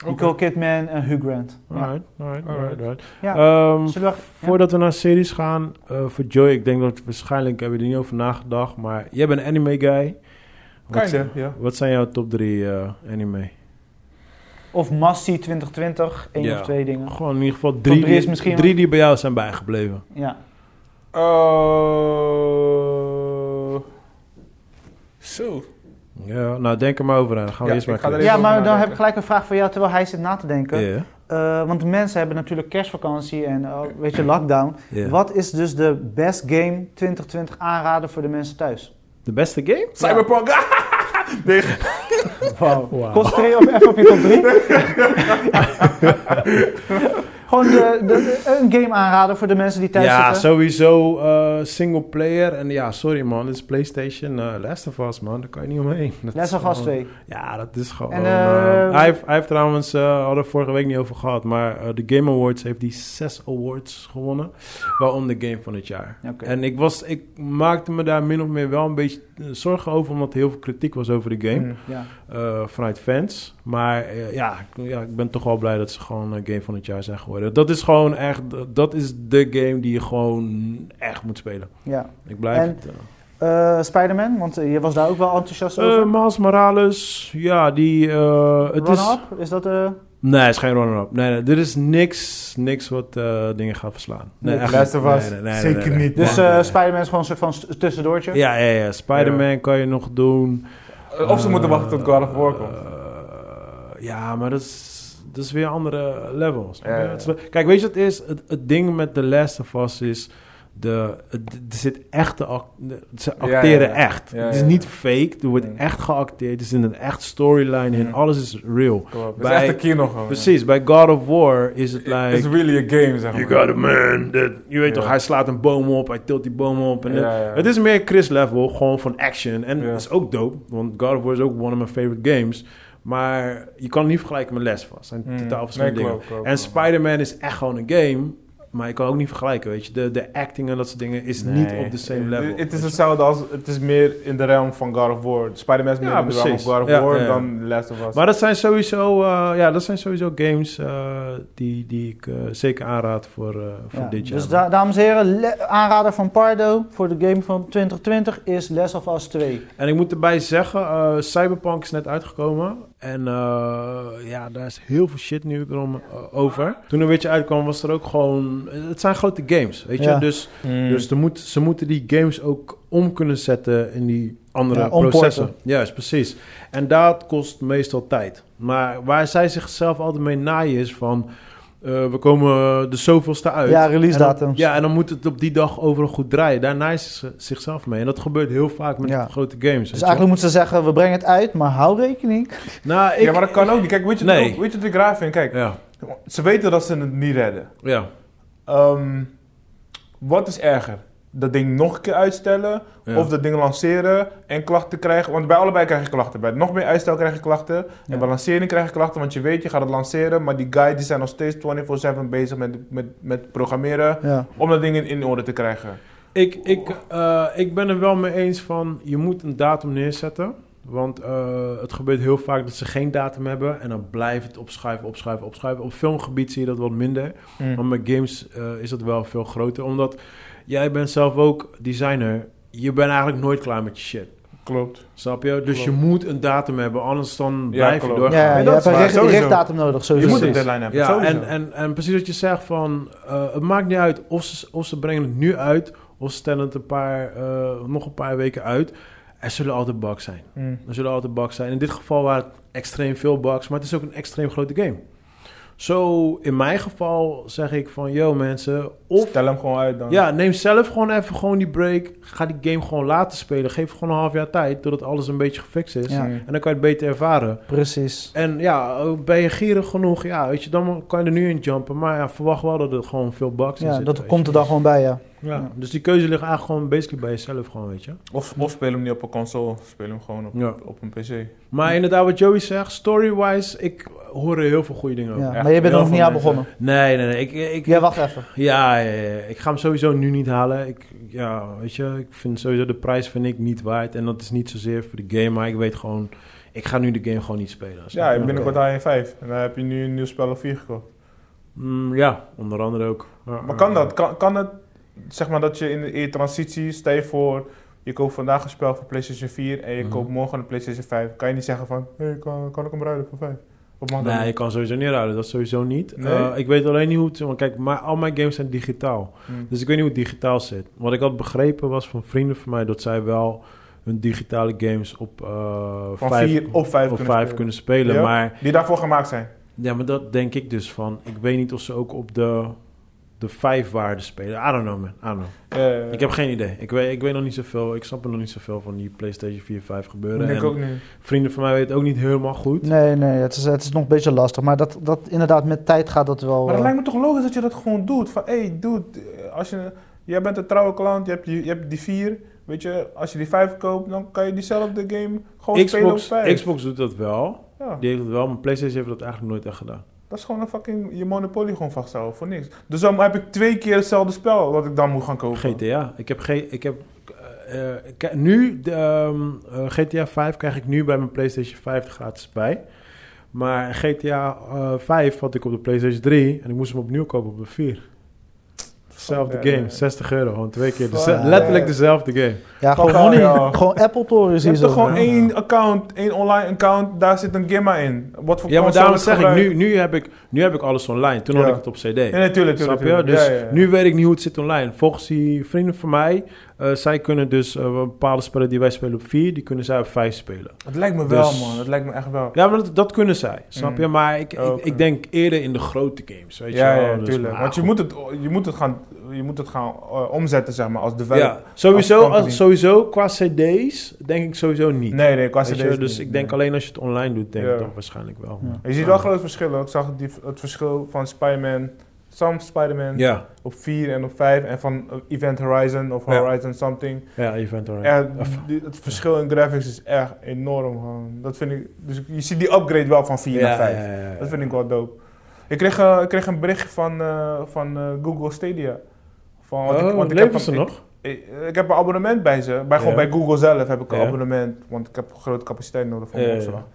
Nicole Kidman en Hugh Grant. Ja. Alright, alright, alright. alright. Ja. Ehm, Zullen we- ja. Voordat we naar series gaan, eh, voor Joy, ik denk dat waarschijnlijk hebben we er niet over nagedacht, maar jij bent een anime guy. Wat, Kinda, zijn- ja. wat zijn jouw top drie eh, anime? Of Massie 2020, één Ja. of twee dingen. Gewoon in ieder geval drie, drie is die- misschien- drie die bij jou zijn bijgebleven. Ja. Oh. Zo. Ja, nou denk er maar over na. Dan gaan we Ja, eerst maar ik ga er kijken. Ja, over maar dan nadenken. heb ik gelijk een vraag voor jou terwijl hij zit na te denken. Ja, Eh, want de mensen hebben natuurlijk kerstvakantie en eh, weet je, lockdown. ja. Wat is dus de best game 2020 aanraden voor de mensen thuis? De beste game? Cyberpunk. nee, Wow. Wauw. Concentreer je op, even op je top 3. Gewoon de, de- de- een game aanraden voor de mensen die thuis Ja, zitten. sowieso eh, single player. En ja, sorry man, dit is PlayStation eh, Last of Us man, daar kan je niet omheen. Dat Les is of Us gewoon- 2. Ja, dat is gewoon. En, eh, eh, hij, heeft, hij heeft trouwens, eh hadden we vorige week niet over gehad, maar eh, de Game Awards heeft die zes awards gewonnen, waaronder Game van het jaar. Oké. En ik, was, ik maakte me daar min of meer wel een beetje eh, zorgen over, omdat er heel veel kritiek was over de game Mm. Ja. eh, vanuit fans. Maar eh, ja, ik, ja, ik ben toch wel blij dat ze gewoon eh, Game van het jaar zijn geworden. Dat is gewoon echt, dat is de game die je gewoon echt moet spelen. ja. Ik blijf En- het. eh, Eh, Spider-Man, want eh, je was daar ook wel enthousiast eh over. Miles Morales, ja, die. eh, het is. Run-up, is dat... eh Nee, het is geen runner-up. Nee, nee, er is niks, niks wat eh, dingen gaat verslaan. Nee, Niks. echt Last of niet. Us. Zeker niet, dus Nee, eh, nee, nee. Spider-Man is gewoon een soort van s- tussendoortje. Ja, ja, ja. Spider-Man kan je nog doen. Of ze Eh, moeten wachten tot God of War komt. eh, ja, maar dat is, dat is weer andere levels. Ja, ja, ja. Het is- Kijk, weet je wat het is? Het, het ding met The Last of Us is... De, het- er zit echte... ac- Ze Ja, ja, ja. acteren echt. Ja, het is ja, ja. niet fake. Er wordt Nee. echt geacteerd. Er zit een echt storyline in. Mm. Alles is real. Kom op. Het is Bij- echt een kino gewoon. Precies. Bij God of War is het like... It's really a game, zeg maar. You got a man. Dat- je weet Ja. toch, hij slaat een boom op, hij tilt die boom op. En Ja, dat- ja. Het is meer Chris level, gewoon van action. En Ja. dat is ook dope, want God of War is ook one of my favorite games. Maar je kan het niet vergelijken met Les Us. Het zijn Mm. totaal verschillende Nee, dingen. klopt, klopt, en klopt. Spider-Man is echt gewoon een game. Maar je kan ook niet vergelijken, weet je. De, de acting en dat soort dingen is Nee. niet op de same level. Het is weet je. hetzelfde als, het is meer in de realm van God of War. Spider-Man is meer Ja, in de realm van precies. God of Ja, War ja, ja. dan The Last of Us. Maar dat zijn sowieso, eh, ja, dat zijn sowieso games eh, die, die ik eh, zeker aanraad voor, eh, voor Ja, dit jaar. dus da- dames en heren, le- aanrader van Pardo voor de game van 2020 is Les of Us Dus 2. En ik moet erbij zeggen, eh, Cyberpunk is net uitgekomen. En eh, ja, daar is heel veel shit nu erom eh, over. Toen er een beetje uitkwam, was er ook gewoon... Het zijn grote games, weet je. Ja. Dus, Mm. dus er moet, ze moeten die games ook om kunnen zetten in die andere Ja, omporten. processen. Juist, precies. En dat kost meestal tijd. Maar waar zij zichzelf altijd mee naaien is van... eh, we komen de zoveelste uit. Ja, release En dan- datums. Ja, en dan moet het op die dag overal goed draaien. Daar naaien ze zichzelf mee. En dat gebeurt heel vaak met Ja. grote games. Dus weet je wel. eigenlijk moeten ze zeggen, we brengen het uit, maar hou rekening. Nou, ik... ja, maar dat kan ook niet. Kijk, weet je, Nee. wat ook- weet je wat ik raar vind? Kijk, Ja, ze weten dat ze het niet redden. ja. Ehm, wat is erger? Dat ding nog een keer uitstellen ja. of dat ding lanceren en klachten krijgen? Want bij allebei krijg je klachten. Bij nog meer uitstel krijg je klachten. Ja. En bij lancering krijg je klachten, want je weet, je gaat het lanceren. Maar die guys die zijn nog steeds 24-7 bezig met, met, met programmeren Ja. om dat ding in, in orde te krijgen. Ik, ik, eh, ik ben er wel mee eens van, je moet een datum neerzetten. Want eh, het gebeurt heel vaak dat ze geen datum hebben. En dan blijft het opschuiven, opschuiven, opschuiven. Op filmgebied zie je dat wat minder. Mm. Maar met games eh, is dat wel veel groter. Omdat jij bent zelf ook designer. Je bent eigenlijk nooit klaar met je shit. Klopt. Snap je? Dus Klopt. je moet een datum hebben, anders dan Ja, blijf je klopt. doorgaan. Ja, Nee, je dat is hebt een waar, richt- sowieso. richtdatum nodig, Je sowieso. moet een Precies. deadline hebben. Ja, sowieso. en, en, en precies wat je zegt van... eh, het maakt niet uit of ze, of ze brengen het nu uit... of ze stellen het een paar, eh, nog een paar weken uit. Er zullen altijd bugs zijn. Mm. Er zullen altijd bugs zijn. In dit geval waren het extreem veel bugs... maar het is ook een extreem grote game. Zo, in mijn geval zeg ik van... yo mensen, of... Stel hem gewoon uit dan. Ja, neem zelf gewoon even gewoon die break. Ga die game gewoon laten spelen. Geef gewoon een half jaar tijd... totdat alles een beetje gefixt is. Ja. Mm. En dan kan je het beter ervaren. Precies. En ja, oh, ben je gierig genoeg, ja, weet je, dan kan je er nu in jumpen. Maar ja, verwacht wel dat er gewoon veel bugs in Ja, zitten. dat weet komt je. er dan gewoon bij, ja. Ja, dus die keuze ligt eigenlijk gewoon basically bij jezelf gewoon, weet je. Of, of speel hem niet op een console, speel hem gewoon op, Ja. op een PC. Maar inderdaad, wat Joey zegt, story-wise, ik hoor er heel veel goede dingen over. ja. echt Maar je bent er heel nog niet veel aan mensen. begonnen. Nee, nee, nee, ik, ik, Ja, wacht even. ja, ja, ja, ik ga hem sowieso nu niet halen. Ik, ja, weet je, ik vind sowieso de prijs vind ik niet waard. En dat is niet zozeer voor de game, maar ik weet gewoon, ik ga nu de game gewoon niet spelen. snap Ja, je? binnenkort aan je 5. En dan heb je nu een nieuw spel of 4 gekocht. Mm, ja, onder andere ook. Maar Eh. kan dat? Kan, kan het, zeg maar dat je in de in je transitie, stel je voor, je koopt vandaag een spel voor PlayStation 4 en je Mhm. koopt morgen een PlayStation 5. Kan je niet zeggen van, hé, kan, kan ik hem ruilen voor 5? Of mag dat Nee, je niet? kan sowieso niet ruilen. Dat sowieso niet. Oh, Nee? Eh, ik weet alleen niet hoe het... Want kijk, maar al mijn games zijn digitaal. Hm. Dus ik weet niet hoe het digitaal zit. Wat ik had begrepen was van vrienden van mij... dat zij wel hun digitale games op eh Van vijf, 4 op 5 op kunnen vijf spelen. kunnen spelen. Ja. Maar, Die daarvoor gemaakt zijn. ja, maar dat denk ik dus van... Ik weet niet of ze ook op de, de vijf waarden spelen. I don't know, man. I don't know. Eh, Ik heb geen idee. Ik weet, ik weet nog niet zoveel. Ik snap er nog niet zoveel van die PlayStation 4, 5 gebeuren. denk En ik ook niet. vrienden van mij weten ook niet helemaal goed. Nee, nee, het is, het is nog een beetje lastig. Maar dat, dat inderdaad, met tijd gaat dat wel... Maar het eh, lijkt me toch logisch dat je dat gewoon doet. Van, hé, dude, eh, als je, jij bent een trouwe klant, je hebt, die- je, hebt die 4. Weet je, als je die 5 koopt, dan kan je diezelfde game gewoon spelen op Xbox, 5. Xbox doet dat wel. Ja. Die heeft het wel, maar PlayStation heeft dat eigenlijk nooit echt gedaan. Dat is gewoon een fucking je monopolie gewoon vasthouden voor niks. Dus dan heb ik twee keer hetzelfde spel wat ik dan moet gaan kopen. GTA. Ik heb, geen- ik heb eh, eh, ik- nu de, ehm, eh, GTA 5 krijg ik nu bij mijn PlayStation 5 gratis bij. Maar GTA eh 5 had ik op de PlayStation 3 en ik moest hem opnieuw kopen op de 4. Hetzelfde Fuck that, game, man. 60 euro, gewoon twee keer. deze- Fuck letterlijk that. dezelfde game. ja, gewoon, Fuck money, off, joh. gewoon Apple Torres Je hier hebt toch zo. gewoon Ja. één account, één online account, daar zit een gamma in. Wat voor Ja, console maar daarom het zeg ik, gebruikt. nu, nu, heb ik, nu heb ik alles online. Toen had Ja. ik het op CD. Ja, natuurlijk, Snap natuurlijk. je? Dus ja, ja, ja. nu weet ik niet hoe het zit online. Volgens die vrienden van mij, eh, zij kunnen dus eh, bepaalde spellen die wij spelen op 4, die kunnen zij op 5 spelen. Het lijkt me wel, dus- man. Het lijkt me echt wel. Ja, maar dat, dat kunnen zij, snap Mm. je? Maar ik, ik, Oké. ik denk eerder in de grote games, weet Ja, je wel. ja, Dus, natuurlijk. maar Want je goed. moet het, je moet het gaan, je moet het gaan eh, omzetten, zeg maar, als Ja, developer. sowieso, als company. als, sowieso qua cd's denk ik sowieso niet. Nee, nee, qua Weet je, CD's dus niet, ik denk nee. alleen als je het online doet, denk Ja. ik dan waarschijnlijk wel. Ja. Je ziet wel grote verschillen. Ik zag die, het verschil van Spider-Man, Sam Spider-Man, Ja, op 4 en op 5. En van eh, Event Horizon of Ja. Horizon something. ja, Event Horizon. Ja, die- het verschil in graphics is echt enorm. gewoon. Dat vind ik, dus je ziet die upgrade wel van 4 naar 5. ja, ja, ja. Dat vind ik wel dope. Ik kreeg, eh, ik kreeg een bericht van, eh, van eh, Google Stadia. Van, want ik, Oh, want ik heb leven een- ze nog? Ik, ik heb een abonnement bij ze. Bij, gewoon Ja. bij Google zelf heb ik een Ja. abonnement, want ik heb grote capaciteit nodig voor Ja, mijn ja, ja. opslag.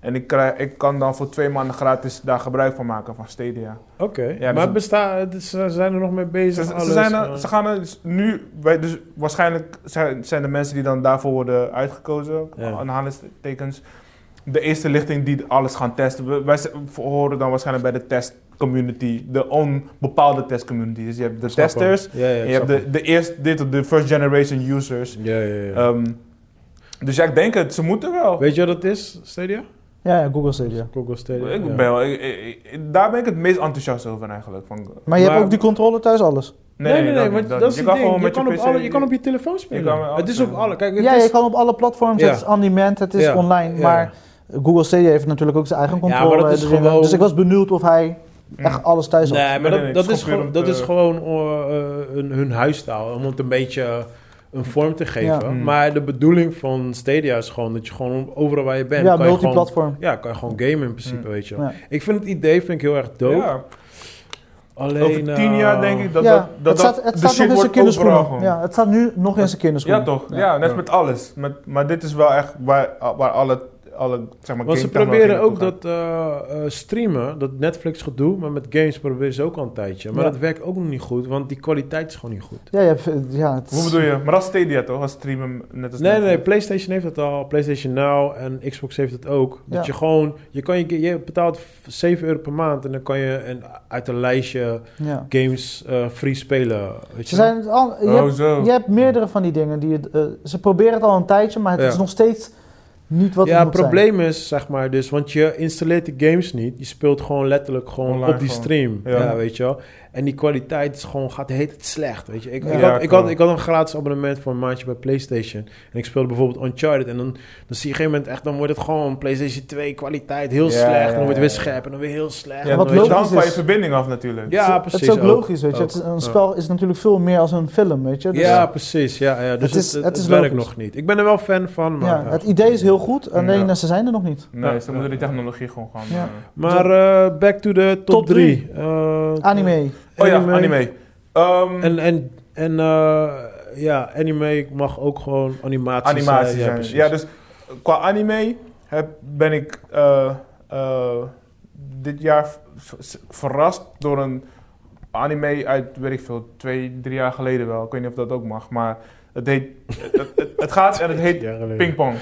En ik, krijg, ik kan dan voor twee maanden gratis daar gebruik van maken van Stadia. Oké, dus- maar besta- het is- ze zijn er nog mee bezig? Ze, ze alles, zijn er- eh. ze gaan er dus nu, wij, dus waarschijnlijk zijn, zijn de mensen die dan daarvoor worden uitgekozen, Ja. aanhalingstekens, de eerste lichting die alles gaan testen. We- Wij z- horen dan waarschijnlijk bij de testcommunity, de onbepaalde testcommunity. Dus je hebt de Snap hem. testers, Ja, ja, en ik je hebt snap de, de, eerst, dit, de first generation users. hem. Ja, ja, ja. Ehm, dus ja, ik denk het, ze moeten wel. Eh, Weet je wat dat is, Stadia? Ja, ja, Google Stadia. Google Stadia. ik ja. ben wel ik- ik- ik- daar ben ik het meest enthousiast over eigenlijk. Van, Maar je Maar- hebt ook die controle thuis alles. Nee, nee, nee, niet, want dat, niet. is het ding. Je, kan op PC alle, je kan op je telefoon spelen. kan wel het is op alles alle. Kijk, het ja, is, je kan op alle platforms, Ja. het is on-demand, het is Ja, online, ja. maar Google Stadia heeft natuurlijk ook zijn eigen Ja, maar controle. dat is erin. gewoon- Dus ik was benieuwd of hij Mm. echt alles thuis had. Nee, maar Nee, dat, nee, nee, dat, het is is gewoon gewoon, puur dat om is te- gewoon eh, eh, hun, hun huistaal. Om het een beetje eh, een vorm te geven. Ja. Mm. Maar de bedoeling van Stadia is gewoon dat je gewoon overal waar je bent... ja, kan je gewoon, multiplatform. Hmm. ja, kan je gewoon gamen in principe, weet je. Ja. Ik vind het idee vind ik heel erg dope. Ja, Alleen, over tien eh, jaar denk ik dat ja, dat, dat, het staat, dat het de staat shit nog in zijn wordt overal kinderschoenen. gewoon. Ja, het staat nu nog in zijn kinderschoenen. Ja, toch? Ja, net Ja. met alles. Met, maar dit is wel echt waar, waar alle, alle zeg maar, Want ze game-technologie proberen ook naartoe gaat. dat eh, eh, streamen, dat Netflix gedoe, maar met games proberen ze ook al een tijdje. Maar Ja. dat werkt ook nog niet goed, want die kwaliteit is gewoon niet goed. Ja, je hebt, eh, ja, het is- Hoe bedoel je? Maar dat is Stadia toch? Als streamen net als Nee, nee, nee, Netflix. PlayStation heeft dat al, PlayStation Now en Xbox heeft het ook. Dat Ja. je gewoon, je, kan, je, je betaalt 7 euro per maand en dan kan je een, uit een lijstje Ja. games eh, free spelen. Weet je? Ze zijn, het al, je, Oh, hebt, zo. je hebt meerdere van die dingen. Die, het, eh, ze proberen het al een tijdje, maar het Ja. is nog steeds niet wat ja, het het moet probleem is, zeg maar, dus, want je installeert de games niet. Je speelt gewoon letterlijk gewoon Online op die gewoon. stream. Ja. Ja. weet je wel. En die kwaliteit is gewoon, gaat heet het slecht, weet je. Ik, ik, Ja, had, ik, klopt. had, ik had een gratis abonnement voor een maandje bij PlayStation. En ik speelde bijvoorbeeld Uncharted. En dan, dan zie je op een gegeven moment echt, dan wordt het gewoon PlayStation 2 kwaliteit heel Ja, slecht. ja, En dan wordt het ja, weer ja. scherp en dan weer heel slecht. Ja, En wat dan want het weet je- logisch hangt van je is- verbinding af natuurlijk. ja, zijn. precies. Het is ook logisch, weet je. Ook. Het is- Ja. een spel is natuurlijk veel meer als een film, weet je. Dus- ja, precies. Ja, ja. Dus het, Het is- het, het is het werkt logisch. nog niet. Ik ben er wel fan van, maar... eh, Ja, ja. het idee is heel goed, alleen Ja. eh, ze zijn er nog niet. Nee, Ja, ze moeten die technologie gewoon gaan... Ja. eh, Maar eh, back to the top Eh, Top 3. drie. Anime. Oh ja, anime. Ehm, En, en, en eh, ja, anime mag ook gewoon animatie animatie zijn. zijn. eh, precies. Ja, dus qua anime heb, ben ik eh, eh, dit jaar v- v- verrast door een anime uit, weet ik veel, twee, drie jaar geleden wel. Ik weet niet of dat ook mag, maar het heet... het, het, het gaat en het heet Ja, geleden. Pingpong.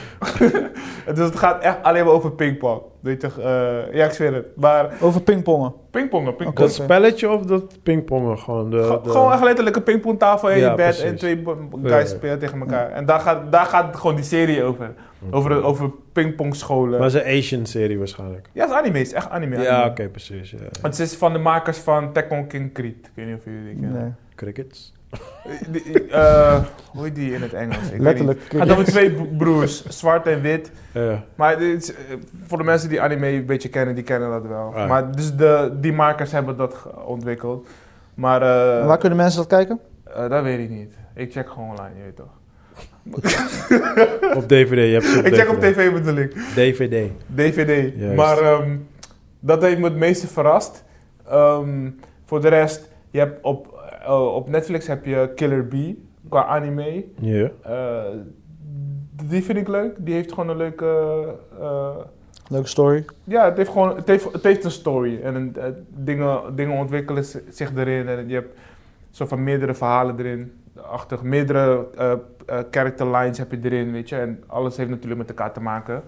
dus het gaat echt alleen maar over pingpong. Weet je, eh, ja, ik zweer het. Maar Over pingpongen. pingpongen, pingpong. Dat spelletje of dat pingpongen gewoon? De, Ge- de- Gewoon echt letterlijk een pingpongtafel in Ja, je bed precies. en twee bo- Ja, ja. guys spelen tegen elkaar. En daar gaat, daar gaat gewoon die serie over. Over, de- over pingpongscholen. Maar het is een Asian-serie waarschijnlijk. Ja, het is anime, het is echt anime. Ja, anime. oké, precies. ja. Het is van de makers van Tekken King Creed. Ik weet niet of jullie die eh, kennen. Nee. Crickets. Die- die- eh, hoe heet die in het Engels? Ik weet Letterlijk. Ah, niet. Het gaat over twee bro- broers, zwart en wit. Ja. Maar dit is, eh, voor de mensen die anime een beetje kennen, die kennen dat wel. Ah. Maar dus de, die makers hebben dat ge- ontwikkeld. Maar eh, En Waar kunnen mensen dat kijken? eh, dat weet ik niet. Ik check gewoon online, je weet toch. op DVD, je hebt ze op Ik check op DVD. tv bedoel ik. DVD. DVD. Juist. Maar ehm, dat heeft me het meeste verrast. Ehm, voor de rest, je hebt op, eh, op Netflix heb je Killer Bee qua anime. Ja. Eh, die vind ik leuk. Die heeft gewoon een leuke. eh, Leuke story. ja, het heeft gewoon het heeft, het heeft een story. En een- eh, dingen, dingen ontwikkelen zi- zich erin. En je hebt soort van meerdere verhalen erin. Achtig, meerdere eh eh, character lines heb je erin, weet je. En alles heeft natuurlijk met elkaar te maken.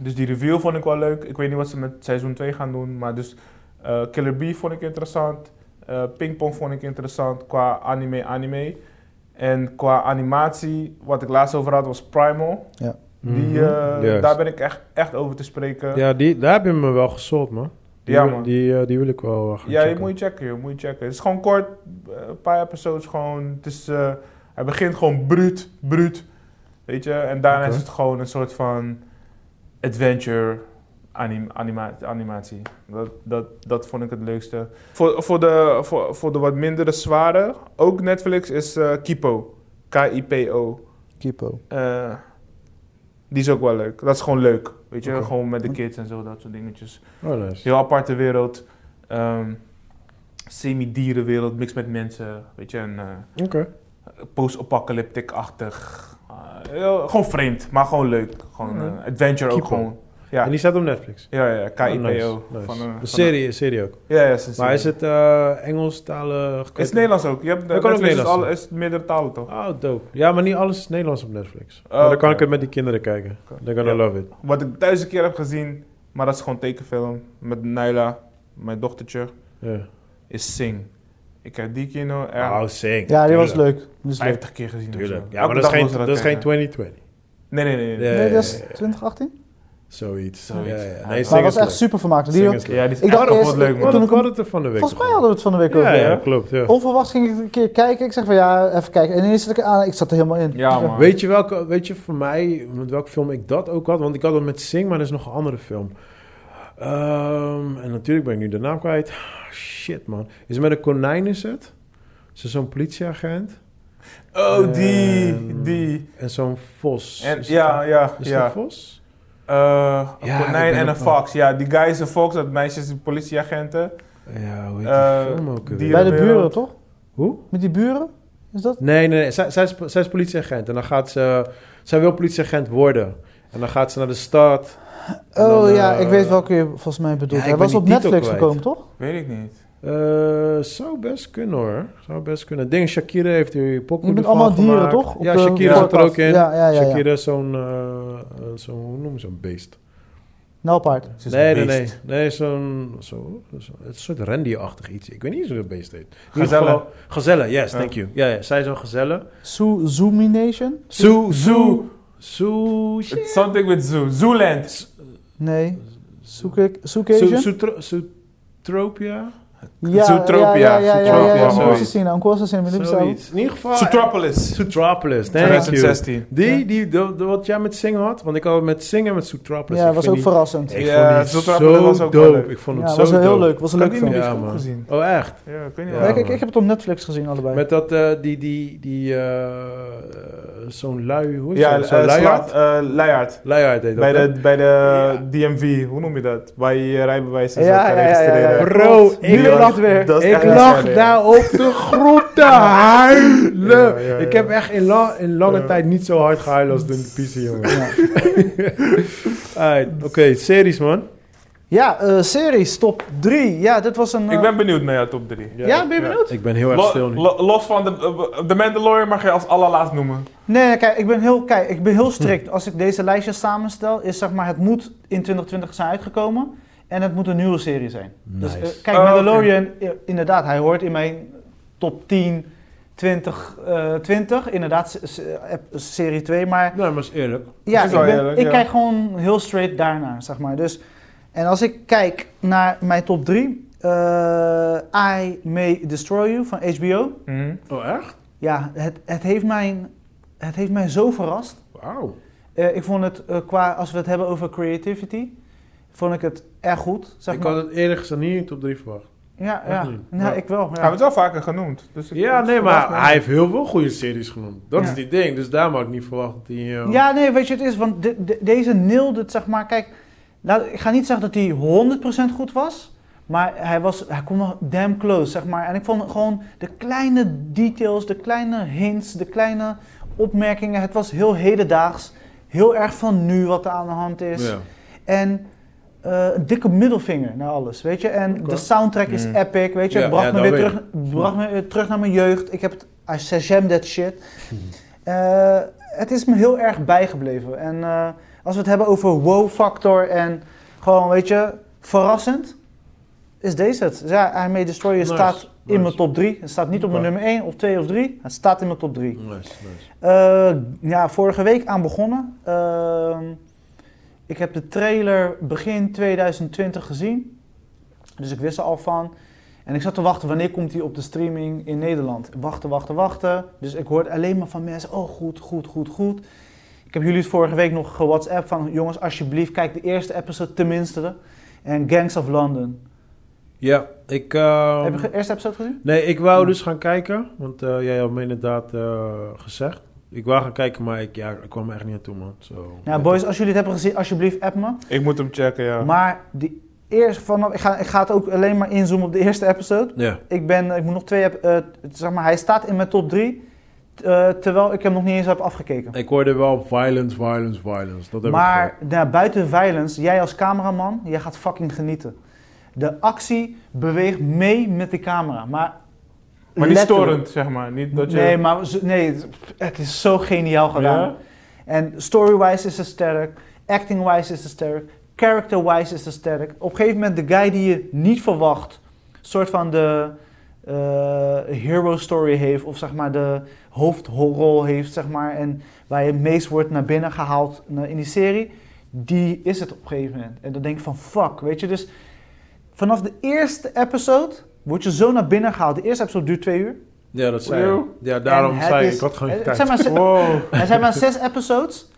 Dus die review vond ik wel leuk. Ik weet niet wat ze met seizoen 2 gaan doen. Maar dus eh, Killer Bee vond ik interessant. Eh Pingpong vond ik interessant qua anime, anime. En qua animatie, wat ik laatst over had, was Primal. Die, eh, Mhm. Juist. daar ben ik echt, echt over te spreken. Ja, die, daar heb je me wel gesold, man. Die, Ja, wil- man. Die, eh, die wil ik wel eh, gaan Ja, je checken. moet je checken, joh, moet je checken. Het is gewoon kort, eh, een paar episodes gewoon. Het is, eh, hij begint gewoon bruut, bruut. Weet je, en daarna Oké. is het gewoon een soort van adventure anim- anima- animatie. Dat, dat, dat vond ik het leukste. Voor, voor, de, voor, voor de wat mindere zware, ook Netflix, is eh, Kipo. K-I-P-O. Kipo. Eh, die is ook wel leuk. Dat is gewoon leuk. Weet je, Oké. gewoon met de kids en zo, dat soort dingetjes. Oh, nice. Heel aparte wereld. ehm, Semi-dierenwereld, mix met mensen. Weet je, en eh, Oké. post-apocalyptic-achtig. Eh, heel- gewoon vreemd, maar gewoon leuk. Gewoon Mhm. eh, adventure ook Keeper. gewoon. Ja, En die staat op Netflix? ja, ja, Oh, KIPO. nice, van, nice. eh, van Een serie, een serie ook. Ja, ja, is een Maar is serie. het eh Engelstalig? Het is Nederlands ook. Je hebt Dat kan ook Netflix is Nederlands. alle- is meerdere talen toch? Oh, dope. Ja, maar niet alles is Nederlands op Netflix. Oh, maar dan oké. kan ik het met die kinderen kijken. Oké. They're gonna Ja. love it. Wat ik duizend keer heb gezien, maar dat is gewoon tekenfilm. Met Naila, mijn dochtertje, Ja. is Sing. Ik heb die kino er Oh, sing. Ja, die was Tuurlijk. leuk. Die is leuk. 50 keer gezien. of Tuurlijk. zo. Ja, Elke maar dat is dag geen, moeten we dat is geen kijken. 2020. Nee, nee, nee. nee. Ja, Nee, dat is ja, ja, ja. 2018. Zoiets. Zoiets. Ja, ja. Maar Nee, het Maar sing het is was echt leuk. super vermakelijk. Sing Die- is leuk. Ja, die is Ik echt dacht nog eerst- wat leuk, Want man. toen ik ik- had het er van de week Volgens mij over. hadden we het van de week over. Ja, ja, hè? klopt. Ja. Onverwachts ging ik een keer kijken. Ik zeg van ja, even kijken. En ineens zat ik aan. Ik zat er helemaal in. Ja, man. Weet je, welke, weet je voor mij, met welke film ik dat ook had? Want ik had dat met Sing, maar er is nog een andere film. Ehm, en natuurlijk ben ik nu de naam kwijt. Shit, man. Is het met een konijn is het? Is er zo'n politieagent? Oh, die, Ehm, die. En zo'n vos. En, Is ja, het- ja, Is ja. het een vos? Eh, een Ja, ik konijn en ben een het wel. fox. Ja, die guy is een fox, dat meisje is een politieagenten. Ja, hoe heet Eh, die film ook die- weer? Bij de Wereld. buren, toch? Hoe? Met die buren? Is dat? Nee, nee, nee. Zij, zij, is, zij is politieagent. En dan gaat ze... Zij wil politieagent worden. En dan gaat ze naar de stad. En Oh dan, eh, ja, ik weet welke je volgens mij bedoelt. ja, ik Hij ben was die op titel Netflix kwijt. gekomen, toch? Weet ik niet. Eh, zou best kunnen hoor. Zou best kunnen. Ik denk Shakira heeft die Je pokoe bent ervan allemaal dieren, gemaakt. toch? Op Ja, de Shakira zat er voorkant. ook in. Ja, ja, ja. ja. Shakira is zo'n, eh, eh, zo'n, hoe noem je zo'n beest? Nijlpaard. Ze is nee, een nee, beest. nee. Nee, zo'n, zo, zo, het is een soort rendierachtig iets. Ik weet niet eens hoe dat beest heet. In ieder Gazelle. geval- eh, Gazelle, yes, Ja. thank you. Ja, ja, zij is een gazelle. Zoo- Zoomination? Zoo, Zoo. Zoo, It's something with zoo. Zooland. Nee. Zoek ik. Zoo- Zoekation? Zoetro- Zootropia? Zootropia. Ja, ja, ja. ja, ja. Zootropia, Uncle zoiets. Assassina. Uncle Assassina. maar die bestaat Zoiets. In ieder geval... Zootropolis. Zootropolis, thank you. 2016. Die, Ja. die, de- de- wat jij met zingen had, want ik had met zingen en met ook. Zootropolis. Ja, ik was vind ook die- verrassend. Ik Ja, vond die Zootropolis zo was ook wel dope. leuk. Ik vond het Ja, zo was wel heel dope. leuk. Was een Kan leuk die film. niet? Ja, Ik heb hem man. gezien. Oh, echt? Ja, ik weet niet Ja, Ja, waarom. ik, ik man. heb het op Netflix gezien allebei. Met dat, eh, die, die, die, eh, zo'n lui, hoe is Ja, dat? Zo'n eh, luiaard? slaat, eh, Luiaard. Luiaard heet dat. Bij hè? de, bij de eh, Ja. DMV, hoe noem je dat? Waar je je rijbewijs en zo Ja, kan ja, ja, ja, registreren. ja. Bro, Klopt. ik Nu lag- lag het weer. nou. Dat is Ik echt een lag scène. daar op de grond te huilen. Ja, ja, ja. Ik heb echt in, la- in lange Ja. tijd niet zo hard gehuild als toen de PC, jongen. Ja. Alright, Oké, series, man. Ja, eh, series, top 3. Ja, dit was een... eh, Ik ben benieuwd naar jouw top 3. Ja, ben je Ja. benieuwd? Ik ben heel erg stil Lo- nu. lo- los van de, eh, de Mandalorian mag je als allerlaatst noemen. Nee, nee, kijk, ik ben heel, kijk, ik ben Hm. heel strikt. Als ik deze lijstjes samenstel, is zeg maar, het moet in 2020 zijn uitgekomen. En het moet een nieuwe serie zijn. Dus, Nice. eh, kijk, Oh, oké. Mandalorian, eh, inderdaad, hij hoort in mijn top 10, 20, eh, 20. Inderdaad, se- se- eh, serie 2. Maar Nou, maar is eerlijk. ja, Dat ik, is wel ben- eerlijk, ik ja. kijk gewoon heel straight daarnaar, zeg maar. Dus, en als ik kijk naar mijn top 3, I May Destroy You van HBO. Mhm. Oh, echt? Ja, het, het, heeft, mij, het heeft mij zo verrast. Wauw. Eh, ik vond het eh, qua, als we het hebben over creativity, vond ik het erg goed. Zeg Ik maar. had het eerlijk gezegd niet in top 3 verwacht. ja, echt ja. niet. Nou, Ja. ik wel. We Ja. hebben het wel vaker genoemd. Dus ik- Ja, het nee, verbaast me maar hij heeft heel veel goede series genoemd. Dat Ja. is die ding. Dus daarom had ik niet verwacht dat hij... eh, Ja, nee, weet je, het is, want de- de- deze neelde het, zeg maar. Kijk, laat- ik ga niet zeggen dat hij 100% goed was, maar hij, was, hij kwam nog damn close, zeg maar. En ik vond gewoon de kleine details, de kleine hints, de kleine opmerkingen. Het was heel hedendaags, heel erg van nu wat er aan de hand is. Ja. En eh, een dikke middelvinger naar alles, weet je. En Oké. de soundtrack is Mm. epic, weet je. Ja, het bracht, ja, me dat weer weet terug, bracht me weer terug naar mijn jeugd. Ik heb het... I shazam that shit. Eh, het is me heel erg bijgebleven. En eh, als we het hebben over wow-factor en gewoon, weet je, verrassend... Is deze het? Dus Ja, I May Destroy You Nice, staat in nice. mijn top 3. Het staat niet op mijn Oké. nummer 1 of 2 of 3. Het staat in mijn top 3. Nice, nice. Eh, ja, vorige week aan begonnen. Ehm, ik heb de trailer begin 2020 gezien. Dus ik wist er al van. En ik zat te wachten, wanneer komt die op de streaming in Nederland? Wachten, wachten, wachten. Dus ik hoorde alleen maar van mensen, oh goed, goed, goed, goed. Ik heb jullie het vorige week nog gewhatsapp van, jongens, alsjeblieft, kijk de eerste episode tenminste. En Gangs of London. Ja, ik... ehm, heb je de eerste episode gezien? Nee, ik wou Ja. dus gaan kijken, want eh, jij had me inderdaad eh, gezegd. Ik wou gaan kijken, maar ik, ja, ik kwam er echt niet aan toe, man. Zo. Nou, boys, als jullie het hebben gezien, alsjeblieft, app me. Ik moet hem checken, ja. Maar die eerste vanaf, ik, ga, ik ga het ook alleen maar inzoomen op de eerste episode. Ja. Ik ben, ik moet nog twee, heb- eh, zeg maar, hij staat in mijn top drie, eh, terwijl ik hem nog niet eens heb afgekeken. Ik hoorde wel violence, violence, violence. Dat heb ik Maar gehoord. nou, buiten violence, jij als cameraman, jij gaat fucking genieten. De actie beweegt mee met de camera, maar... Maar niet letterlijk- storend, zeg maar. Niet dat je... Nee, maar zo- nee, het- het is zo geniaal gedaan. Ja? En story-wise is het sterk, acting-wise is het sterk, character-wise is het sterk. Op een gegeven moment de guy die je niet verwacht, soort van de eh, hero story heeft, of zeg maar de hoofdrol heeft, zeg maar, en waar je het meest wordt naar binnen gehaald na- in die serie, die is het op een gegeven moment. En dan denk ik van fuck, weet je, dus vanaf de eerste episode word je zo naar binnen gehaald. De eerste episode duurt twee uur. Ja, dat zei je. Wow. Ja, daarom En het zei ik, is- ik had gewoon het- geen het zijn tijd. maar ze- Wow. er zijn maar zes episodes,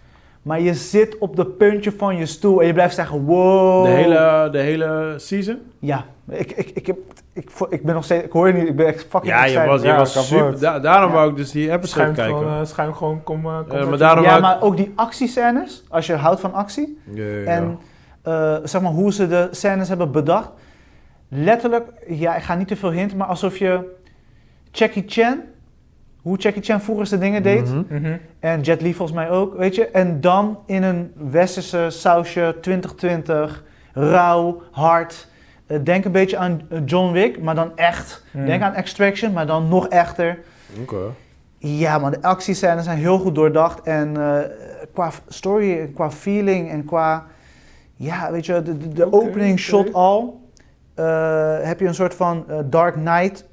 maar je zit op de puntje van je stoel en je blijft zeggen: wow. De hele, de hele season? Ja, ik, ik, ik, heb, ik, vo- ik ben nog steeds. Ik hoor je niet, ik ben echt fucking. Ja, je excited. was, je Ja, was kapot. super. da- daarom Ja. wou ik dus die episode Schuim kijken. gewoon, eh, schuim gewoon, kom, eh, kom Ja, maar met- daarom Ja, wou ik... maar ook die actiescènes, als je houdt van actie. Ja, ja, ja. En eh, zeg maar hoe ze de scènes hebben bedacht. Letterlijk, ja, ik ga niet te veel hinten, maar alsof je Jackie Chan, hoe Jackie Chan vroeger zijn dingen deed. Mhm. Mhm. En Jet Li volgens mij ook, weet je. En dan in een westerse sausje 2020, rauw, hard. Eh, denk een beetje aan eh, John Wick, maar dan echt. Hmm. Denk aan Extraction, maar dan nog echter. Oké. Ja man, de actiescènes zijn heel goed doordacht. En eh, qua f- story, qua feeling en qua... Ja, weet je, de, de, de Oké, opening oké. shot al... eh, heb je een soort van eh, Dark Knight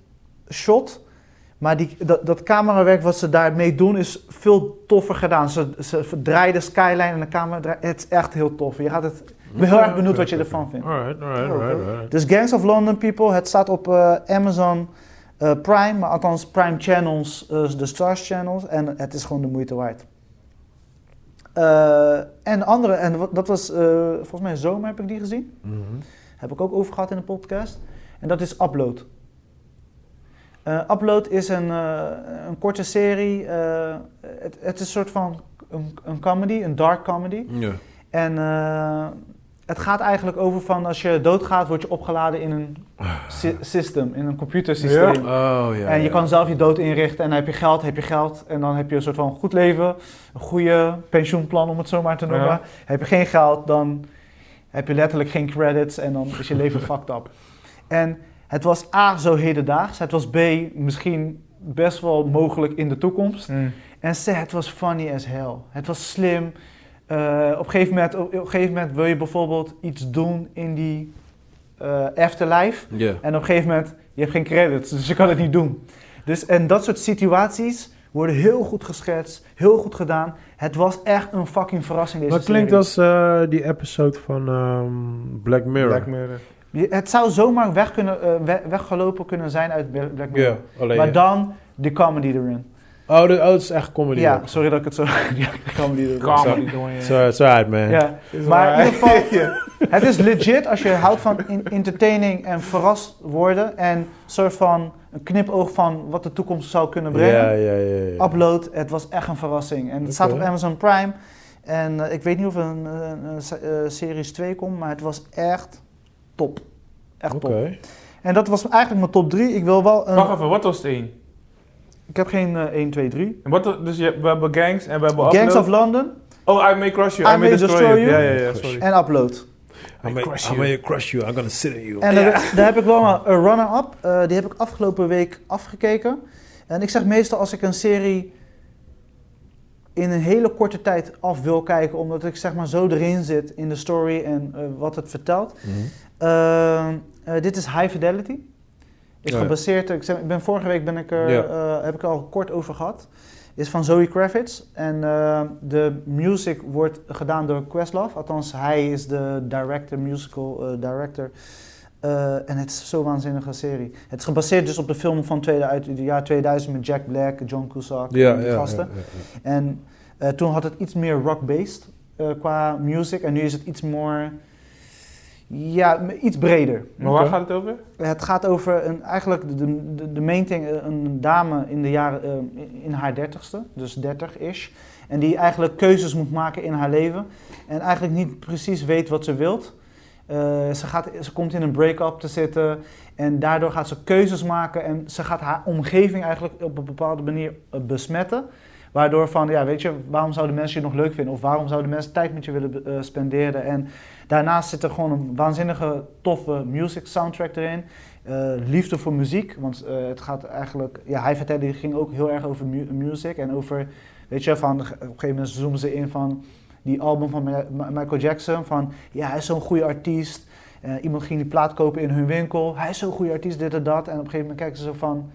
shot... Maar die, dat, dat camerawerk wat ze daarmee doen is veel toffer gedaan. Ze, ze verdraaien de skyline en de camera draai- Het is echt heel tof. Je gaat het, ik ben heel erg benieuwd wat je ervan vindt. Alright, alright, alright, alright. Dus Gangs of London People, het staat op eh, Amazon eh, Prime. Maar althans Prime Channels, eh, de Stars Channels. En het is gewoon de moeite waard. Eh, en de andere, en wat- dat was eh, volgens mij zomer heb ik die gezien. Mhm. Heb ik ook over gehad in de podcast. En dat is Upload. Eh, Upload is een, eh, een korte serie. eh, het, het is een soort van een, een comedy, een dark comedy. Ja. En eh, het gaat eigenlijk over van als je doodgaat, word je opgeladen in een sy- system, in een computersysteem. Oh, Ah. ja. en je ja. kan zelf je dood inrichten en dan heb je geld, heb je geld. En dan heb je een soort van goed leven, een goede pensioenplan om het zo maar te noemen. Ja. Heb je geen geld, dan heb je letterlijk geen credits en dan is je leven fucked up. En het was A, zo hedendaags. Het was B, misschien best wel mogelijk in de toekomst. Mhm. En ze, het was funny as hell. Het was slim. Eh, op, een gegeven moment, op, op een gegeven moment wil je bijvoorbeeld iets doen in die eh, afterlife. Ja. En op een gegeven moment, je hebt geen credits, dus je kan het niet doen. Dus, en dat soort situaties worden heel goed geschetst, heel goed gedaan. Het was echt een fucking verrassing deze Dat serie. klinkt als eh, die episode van ehm, Black Mirror. Black Mirror. Je- Het zou zomaar weg kunnen, eh, we- weggelopen kunnen zijn uit Bla- Black Mirror. Ja, alleen. Maar ja. dan de comedy erin. Oh, de, oh, het is echt comedy. ja, ook. sorry dat ik het zo... ja, de comedy erin. Kom, Zo- die doen je. Zo- Zo uit, man. Ja. Is Maar in waar. ieder geval, het is legit als je houdt van in- entertaining en verrast worden en een soort van een knipoog van wat de toekomst zou kunnen brengen. Ja, ja, ja. ja. Upload, het was echt een verrassing. En het staat op Oké. Amazon Prime. En eh, ik weet niet of er een, eh, een se- eh, series 2 komt, maar het was echt top. Echt Oké. top. En dat was eigenlijk mijn top 3. Ik wil wel een... Wacht even, wat was het één? Ik heb geen eh, 1, 2, 3. En wat, dus je, we hebben gangs en we hebben Gangs upload. of London Oh, I may crush you. I I, may May destroy, Destroy you. You. Ja, ja, ja, sorry. en Upload. I'm gonna crush I'm you. gonna crush you. I'm gonna sit on you. En daar, daar heb ik wel een een runner-up. Eh, die heb ik afgelopen week afgekeken. En ik zeg meestal als ik een serie in een hele korte tijd af wil kijken, omdat ik zeg maar zo erin zit in de story en eh, wat het vertelt. Mhm. Eh, eh, dit is High Fidelity. Is Ja. gebaseerd, ik, zeg, ik ben vorige week ben ik er, Ja. eh, heb ik er al kort over gehad. Is van Zoe Kravitz en eh, de music wordt gedaan door Questlove. Althans, hij is de director, musical eh, director. Eh, en het is zo'n waanzinnige serie. Het is gebaseerd dus op de film van tweede, uit het jaar 2000 met Jack Black, John Cusack Ja, en die ja, gasten. ja, ja. En eh, toen had het iets meer rock-based eh, qua music. En nu is het iets meer... Ja, m- iets breder. Maar waar gaat het over? Het gaat over een, eigenlijk de, de, de main thing, eh, een dame in, de jaren, eh, in- in haar dertigste, dus dertig-ish. En die eigenlijk keuzes moet maken in haar leven. En eigenlijk niet precies weet wat ze wilt. Eh, ze, gaat, ze komt in een break-up te zitten. En daardoor gaat ze keuzes maken. En ze gaat haar omgeving eigenlijk op een bepaalde manier eh, besmetten. Waardoor van, ja weet je, waarom zouden mensen je nog leuk vinden? Of waarom zouden mensen tijd met je willen eh, spenderen? En Daarnaast zit er gewoon een waanzinnige toffe music soundtrack erin. Eh, liefde voor muziek, want eh, het gaat eigenlijk... Ja, hij vertelde, die ging ook heel erg over mu- music en over... Weet je, van, op een gegeven moment zoomen ze in van die album van Ma- Ma- Michael Jackson. Van, ja, hij is zo'n goede artiest. Eh, iemand ging die plaat kopen in hun winkel. Hij is zo'n goede artiest, dit en dat. En op een gegeven moment kijken ze zo van...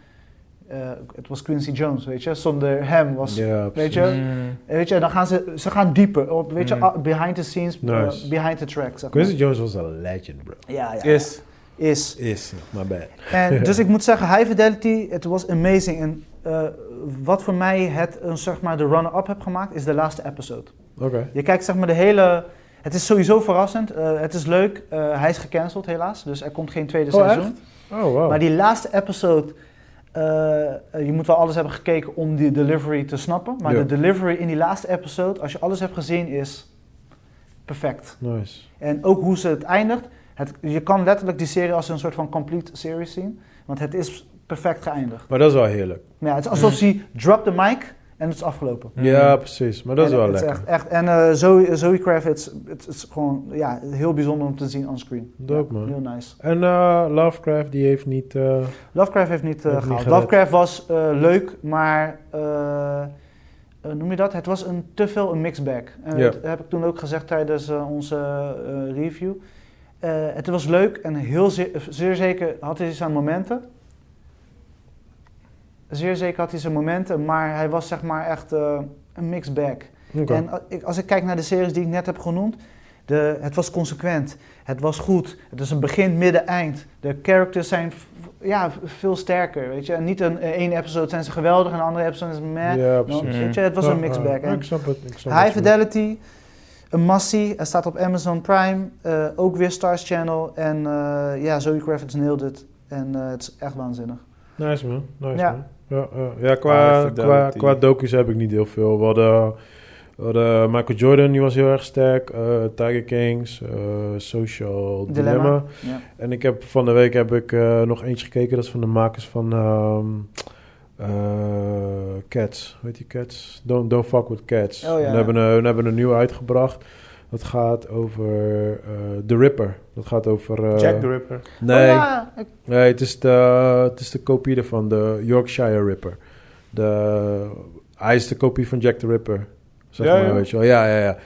eh, het was Quincy Jones, weet je. Zonder hem was... Ja, weet je, En Eh, weet je, dan gaan ze, ze gaan dieper. Op, weet je, Mm. ah, behind the scenes, eh, Nice. behind the track, zeg maar. Quincy Jones was een legend, bro. Ja, ja. Is. Is. Is, my bad. En, dus ik moet zeggen, High Fidelity, het was amazing. En eh, wat voor mij het, een, zeg maar, de runner-up heb gemaakt, is de laatste episode. Oké. Je kijkt zeg maar de hele... Het is sowieso verrassend, eh, het is leuk. Eh, hij is gecanceld helaas, dus er komt geen tweede Oh, seizoen. Oh, wow. Maar die laatste episode, eh, eh, je moet wel alles hebben gekeken om die delivery te snappen. Maar Ja. de delivery in die laatste episode, als je alles hebt gezien, is perfect. Nice. En ook hoe ze het eindigt. Het, je kan letterlijk die serie als een soort van complete series zien. Want het is perfect geëindigd. Maar dat is wel heerlijk. Maar ja, het is alsof ze drop de mic en het is afgelopen. Mm. Ja, precies. Maar dat is Mhm. En wel het lekker. Echt, echt, en eh, Zoe, Zoe Kravitz, het is gewoon ja, heel bijzonder om te zien onscreen. Dope, man. Heel nice. En eh, Lovecraft, die heeft niet... eh, Lovecraft heeft niet eh, Heeft niet gehaald. gered. Lovecraft was eh, leuk, maar eh, eh, noem je dat? Het was een, te veel een mixbag. En Ja. Dat heb ik toen ook gezegd tijdens eh, onze eh, review. Eh, het was leuk en heel zeer, zeer zeker had hij zijn momenten. Zeer zeker had hij zijn momenten, maar hij was zeg maar echt eh, een mixed bag. oké. En a- ik- als ik kijk naar de series die ik net heb genoemd, de, het was consequent, het was goed, het is een begin, midden, eind. De characters zijn v- ja, v- veel sterker, weet je. En niet een eh, één episode zijn ze geweldig en de andere episode is meh. Ja, Nou, precies. weet je, het was een Ja, mixed ja. bag. En ik snap het. Ik snap High wat je bedoelt. Fidelity, een massie, het staat op Amazon Prime, eh, ook weer Stars Channel. En eh, ja, Zoe Kravitz nailed het. En eh, het is echt waanzinnig. Nice, man. Nice, Ja. man. Ja, eh, ja. ja qua, High qua, Fidelity. qua docu's heb ik niet heel veel. We hadden, we hadden Michael Jordan, die was heel erg sterk. eh, Tiger Kings, eh, Social Dilemma. Dilemma. Ja. En ik heb van de week heb ik eh, nog eentje gekeken. Dat is van de makers van ehm, eh, Cats. Hoe heet die Cats? Don't, don't fuck with Cats. Oh, ja, we, ja. hebben, een- we hebben een nieuw uitgebracht. Dat gaat over eh, The Ripper. Dat gaat over... eh, Jack the Ripper. Nee, Oh ja, ik- Nee, het is, de, het is de kopie ervan, de Yorkshire Ripper. De, hij is de kopie van Jack the Ripper. Zeg Ja, maar, ja. weet je wel. Ja, ja, ja.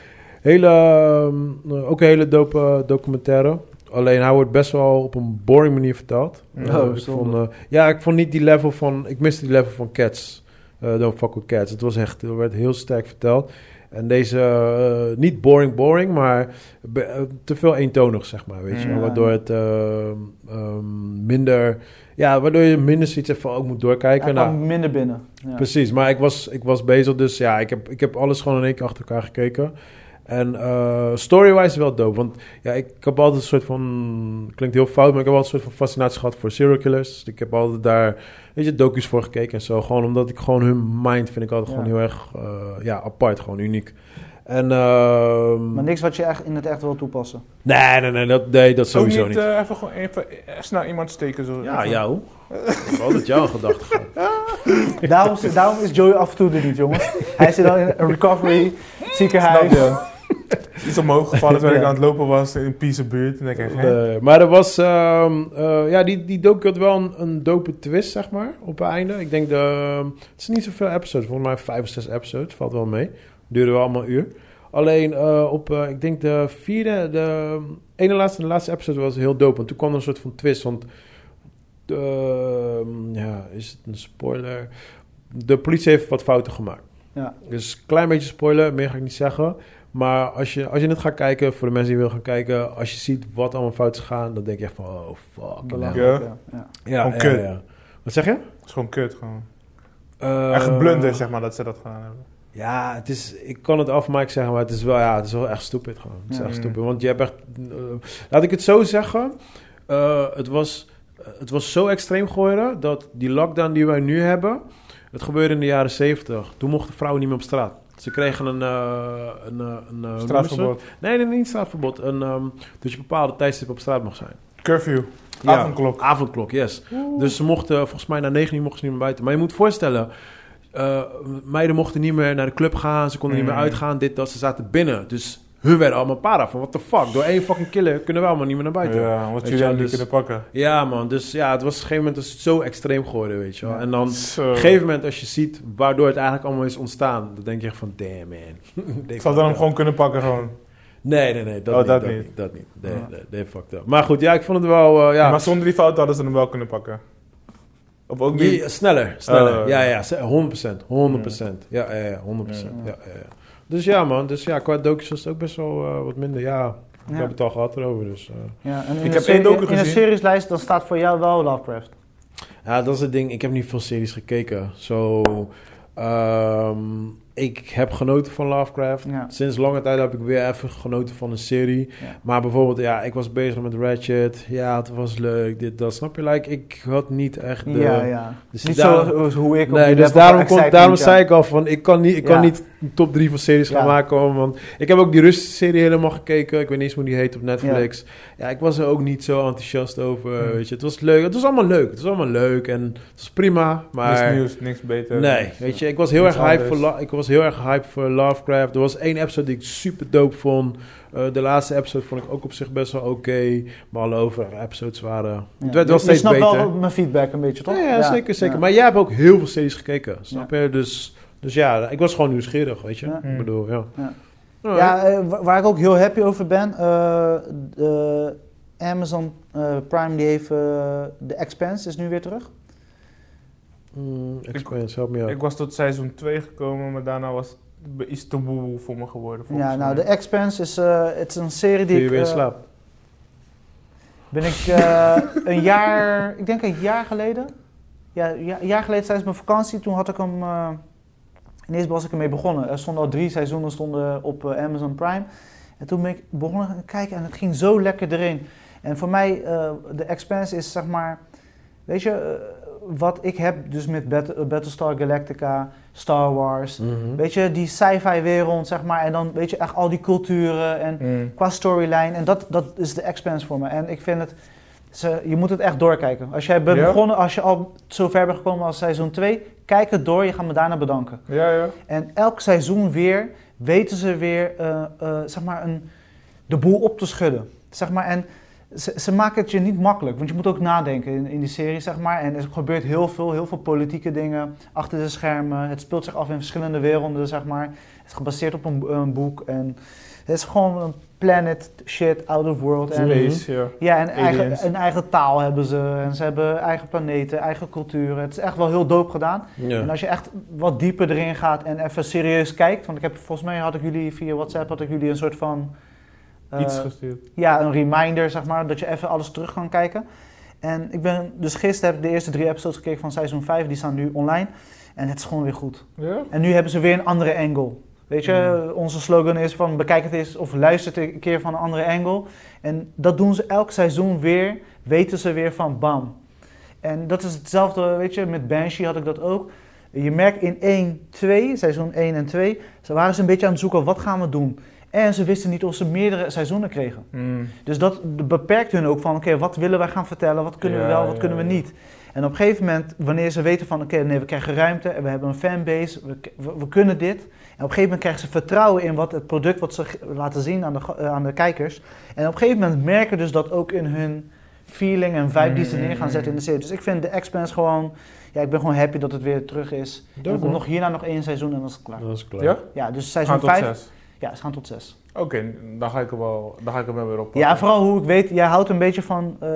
Hele, ehm, ook een hele dope eh, documentaire. Alleen hij wordt best wel op een boring manier verteld. Oh, Eh, ik zonde. vond, eh, ja, ik vond niet die level van... Ik miste die level van Cats. Eh don't fuck with Cats. Het was echt... Er werd heel sterk verteld. En deze... eh, niet boring, boring, maar... be- eh, te veel eentonig, zeg maar, weet je wel. Ja. Waardoor het eh, ehm, minder... Ja, waardoor je minder zoiets hebt van... Oh, ik moet doorkijken. hij Nou, kwam minder binnen. Ja. Precies, maar ik was, ik was bezig, dus ja, ik heb, ik heb alles gewoon in één keer achter elkaar gekeken. En eh, storywise wel dope, want ja, ik heb altijd een soort van, klinkt heel fout, maar ik heb altijd een soort van fascinatie gehad voor serial killers. Dus Ik heb altijd daar, weet je, docu's voor gekeken en zo, gewoon omdat ik gewoon hun mind vind ik altijd Ja. gewoon heel erg, eh, ja, apart, gewoon uniek. En, ehm, Maar niks wat je echt in het echt wil toepassen. nee, nee, nee, dat, nee, dat sowieso Ook niet. eh, even gewoon even eh, snel iemand steken. eh, Zo, ja, Even- jou. ik heb altijd jouw gedachten gehad. Daarom, daarom is Joey af en toe er niet, jongens. Hij zit dan in een recovery Snap ziekenhuis. je? Iets omhoog gevallen terwijl ik Ja. aan het lopen was in Pise buurt. En denk ik, hè? Nee, maar er was, ehm, eh, ja, die, die docu had wel een, een dope twist, zeg maar, op het einde. Ik denk, de, het is niet zoveel episodes, volgens mij vijf of zes episodes, valt wel mee. Duurde wel allemaal een uur. Alleen eh, op, eh, ik denk de vierde, de eh, ene laatste en de laatste episode was heel dope. Want toen kwam er een soort van twist, want, ehm, ja, is het een spoiler? De politie heeft wat fouten gemaakt. Ja. Dus een klein beetje spoiler, meer ga ik niet zeggen. Maar als je, als je het gaat kijken, voor de mensen die willen gaan kijken, als je ziet wat allemaal fout is gegaan, dan denk je echt van, oh fuck. Ja. Belangrijk, ja. ja. Ja, Gewoon kut. Wat zeg je? Het is gewoon kut. Gewoon. Eh, Echt een blunder, zeg maar, dat ze dat gedaan hebben. Ja, het is, ik kan het afmaken zeggen, maar het is wel, ja, het is wel echt stupid gewoon. Het is Ja. echt stupid, want je hebt echt... eh, laat ik het zo zeggen, eh, het, was, het was zo extreem geworden dat die lockdown die wij nu hebben, het gebeurde in de jaren zeventig. Toen mochten vrouwen niet meer op straat. Ze kregen een... eh, een, eh, een eh, hoe noemen Straatverbod. ze het? Nee, nee, niet straatverbod. Een, ehm, dat je bepaalde tijdstip op straat mag zijn. Curfew. Ja. Avondklok. Avondklok, yes. Dus ze mochten, volgens mij na negen uur mochten ze niet meer buiten. Maar je moet voorstellen, eh, meiden mochten niet meer naar de club gaan, ze konden niet meer Mm. uitgaan, dit, dat, ze zaten binnen. Dus hun werden allemaal para van, what the fuck, door één fucking killer kunnen we allemaal niet meer naar buiten. Ah, Ja. Ja, wat Weet jullie je hebben wel, niet dus- kunnen pakken. man, dus ja, het was op een gegeven moment is het zo extreem geworden, weet je wel. En dan... Zo. Op een gegeven moment, als je ziet waardoor het eigenlijk allemaal is ontstaan, dan denk je echt van, damn man. They Ik zou fucked dan hem up. gewoon kunnen pakken gewoon. Nee, nee, nee, dat, Oh, niet, dat dat niet. niet. Dat niet. Nee, Ja. nee, they fucked up. Maar goed, ja, ik vond het wel, eh, ja. Maar zonder die fout hadden ze hem wel kunnen pakken. Of ook niet. Ja, sneller, sneller. Oh. Eh. ja, ja, ze- 100%. 100%. Ja, ja, ja, 100%. Ja, ja, ja. Dus ja, man. Dus ja, qua docu's was het ook best wel eh, wat minder. Ja, we Ja. hebben het al gehad erover. Dus, eh. Ja, en in Ik een heb één serie- docu In een gezien. serieslijst, dan staat voor jou wel Lovecraft. Ja, dat is het ding. Ik heb niet veel series gekeken. Zo, ehm, ik heb genoten van Lovecraft. Ja. Sinds lange tijd heb ik weer even genoten van een serie. Ja. Maar bijvoorbeeld, ja, ik was bezig met Ratchet. Ja, het was leuk. Dit, dat snap je. Like, ik had niet echt de... ja, ja. Dus Niet daar- zoals hoe ik op Nee, die dus level daarom, van kon, excitement daarom jump. zei ik al van, ik kan niet, ik kan Ja. niet een top 3 van series gaan Ja. maken, hoor, want ik heb ook die Russische serie helemaal gekeken, ik weet niet eens hoe die heet op Netflix. Ja, ik was er ook niet zo enthousiast over, weet je. Het was leuk, het was allemaal leuk, het was allemaal leuk en het was prima, Niks maar... nieuws, niks beter. Nee, weet je, ik was heel Niks erg hype voor, anders. Lo- ik was heel erg hype voor Lovecraft. Er was één episode die ik super dope vond. Eh, de laatste episode vond ik ook op zich best wel oké, maar alle overige episodes waren... Ja. Het werd Je- wel steeds Je snapt beter. wel mijn feedback een beetje, toch? Ja, ja, zeker, zeker. Maar jij hebt ook heel veel series gekeken, snap je? Dus, dus ja, ik was gewoon nieuwsgierig, weet je? Ja. Ik bedoel, ja. Ja. Alright. Ja, eh, wa- waar ik ook heel happy over ben, eh, de Amazon eh, Prime die heeft eh, The Expanse is nu weer terug. Mm, experience, help me out. Ik was tot seizoen 2 gekomen, maar daarna was het iets te boeboe voor me geworden. volgens Ja, nou, The mij. Expanse is eh, het is een serie Viel die je ik weer in eh, slaap? ben ik eh, een jaar, ik denk een jaar geleden. Ja, ja, een jaar geleden tijdens mijn vakantie, toen had ik hem. eh ineens was ik ermee begonnen. Er stonden al drie seizoenen stonden op eh, Amazon Prime. En toen ben ik begonnen te kijken en het ging zo lekker erin. En voor mij, eh de Expanse is zeg maar. Weet je, eh, wat ik heb dus met Bat- eh, Battlestar Galactica, Star Wars. Mhm. Weet je, die sci-fi wereld, zeg maar. En dan weet je echt al die culturen en Mm. qua storyline. En dat, dat is de expense voor me. En ik vind het, ze, je moet het echt doorkijken. Als jij bent Ja? begonnen, als je al zo ver bent gekomen als seizoen 2, kijk het door. Je gaat me daarna bedanken. Ja, ja. En elk seizoen weer weten ze weer, eh, eh, zeg maar, een, de boel op te schudden. Zeg maar, en ze, ze maken het je niet makkelijk, want je moet ook nadenken in, in die serie, zeg maar. En er gebeurt heel veel, heel veel politieke dingen achter de schermen. Het speelt zich af in verschillende werelden, zeg maar. Het is gebaseerd op een, een boek en het is gewoon een planet shit, out of world. En, Space, ja. ja, en Aliens. eigen, een eigen taal hebben ze. En ze hebben eigen planeten, eigen culturen. Het is echt wel heel doop gedaan. En Ja. als je echt wat dieper erin gaat en even serieus kijkt, want ik heb volgens mij had ik jullie via WhatsApp had ik jullie een soort van eh, Iets gestuurd. ja, een reminder zeg maar dat je even alles terug kan kijken. En ik ben dus gisteren heb ik de eerste drie episodes gekeken van seizoen 5, die staan nu online en het is gewoon weer goed. Ja? En nu hebben ze weer een andere angle. Weet je, onze slogan is van bekijk het eens of luister het een keer van een andere angle. En dat doen ze elk seizoen weer, weten ze weer van bam. En dat is hetzelfde, weet je, met Banshee had ik dat ook. Je merkt in 1, 2, seizoen 1 en 2, ze waren ze een beetje aan het zoeken wat gaan we doen. En ze wisten niet of ze meerdere seizoenen kregen. Mm. Dus dat beperkt hun ook van, oké, wat willen wij gaan vertellen, wat kunnen we Ja, wel, wat ja, kunnen we ja. niet. En op een gegeven moment, wanneer ze weten van, oké, nee, we krijgen ruimte en we hebben een fanbase, we, k- we, we kunnen dit. En op een gegeven moment krijgen ze vertrouwen in wat het product wat ze g- laten zien aan de, go- eh, aan de kijkers. En op een gegeven moment merken dus dat ook in hun feeling en vibe die ze Mm-hmm, neer gaan zetten in de serie. Dus ik vind de Expanse gewoon, ja, ik ben gewoon happy dat het weer terug is. En Dope, er komt man. nog hierna nog één seizoen en dan is het klaar. Dat is klaar. Ja? Ja, Gaan dus seizoen tot 5. 6. Ja, ze gaan tot zes. Oké, dan ga ik hem wel, dan ga ik hem wel weer oppakken. Ja, vooral hoe ik weet, jij houdt een beetje van eh,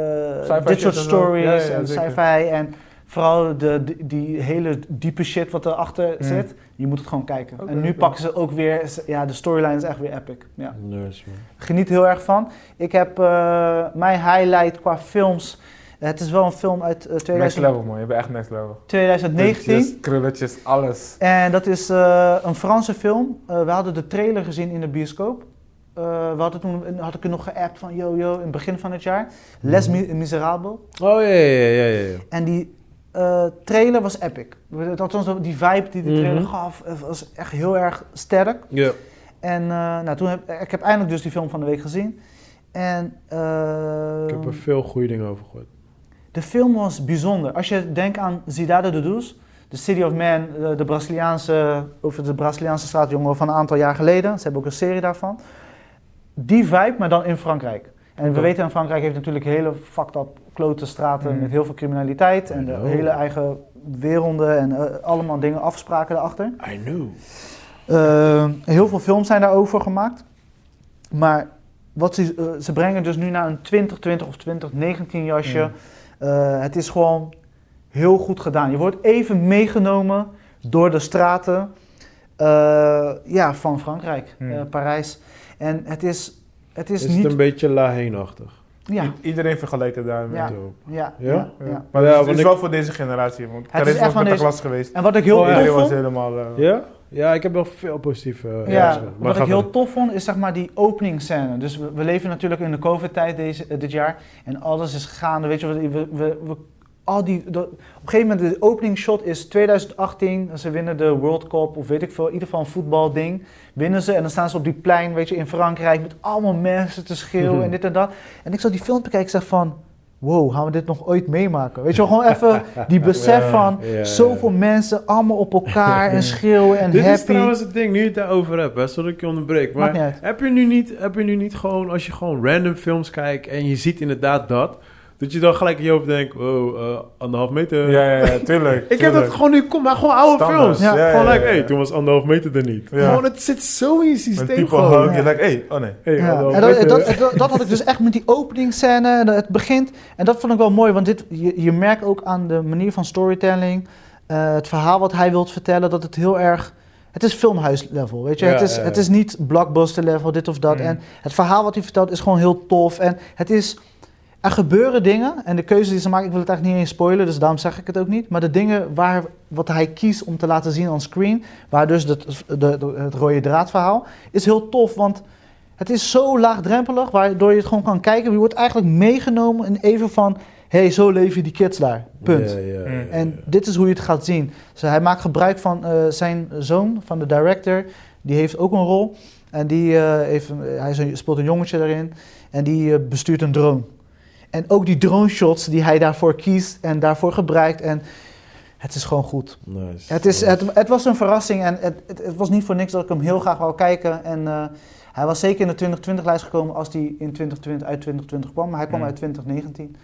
Sci-fi shit dit soort en zo. stories Ja, ja, ja, en zeker. sci-fi en vooral de, die, die hele diepe shit wat erachter Mm. zit. Je moet het gewoon kijken. Oké, en nu oké. pakken ze ook weer, ja, de storyline is echt weer epic. Ja. Nice, man. Geniet heel erg van. Ik heb eh, mijn highlight qua films Het is wel een film uit eh, Next 2000 level, man. Je bent echt next level. 2019. Krulletjes, krulletjes, alles. En dat is eh, een Franse film. Eh, we hadden de trailer gezien in de bioscoop. Eh, we hadden toen, had ik er nog geappt van, yo, yo, in het begin van het jaar. Mhm. Les Mi- Miserables. Oh ja, ja, ja, ja. ja. En die eh, trailer was epic. Althans, die vibe die die trailer Mhm. gaf, eh, was echt heel erg sterk. Ja. En eh, nou, toen heb, ik heb eindelijk dus die film van de week gezien. En eh, Ik heb er veel goede dingen over gehoord. de film was bijzonder. Als je denkt aan Cidade de Doos, The City of Man, eh, de, de Braziliaanse, over de Braziliaanse straatjongen van een aantal jaar geleden. Ze hebben ook een serie daarvan. Die vibe, maar dan in Frankrijk. En we Ja. weten in Frankrijk heeft natuurlijk hele fucked up klote straten Mm. met heel veel criminaliteit. En de Ja. hele eigen werelden en eh, allemaal dingen, afspraken daarachter. I know. Eh, heel veel films zijn daarover gemaakt. Maar wat ze, eh, ze brengen dus nu naar een 2020 of 2019 jasje. Mm. Eh, het is gewoon heel goed gedaan. Je wordt even meegenomen door de straten eh, ja, van Frankrijk, Mm. eh, Parijs. En het is, het Is, is, het niet... een beetje laheenachtig? ja, I- iedereen vergelijkt het daarmee. Ja. Zo. ja, Ja? ja, Ja. ja. Maar eh, het Ja, is, want het is ik- wel voor deze generatie, want is echt Karis was van met de deze- klas geweest. En wat ik heel Oh, tof Iedereen was vond... helemaal... eh, Ja? Ja, ik heb wel veel positieve... eh, Ja, reacties. Maar wat ga ik heel verder. tof vond is zeg maar die openingsscène. Dus we, we leven natuurlijk in de COVID-tijd deze, eh, dit jaar en alles is gaande. Weet je, we, we, we, we- al die, dat- op een gegeven moment, de openingsshot is 2018. Ze winnen de World Cup of weet ik veel, in ieder geval een voetbalding. Winnen ze en dan staan ze op die plein, weet je, in Frankrijk met allemaal mensen te schreeuwen Mhm. en dit en dat. En ik zat die film te kijken en zeg van, wow, gaan we dit nog ooit meemaken? Weet je wel, gewoon even die besef Ja, van ja, ja. zoveel mensen allemaal op elkaar en schreeuwen en Dit happy. is trouwens het ding, nu je het daarover hebt, hè, zodat ik je onderbreek. Maakt niet Maar uit. heb je, nu niet, heb je nu niet gewoon, als je gewoon random films kijkt en je ziet inderdaad dat, dat je dan gelijk in je hoofd denkt, oh, eh, anderhalf meter. Ja, ja, ja, tuurlijk. Ik heb dat tuurlijk. gewoon nu, kom maar gewoon oude Standaard. films. Ja. Ja, gewoon ja, like, ja, ja. hey, toen was anderhalf meter er niet. Ja. Gewoon, het zit zo in je Een systeem type gewoon. hug, je Ja. denkt, hé, oh nee. Hey, eh, Ja, anderhalf en dat, meter. dat, dat, dat had ik dus echt met die openingsscène. en Het begint, en dat vond ik wel mooi, want dit, je, je merkt ook aan de manier van storytelling, eh, het verhaal wat hij wilt vertellen, dat het heel erg. Het is filmhuislevel, weet je. Ja, het, is, ja, ja. het is niet blockbuster level, dit of dat. Mm. En het verhaal wat hij vertelt is gewoon heel tof. En het is. Er gebeuren dingen en de keuze die ze maken, ik wil het eigenlijk niet eens spoilen, dus daarom zeg ik het ook niet. Maar de dingen waar, wat hij kiest om te laten zien on screen, waar dus dat, de, de- het rode draadverhaal, is heel tof. Want het is zo laagdrempelig, waardoor je het gewoon kan kijken. Je wordt eigenlijk meegenomen in even van, hé, hey, zo leven die kids daar, punt. Ja, ja, ja, Mm. ja. En dit is hoe je het gaat zien. Dus hij maakt gebruik van eh, zijn zoon, van de director. Die heeft ook een rol. En die eh, heeft, een- hij is een- speelt een jongetje daarin. En die eh, bestuurt een drone. En ook die drone shots die hij daarvoor kiest en daarvoor gebruikt. En het is gewoon goed. Nice. Het, is, het, het was een verrassing en het, het, het was niet voor niks dat ik hem heel graag wou kijken. En eh, hij was zeker in de 2020-lijst gekomen als hij in 2020, uit 2020 kwam. Maar hij kwam Hmm. uit 2019.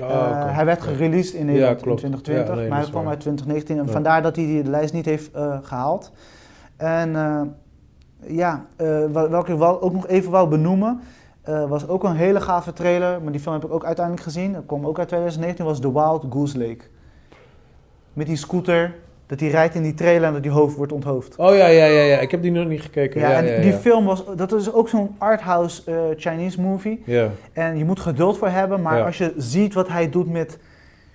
Oh, Eh, oké. hij werd gereleased in Nederland in klopt. 2020, Ja, maar nee, dat hij is kwam waar. uit 2019 en Ja. vandaar dat hij die de lijst niet heeft eh, gehaald. En eh, ja, eh, wa- welke ik wel ook nog even wou benoemen, eh, was ook een hele gave trailer, maar die film heb ik ook uiteindelijk gezien. Dat kwam ook uit 2019, was The Wild Goose Lake. Met die scooter, dat hij rijdt in die trailer en dat die hoofd wordt onthoofd. Oh ja, ja, ja, ja, ik heb die nog niet gekeken. Ja, Ja, ja, en ja, die film was, dat is ook zo'n arthouse eh Chinese movie. Ja. En je moet geduld voor hebben, maar Ja. als je ziet wat hij doet met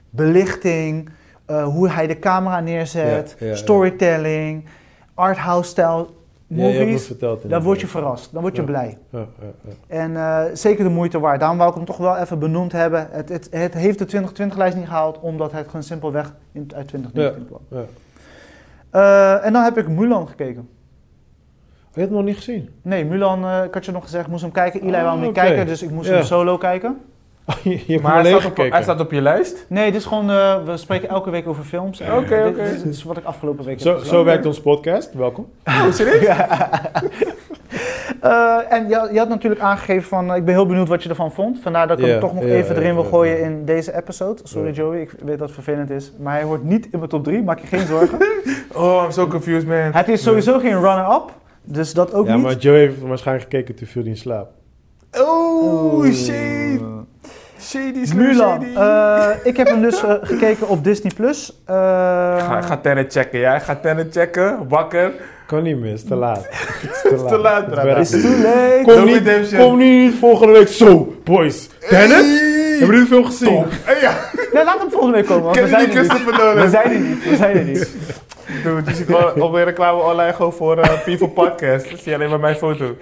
belichting, eh, hoe hij de camera neerzet, Ja, ja, ja. storytelling, arthouse-style Ja, je hebt me movies, verteld dan word je inderdaad. verrast, dan word je Ja. blij. Ja, ja, Oh, ja. En eh, zeker de moeite waard. Daarom wou ik hem toch wel even benoemd hebben. Het, het, het heeft de 2020-lijst niet gehaald, omdat het gewoon simpelweg in, uit 2019 kwam. ja. Eh, en dan heb ik Mulan gekeken. Heb je het nog niet gezien? Nee, Mulan, eh, ik had je nog gezegd, moest hem kijken. Eli Oh, wou hem niet oké. kijken, dus ik moest Ja. hem solo kijken. je hebt hem Maar hij alleen staat, op, gekeken. hij staat op je lijst? Nee, dit is gewoon, eh, we spreken elke week over films. En Oké, dit- oké. Dit, is wat ik afgelopen week Zo, heb zo werkt ons podcast. Welkom. Oh, serieus? gezien. Eh, en je, had- je had natuurlijk aangegeven van, eh, ik ben heel benieuwd wat je ervan vond. Vandaar dat ik Ja, hem toch nog ja, even ja, erin wil ja, gooien ja. in deze episode. Sorry Ja. Joey, ik weet dat het vervelend is. Maar hij hoort niet in mijn top 3, maak je geen zorgen. Oh, I'm so confused, man. het is sowieso geen runner-up, dus dat ook ja, niet. maar Joe heeft waarschijnlijk gekeken toen viel hij in slaap. Oh, Oeh. shade. Shady, slim Mulan, shady. eh, ik heb hem dus eh, gekeken op Disney+. Plus. Eh, Ik ga, ik ga tennet checken, ja. Ik ga tennet checken. Wakker. Kan niet meer, is te laat. Het is te laat. laat, Het Rada. werkt It's niet. too late. Kom No niet, redemption. kom niet volgende week zo, boys. Dennis? Hey. Hebben jullie veel gezien? Ja, Nee, laat hem volgende week komen, want we kennen zijn jullie er niet. Christopher We Nolan? zijn er niet, we zijn er niet. Dude, je ziet gewoon alweer reclame online gewoon voor eh People Podcast. Dan zie je alleen maar mijn foto.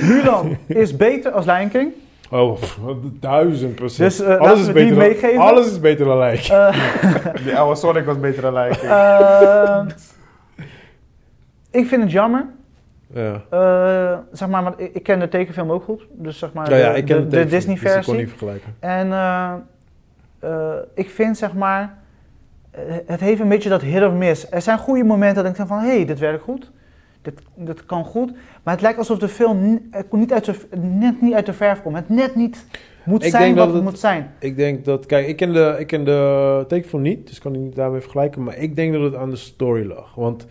Mulan is beter als Lion King. Oh, pff, duizend procent. Dus, eh, laten we die dan- meegeven. Alles is beter dan lijk. Eh, Die oude Sonic was beter dan Lion King. eh, ik vind het jammer. Ja. Eh, zeg maar, want ik, ik ken de tekenfilm ook goed. Dus zeg maar, Ja, ja, de- ik ken de, het de even, dus ik Disney-versie. kon niet vergelijken. En eh, eh, ik vind zeg maar, eh, het heeft een beetje dat hit of miss. Er zijn goede momenten dat ik denk van, hé, hey, dit werkt goed. Dit, dit kan goed. Maar het lijkt alsof de film ni- eh, niet uit de- net niet uit de verf komt. Het net niet moet Ik zijn denk wat dat het het- moet zijn. Ik denk dat, kijk, ik ken de, ik ken de tekenfilm niet, dus kan ik niet daarmee vergelijken. Maar ik denk dat het aan de story lag. Want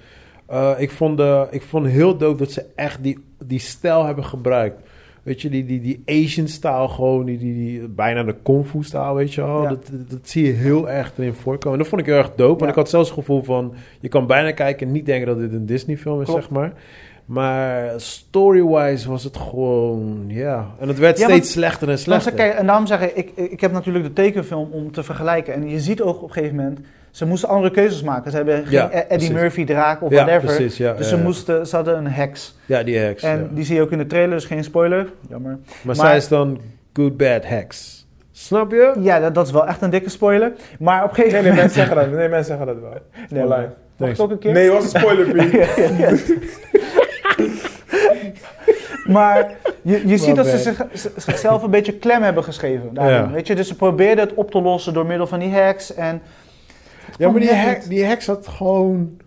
eh, ik, vond de, ik vond heel dope dat ze echt die, die stijl hebben gebruikt. Weet je, die, die, die Asian-stijl gewoon, die, die, die, bijna de kung fu-stijl, weet je wel. Ja. Dat, dat, dat zie je heel erg erin voorkomen. En dat vond ik heel erg dope. Want Ja. ik had zelfs het gevoel van, je kan bijna kijken en niet denken dat dit een Disney-film is, Klopt. zeg maar. Maar story-wise was het gewoon, ja. En het werd Ja, steeds want- slechter en Maar ze- slechter. kijk, en daarom zeg ik, ik, ik heb natuurlijk de tekenfilm om te vergelijken. En je ziet ook op een gegeven moment, ze moesten andere keuzes maken. Ze hebben geen E- Ja, Eddie precies. Murphy draak of ja, whatever. precies, ja. Dus ja, ze, ja. moesten, ze hadden een heks. Ja, die heks. En ja. die zie je ook in de trailer, dus geen spoiler. Jammer. maar, maar- zij is dan good bad heks. Snap je? Ja, dat, dat is wel echt een dikke spoiler. Maar op een Nee, gegeven nee, moment... mensen zeggen dat. Nee, mensen zeggen dat wel. Nee, Online. maar- Mag Nee, ik ook een keer? Nee, was een spoiler, Piet. Maar je, je ziet dat ze bad. zich, z- zichzelf een beetje klem hebben geschreven. Daarin, Ja. weet je? Dus ze probeerden het op te lossen door middel van die hacks. En Ja, maar die, net hek, niet. die heks had gewoon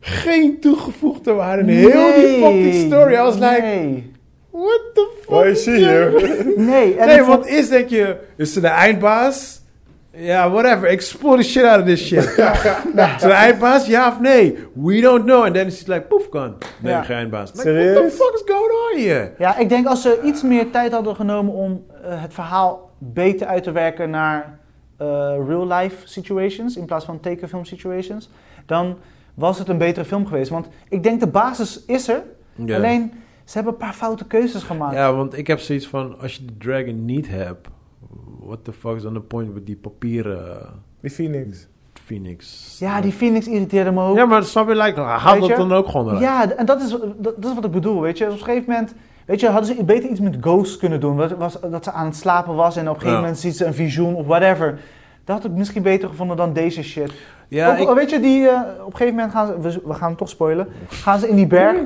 geen toegevoegde waarde in Nee, heel die fucking story. I was like, Nee, what the fuck? Why is she here? nee. En Nee, ik vond- want is denk je, is ze de eindbaas? Ja, whatever. Explore the shit out of this shit. Is ze de eindbaas? Ja of nee? We don't know. And then she's like, poof, gone. Nee, Ja. geen eindbaas. Like, Serieus? what the fuck is going on here? Ja, ik denk als ze iets meer tijd hadden genomen om eh, het verhaal beter uit te werken naar eh, real-life situations in plaats van tekenfilm situations, dan was het een betere film geweest. Want ik denk de basis is er, Ja. alleen ze hebben een paar foute keuzes gemaakt. Ja, want ik heb zoiets van, als je de dragon niet hebt, what the fuck is dan de point met die papieren Die Phoenix. phoenix? Ja, die Phoenix irriteerde me ook. Ja, maar snap je, like, haal Weet dat je? dan ook gewoon eruit. Ja, d- en dat is, dat, dat is wat ik bedoel, weet je. Op een gegeven moment, weet je, hadden ze beter iets met Ghost kunnen doen. Wat, was, dat ze aan het slapen was en op een gegeven Ja. moment ziet ze een visioen of whatever. Dat had ik misschien beter gevonden dan deze shit. Ja, Ook- ik- Weet je, die, eh, op een gegeven moment gaan ze, we, we gaan hem toch spoilen, gaan ze in die berg,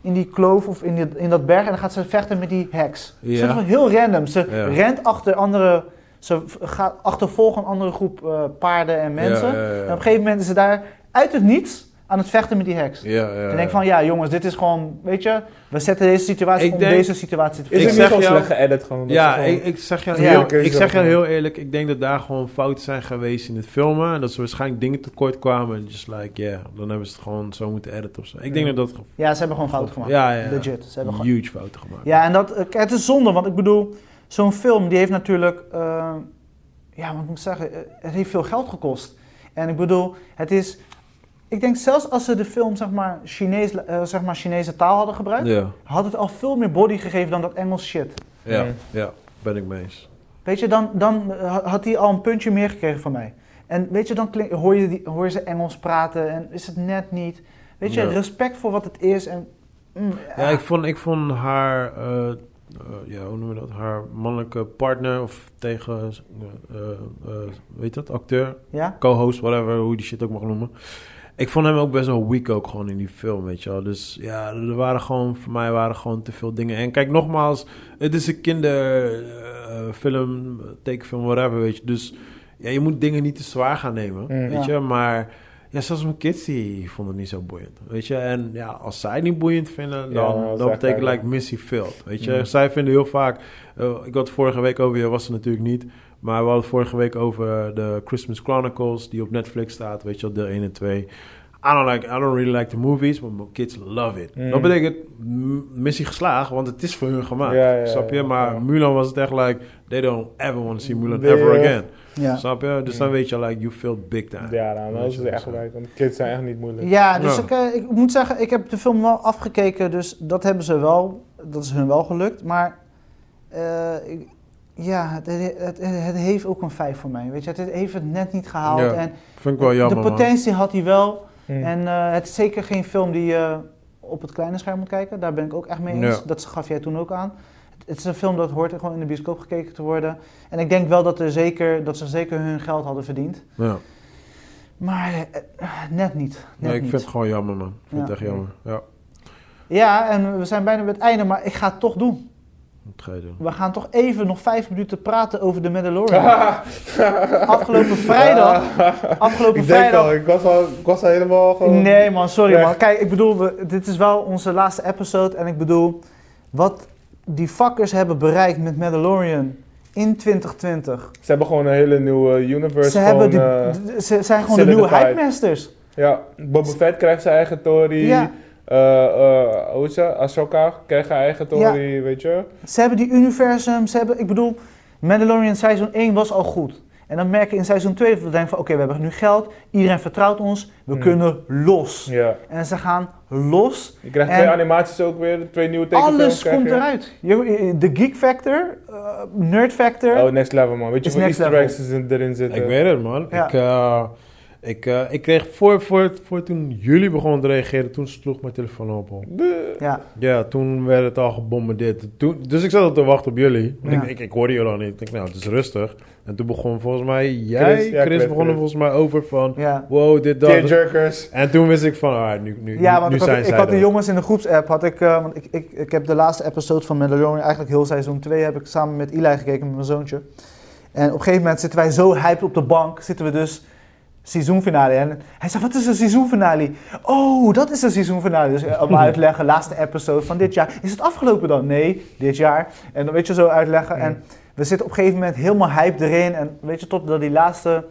in die kloof of in, die- in dat berg en dan gaat ze vechten met die heks. Ja. Ze is wel heel random. Ze Ja. rent achter andere, ze v- gaat achtervolgen een andere groep eh, paarden en mensen. Ja, ja, ja. En op een gegeven moment is ze daar uit het niets aan het vechten met die heks. ja, ja, En ik denk van, ja jongens, dit is gewoon, weet je, we zetten deze situatie Ik om denk- deze situatie te Is Ik het veranderen. niet zeg gewoon jou- slecht geëdit gewoon? Dat Ja, is gewoon- ik, ik zeg je Ja. heel, Keuze ik zeg je ook, ja. heel eerlijk, ik denk dat daar gewoon fouten zijn geweest in het filmen. En dat ze waarschijnlijk dingen tekort kwamen. En just like, ja, dan hebben ze het gewoon zo moeten editen of zo. Ik denk dat dat ge- Ja, ze hebben gewoon fouten gemaakt. Ja, ja, ja. Legit, ze hebben gewoon... huge fouten gemaakt. Ja, en dat, eh, het is zonde, want ik bedoel, zo'n film die heeft natuurlijk, eh, ja, wat moet ik zeggen, eh, het heeft veel geld gekost. En ik bedoel, het is, ik denk zelfs als ze de film, zeg maar, Chinees, eh, zeg maar Chinese taal hadden gebruikt, ja, had het al veel meer body gegeven dan dat Engels shit. ja, Nee. ja, ben ik mee eens. Weet je, dan, dan eh, had hij al een puntje meer gekregen van mij. En weet je, dan klink- hoor, je die, hoor je ze Engels praten en is het net niet. Weet je, Ja. respect voor wat het is. En, mm, Ja, ah. ik vond, ik vond haar, eh, eh, ja, hoe noemen we dat? Haar mannelijke partner of tegen, eh eh, weet dat, acteur, ja? co-host, whatever, hoe je die shit ook mag noemen. Ik vond hem ook best wel weak ook gewoon in die film, weet je wel. Dus ja, er waren gewoon, voor mij waren gewoon te veel dingen. En kijk, nogmaals, het is een kinderfilm, tekenfilm, whatever, weet je. Dus ja, je moet dingen niet te zwaar gaan nemen, Mm. weet Ja. je. Maar ja, zelfs mijn kids, die vonden het niet zo boeiend, weet je. En ja, als zij het niet boeiend vinden, dan, dat is dan echt betekent duidelijk. like missie failed, weet je. Mm. Zij vinden heel vaak, eh, ik had het vorige week over, je was er natuurlijk niet. Maar we hadden het vorige week over de Christmas Chronicles, die op Netflix staat, weet je wel, deel 1 en 2. I don't, like, I don't really like the movies, but my kids love it. Mm. Dat betekent m- missie geslaagd, want het is voor hun gemaakt. Ja, ja, snap je? ja. maar Mulan was het echt like, they don't ever want to see Mulan Nee, ever ja. again. Ja. Snap je? Dus dan weet je, like, you failed big time. Ja, nou, dat is het echt gelijk. Want kids zijn echt niet moeilijk. Ja, dus Ja. Ik, eh, ik moet zeggen, ik heb de film wel afgekeken, dus dat hebben ze wel, dat is hun wel gelukt. Maar eh, ik, ja, het, het, het- het heeft ook een 5 voor mij. Weet je, het heeft het net niet gehaald. Ja, en Vind ik wel jammer, de man. potentie had hij wel. Mm. En eh, het is zeker geen film die je op het kleine scherm moet kijken. Daar ben ik ook echt mee eens. Ja. Dat gaf jij toen ook aan. Het- Het is een film dat hoort gewoon in de bioscoop gekeken te worden. En ik denk wel dat, er zeker, dat ze zeker hun geld hadden verdiend. Ja. Maar eh, eh, net niet. Net Nee, ik niet. vind het gewoon jammer, man. Ik vind het Ja. echt jammer. Ja, Ja, en we zijn bijna bij het einde, maar ik ga het toch doen. dat ga je doen. We gaan toch even nog vijf minuten praten over de Mandalorian. afgelopen vrijdag. Afgelopen Ik denk vrijdag. al, ik was al, ik was al helemaal gewoon... Nee man, sorry Weg. man. Kijk, ik bedoel, we, dit is wel onze laatste episode. En ik bedoel, wat die fuckers hebben bereikt met Mandalorian in 2020. Ze hebben gewoon een hele nieuwe universe. Ze, hebben die, gewoon, eh, d- d- ze zijn gewoon de nieuwe solidified. hype masters. ja, Boba Fett krijgt zijn eigen Tory. Ja. Eh, eh, hoe is dat? Ahsoka krijgt haar eigen Tory, weet je? Ze hebben die universum, ze hebben, ik bedoel, Mandalorian seizoen 1 was al goed. En dan merk je in seizoen 2 dat we denken van oké, we hebben nu geld, iedereen vertrouwt ons, we Hmm. kunnen los. Ja. En ze gaan los. Je krijgt En- twee animaties ook weer, twee nieuwe tekenfilms. Alles krijg komt je. eruit. Je- eh, De geek factor, eh, nerd factor. Oh, next level man. Weet je Is hoeveel next easter level. eggs er- erin zitten? Ik weet het, man. Ja. Ik, eh, ik, eh, ik kreeg voor, voor, voor toen jullie begonnen te reageren, toen sloeg mijn telefoon op. hoor. Ja. Ja, toen werd het al gebombardeerd. Toen, dus ik zat al te wachten op jullie. Want Ja. ik, ik, ik hoorde jullie al niet. Ik denk, nou, het is rustig. En toen begon volgens mij jij, Chris, Chris, ja, Chris, begon er Chris. volgens mij over van... Ja. Wow, dit, dat. Tearjerkers. En toen wist ik van, ah, nu, nu, Ja, nu- want nu ik had, zijn ik zij had de er. jongens in de groepsapp, had ik, eh, want ik, ik, ik heb de laatste episode van Mandalorian, eigenlijk heel seizoen 2, heb ik samen met Eli gekeken, met mijn zoontje. En op een gegeven moment zitten wij zo hyped op de bank, zitten we dus seizoenfinale. En hij zei, wat is een seizoenfinale? Oh, dat is een seizoenfinale. Dus eh, allemaal uitleggen, laatste episode van dit jaar. Is het afgelopen dan? Nee, dit jaar. En dan weet je zo uitleggen. Mm. En we zitten op een gegeven moment helemaal hyped erin. En weet je, totdat die laatste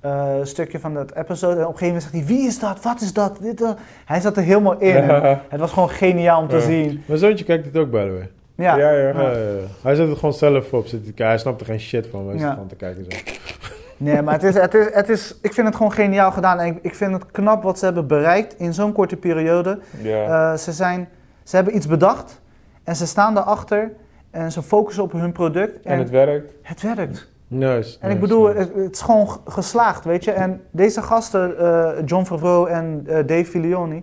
eh, stukje van dat episode. En op een gegeven moment zegt hij, wie is dat? Wat is dat? Dit, dat?" Hij zat er helemaal in. En Het was gewoon geniaal om te Ja. zien. Mijn zoontje kijkt dit ook, by the way. Ja. ja, ja. Ja, ja, ja. Hij zet het gewoon zelf op. Zit te kijken. Hij snapt er geen shit van. Hij zit Ja. gewoon te kijken zo. Nee, maar het is, het, is, het is, ik vind het gewoon geniaal gedaan. En ik, ik vind het knap wat ze hebben bereikt in zo'n korte periode. Ja. Eh, ze, zijn, ze hebben iets bedacht en ze staan daarachter en ze focussen op hun product en, en het het, werkt. werkt. Nice. En ik bedoel, het, het is gewoon g- geslaagd, weet je. En deze gasten, eh, John Favreau en eh, Dave Filoni,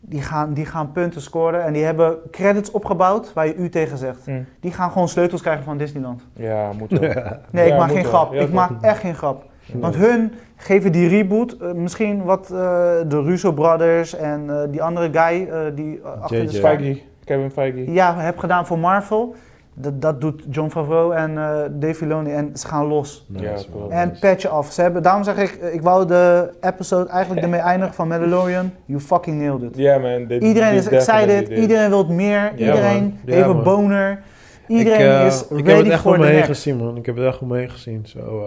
die gaan, die gaan punten scoren en die hebben credits opgebouwd waar je u tegen zegt. Hm. Die gaan gewoon sleutels krijgen van Disneyland. Ja, moet wel. Nee, Ja, ik maak moet geen wel. grap. Ja, ik toch? maak echt geen grap. Want hun geven die reboot, eh, misschien wat eh, de Russo Brothers en eh, die andere guy eh, die eh, achter de J.J. schermen- Feige, Kevin Feige. ja, heb gedaan voor Marvel. Dat, dat doet John Favreau en eh Dave Filoni en ze gaan los. Nice, man. En patchen af. Ze hebben, daarom zeg ik, eh, ik wou de episode eigenlijk ermee eindigen van Mandalorian. You fucking nailed it. Ja, man. Dit, Iedereen dit is excited, definitely dit. iedereen wil meer, Ja, iedereen man. Ja, heeft een man. boner. Iedereen ik, eh, is Ik heb het ready echt om voor me de heen next. gezien, man. Ik heb het echt om me heen gezien. Zo, eh,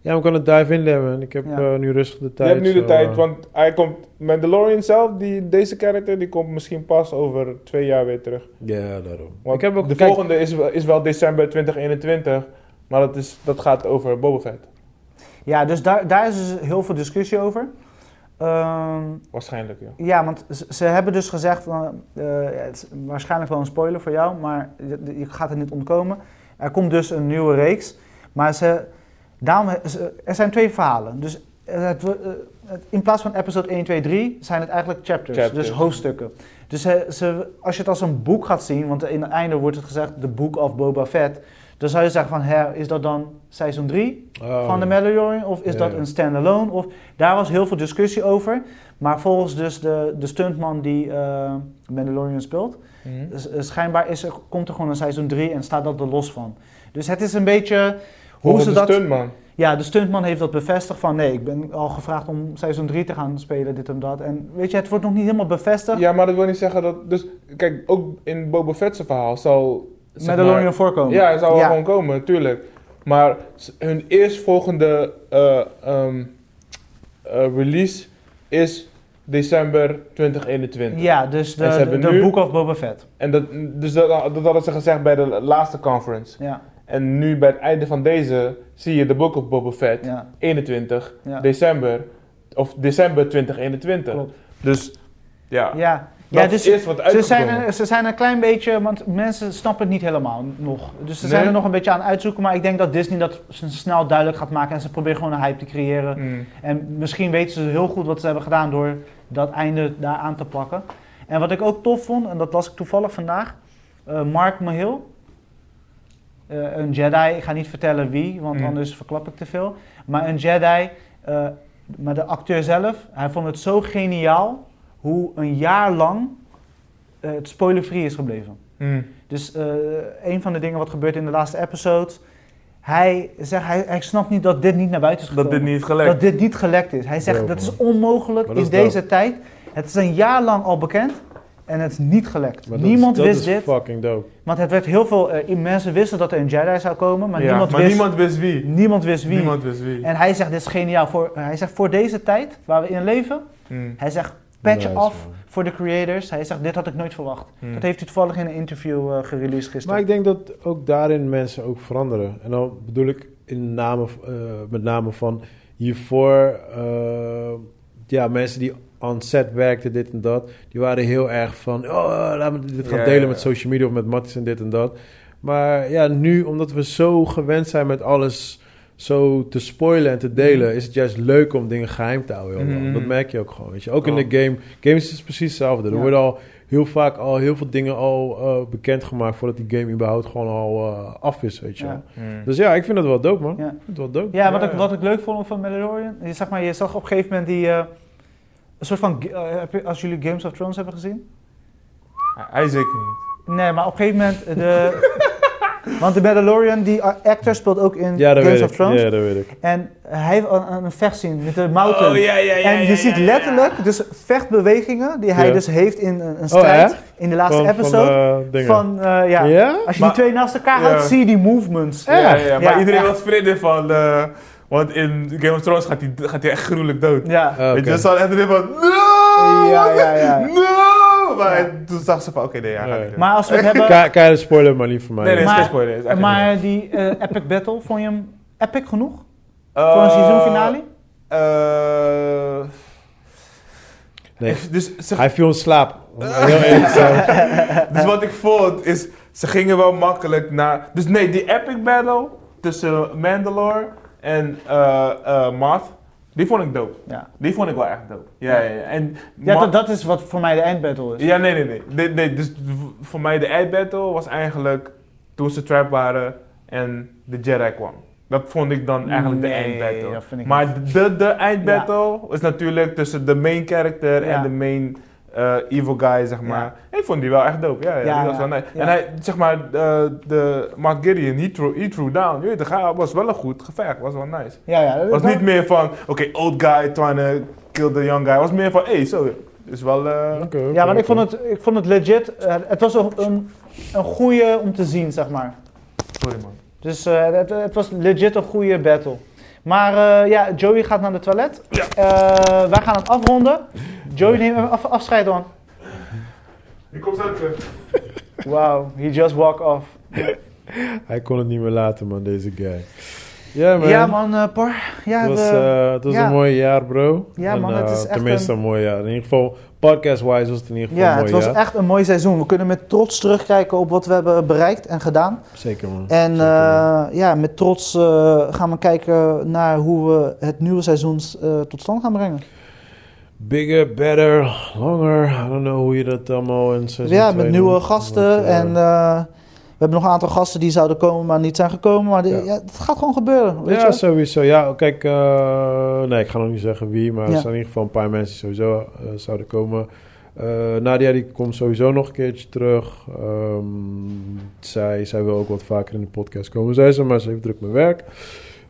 ja, we kunnen dive in, man. Ik heb Ja. eh, nu rustig de Je tijd. hebt nu de zo, tijd, eh, want hij komt. Mandalorian zelf, die, deze character, die komt misschien pas over twee jaar weer terug. Ja, daarom. Want ik heb ook... de kijk, volgende is, wel- is wel december 2021, maar dat, is, dat gaat over Boba Fett. Ja, dus daar, daar is dus heel veel discussie over. Ehm, Waarschijnlijk, ja. ja, want ze, ze hebben dus gezegd, van, eh, het is waarschijnlijk wel een spoiler voor jou, maar je, je gaat het niet ontkomen. Er komt dus een nieuwe reeks, maar ze, daarom, ze- er zijn twee verhalen. Dus eh, het, wo- eh, het- in plaats van episode 1, 2, 3 zijn het eigenlijk chapters, Chapters. dus hoofdstukken. Dus eh, ze, als je het als een boek gaat zien, want in het einde wordt het gezegd, de boek of Boba Fett, dan zou je zeggen van, hè, is dat dan seizoen 3? oh, van de Mandalorian? Of is Ja, dat ja. een standalone? Of, daar was heel veel discussie over. Maar volgens dus de, de stuntman die eh, Mandalorian speelt, s- eh, schijnbaar is er, komt er gewoon een seizoen 3 en staat dat er los van. Dus het is een beetje hoe Volgens ze de dat... stunt, man. Ja, de stuntman heeft dat bevestigd van nee, ik ben al gevraagd om seizoen 3 te gaan spelen, dit en dat. En weet je, het wordt nog niet helemaal bevestigd. Ja, maar dat wil niet zeggen dat. Dus kijk, ook in Boba Fett's verhaal zal. zeg Mandalorian maar- voorkomen. Ja, hij zou Ja. wel gewoon komen, tuurlijk. Maar s- hun eerstvolgende eh, ehm, eh, release is december 2021. Ja, dus de, En ze de, hebben de nu- Book of Boba Fett. En dat, dus dat, dat hadden ze gezegd bij de laatste conference. Ja, En nu bij het einde van deze zie je de Book of Boba Fett, ja, 21 ja. december, of december 2021. Klopt. Dus ja, Ja, Dat Ja, is dus eerst wat Ze uitgekomen. zijn, er- ze zijn een klein beetje, want mensen snappen het niet helemaal nog. Dus ze zijn Nee? er nog een beetje aan het uitzoeken, maar ik denk dat Disney dat s- snel duidelijk gaat maken en ze proberen gewoon een hype te creëren. Mm. En misschien weten ze heel goed wat ze hebben gedaan door dat einde daar aan te pakken. En wat ik ook tof vond, en dat las ik toevallig vandaag, eh, Mark Mahill, eh, een Jedi, ik ga niet vertellen wie, want Mm. anders verklap ik te veel. Maar een Jedi, eh, maar de acteur zelf, hij vond het zo geniaal hoe een jaar lang eh, het spoiler-free is gebleven. Mm. Dus eh, een van de dingen wat gebeurt in de laatste episode, hij zegt, hij, hij snapt niet dat dit niet naar buiten is gekomen. Dat dit niet is gelekt. Dat dit niet gelekt is. Hij zegt Dope, dat is onmogelijk Maar in dat is deze tijd. Het is een jaar lang al bekend en het is niet gelekt. Maar dat is- niemand dat wist is dit, fucking dope. want het werd heel veel. eh, mensen wisten dat er een Jedi zou komen, maar, Ja, niemand, maar wist, niemand wist wie. niemand wist wie. Niemand wist wie. En hij zegt dit is geniaal. Voor, eh, hij zegt voor deze tijd waar we in leven. Mm. Hij zegt patch Nice, af man. voor de creators. Hij zegt dit had ik nooit verwacht. Mm. Dat heeft hij toevallig in een interview eh gereleased Maar gisteren. ik denk dat ook daarin mensen ook veranderen. En dan bedoel ik in name, eh, met name van hiervoor, eh, ja, mensen die on set werkten, dit en dat, die waren heel erg van, oh, laten we dit gaan Ja, delen ja, ja. met social media of met Matties en dit en dat. Maar ja, nu, omdat we zo gewend zijn met alles zo te spoilen en Mm. te delen, is het juist leuk om dingen geheim te houden. heel lang. Mhm. Dat merk je ook gewoon, weet je. Ook Oh. in de game. Games is het precies hetzelfde. Er Ja. worden al heel vaak al heel veel dingen al eh, bekendgemaakt voordat die game überhaupt gewoon al eh, af is, weet je Ja. wel. Mm. Dus ja, ik vind dat wel dope, man. Ja. Ik vind het wel dope. Ja, wat, Ja, Ik, ja. wat ik leuk vond van Mandalorian, je, zeg maar, je zag op een gegeven moment die... eh, een soort van, ge- eh, heb je- als jullie Games of Thrones hebben gezien? Hij zeker niet. Nee, maar op een gegeven moment de... want de Mandalorian, die eh, actor speelt ook in Ja, dat Games weet of ik. Thrones. Ja, dat weet ik. En hij heeft een, een vechtscene met de mountain. Oh, ja, ja, en je ziet letterlijk dus vechtbewegingen die hij Ja. dus heeft in een, een Oh, strijd. echt? in de laatste Van- episode. Van, eh, dingen. Van, eh, ja, ja. Als je Maar- die twee naast elkaar Ja. houdt, zie je die movements. Ja, ja, Ja, maar iedereen echt. was vrienden van. eh, want in Game of Thrones gaat hij gaat hij echt gruwelijk dood. Ja. Oh, Weet je, oké. dus ze hadden echt erin van. No! Ja, ja, ja. No! Maar Ja. toen zag ze van: oké, nee, ja, Nee. gaat niet. Maar als we het hebben... Ke- Keiharde spoiler, maar niet voor mij. Nee, nee, Maar- maar, geen spoiler. is echt Maar die eh, epic battle, vond je hem epic genoeg? geen- voor een Eh, seizoenfinale? eh, Nee. Dus, ze, Hij viel in slaap. Om Heel eerlijk te zijn. dus wat ik vond is, ze gingen wel makkelijk naar... Dus nee, die epic battle tussen Mandalore en eh eh, Moth, die vond ik dope. Ja, Die vond ik wel echt dope. Ja, ja, ja. En ja Ma- dat, dat is wat voor mij de eindbattle is. Ja, nee, nee, nee. nee, nee, dus v- voor mij de eindbattle was eigenlijk toen ze trap waren en de Jedi kwam. Dat vond ik dan eigenlijk de Nee, eindbattle. dat vind ik maar de, de eindbattle is natuurlijk tussen de main character Ja. en de main eh, evil guy, zeg maar. Ik vond die wel echt dope. Ja, ja, Ja, die was wel ja, nice. ja. En hij, zeg maar, eh, de Mark Gideon, he threw, he threw down. Je weet het, hij was wel een goed gevecht. Was wel nice. Ja, ja. dat- Was niet meer van, oké, old guy trying to kill the young guy. Was meer van, hey, zo, is wel... eh, Oké, oké, Ja, maar ik oké. vond het, ik vond het legit. eh, het was een, een, een goede om te zien, zeg maar. sorry man. Dus eh, het, het was legit een goede battle. Maar eh, ja, Joey gaat naar de toilet. Ja. Eh, wij gaan het afronden. Joey, neem even af, afscheid dan. Ik kom eh. zo terug. Wow, he just walk off. Hij kon het niet meer laten, man, deze guy. Ja, man. Ja man, eh Par. Ja, Het was, we- eh, het was ja. een mooi jaar, bro. Ja, En, man, het eh, is echt Tenminste, een- een mooi jaar. In ieder geval, podcast-wise was het in ieder geval ja een het was mooi jaar. echt een mooi seizoen. We kunnen met trots terugkijken op wat we hebben bereikt en gedaan. Zeker, man. En Zeker, eh, ja, met trots eh, gaan we kijken naar hoe we het nieuwe seizoen eh, tot stand gaan brengen. Bigger, better, longer. I don't know hoe je dat allemaal in seizoen ja, twee met nieuwe noemt. gasten. Want, eh, en eh, we hebben nog een aantal gasten die zouden komen, maar niet zijn gekomen. Maar die- Ja. ja, het gaat gewoon gebeuren. Weet ja, je? sowieso. Ja, kijk, eh, nee, ik ga nog niet zeggen wie, maar Ja. er zijn in ieder geval een paar mensen die sowieso eh, zouden komen. Eh, Nadia die komt sowieso nog een keertje terug. Ehm, zij, zij wil ook wat vaker in de podcast komen, zei ze, maar ze heeft druk met werk.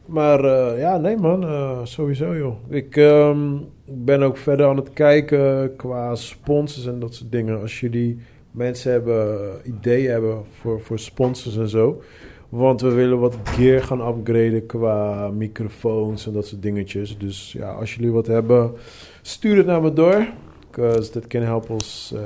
Maar eh, ja, nee man, eh, sowieso joh. Ik ehm, ben ook verder aan het kijken qua sponsors en dat soort dingen. Als jullie mensen hebben, ideeën hebben voor, voor sponsors en zo. Want we willen wat gear gaan upgraden qua microfoons en dat soort dingetjes. Dus ja, als jullie wat hebben, stuur het naar me door. Because that can help us eh,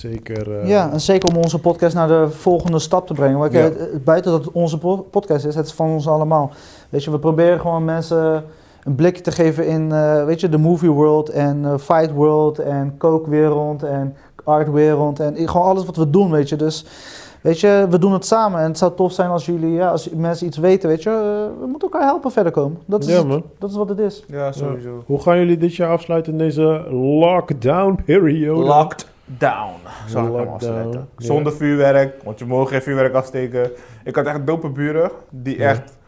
zeker. eh, Ja, en zeker om onze podcast naar de volgende stap te brengen. Want Ja. kijk, het- buiten dat het onze po- podcast is, het is van ons allemaal. Weet je, we proberen gewoon mensen een blikje te geven in, eh, weet je, de movie world en eh, fight world en kookwereld en artwereld en i- gewoon alles wat we doen, weet je. Dus, weet je, we doen het samen en het zou tof zijn als jullie, ja, als mensen iets weten, weet je. eh, we moeten elkaar helpen verder komen. Dat is, Ja, het. man. dat is wat het is. Ja, sowieso. Hoe gaan jullie dit jaar afsluiten in deze lockdown periode? Locked down. Zal ik hem Lockdown, afsluiten. ja. Zonder vuurwerk, want je mogen geen vuurwerk afsteken. Ik had echt dope buren die Ja. echt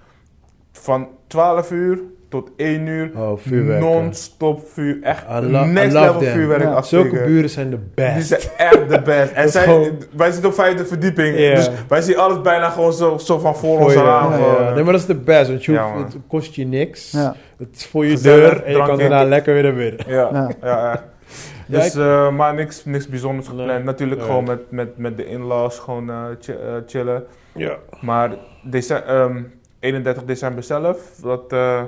van 12 uur tot 1 uur oh, vuurwerk. non-stop vuur, echt I lo- I next love level them. vuurwerk Ja. afsteken. Zulke buren zijn de best. Die zijn echt de best. Dat En is zij, gewoon- Wij zitten op vijfde verdieping, Ja. dus wij zien alles bijna gewoon zo, zo van voor Voor ons je- aan. ja, gewoon. eh. ja. Nee, maar dat is de best, want je Ja, hoeft- man. het kost je niks. Ja, Het is voor je Gezellig, deur en je kan drankje. daarna lekker weer naar binnen. Ja, ja. ja. echt. Dus, eh, maar niks, niks bijzonders gepland. Nee. Natuurlijk Nee. gewoon met, met, met de in-laws gewoon eh, chi- eh, chillen. Ja. Maar dece- ehm, 31 december zelf, dat... eh,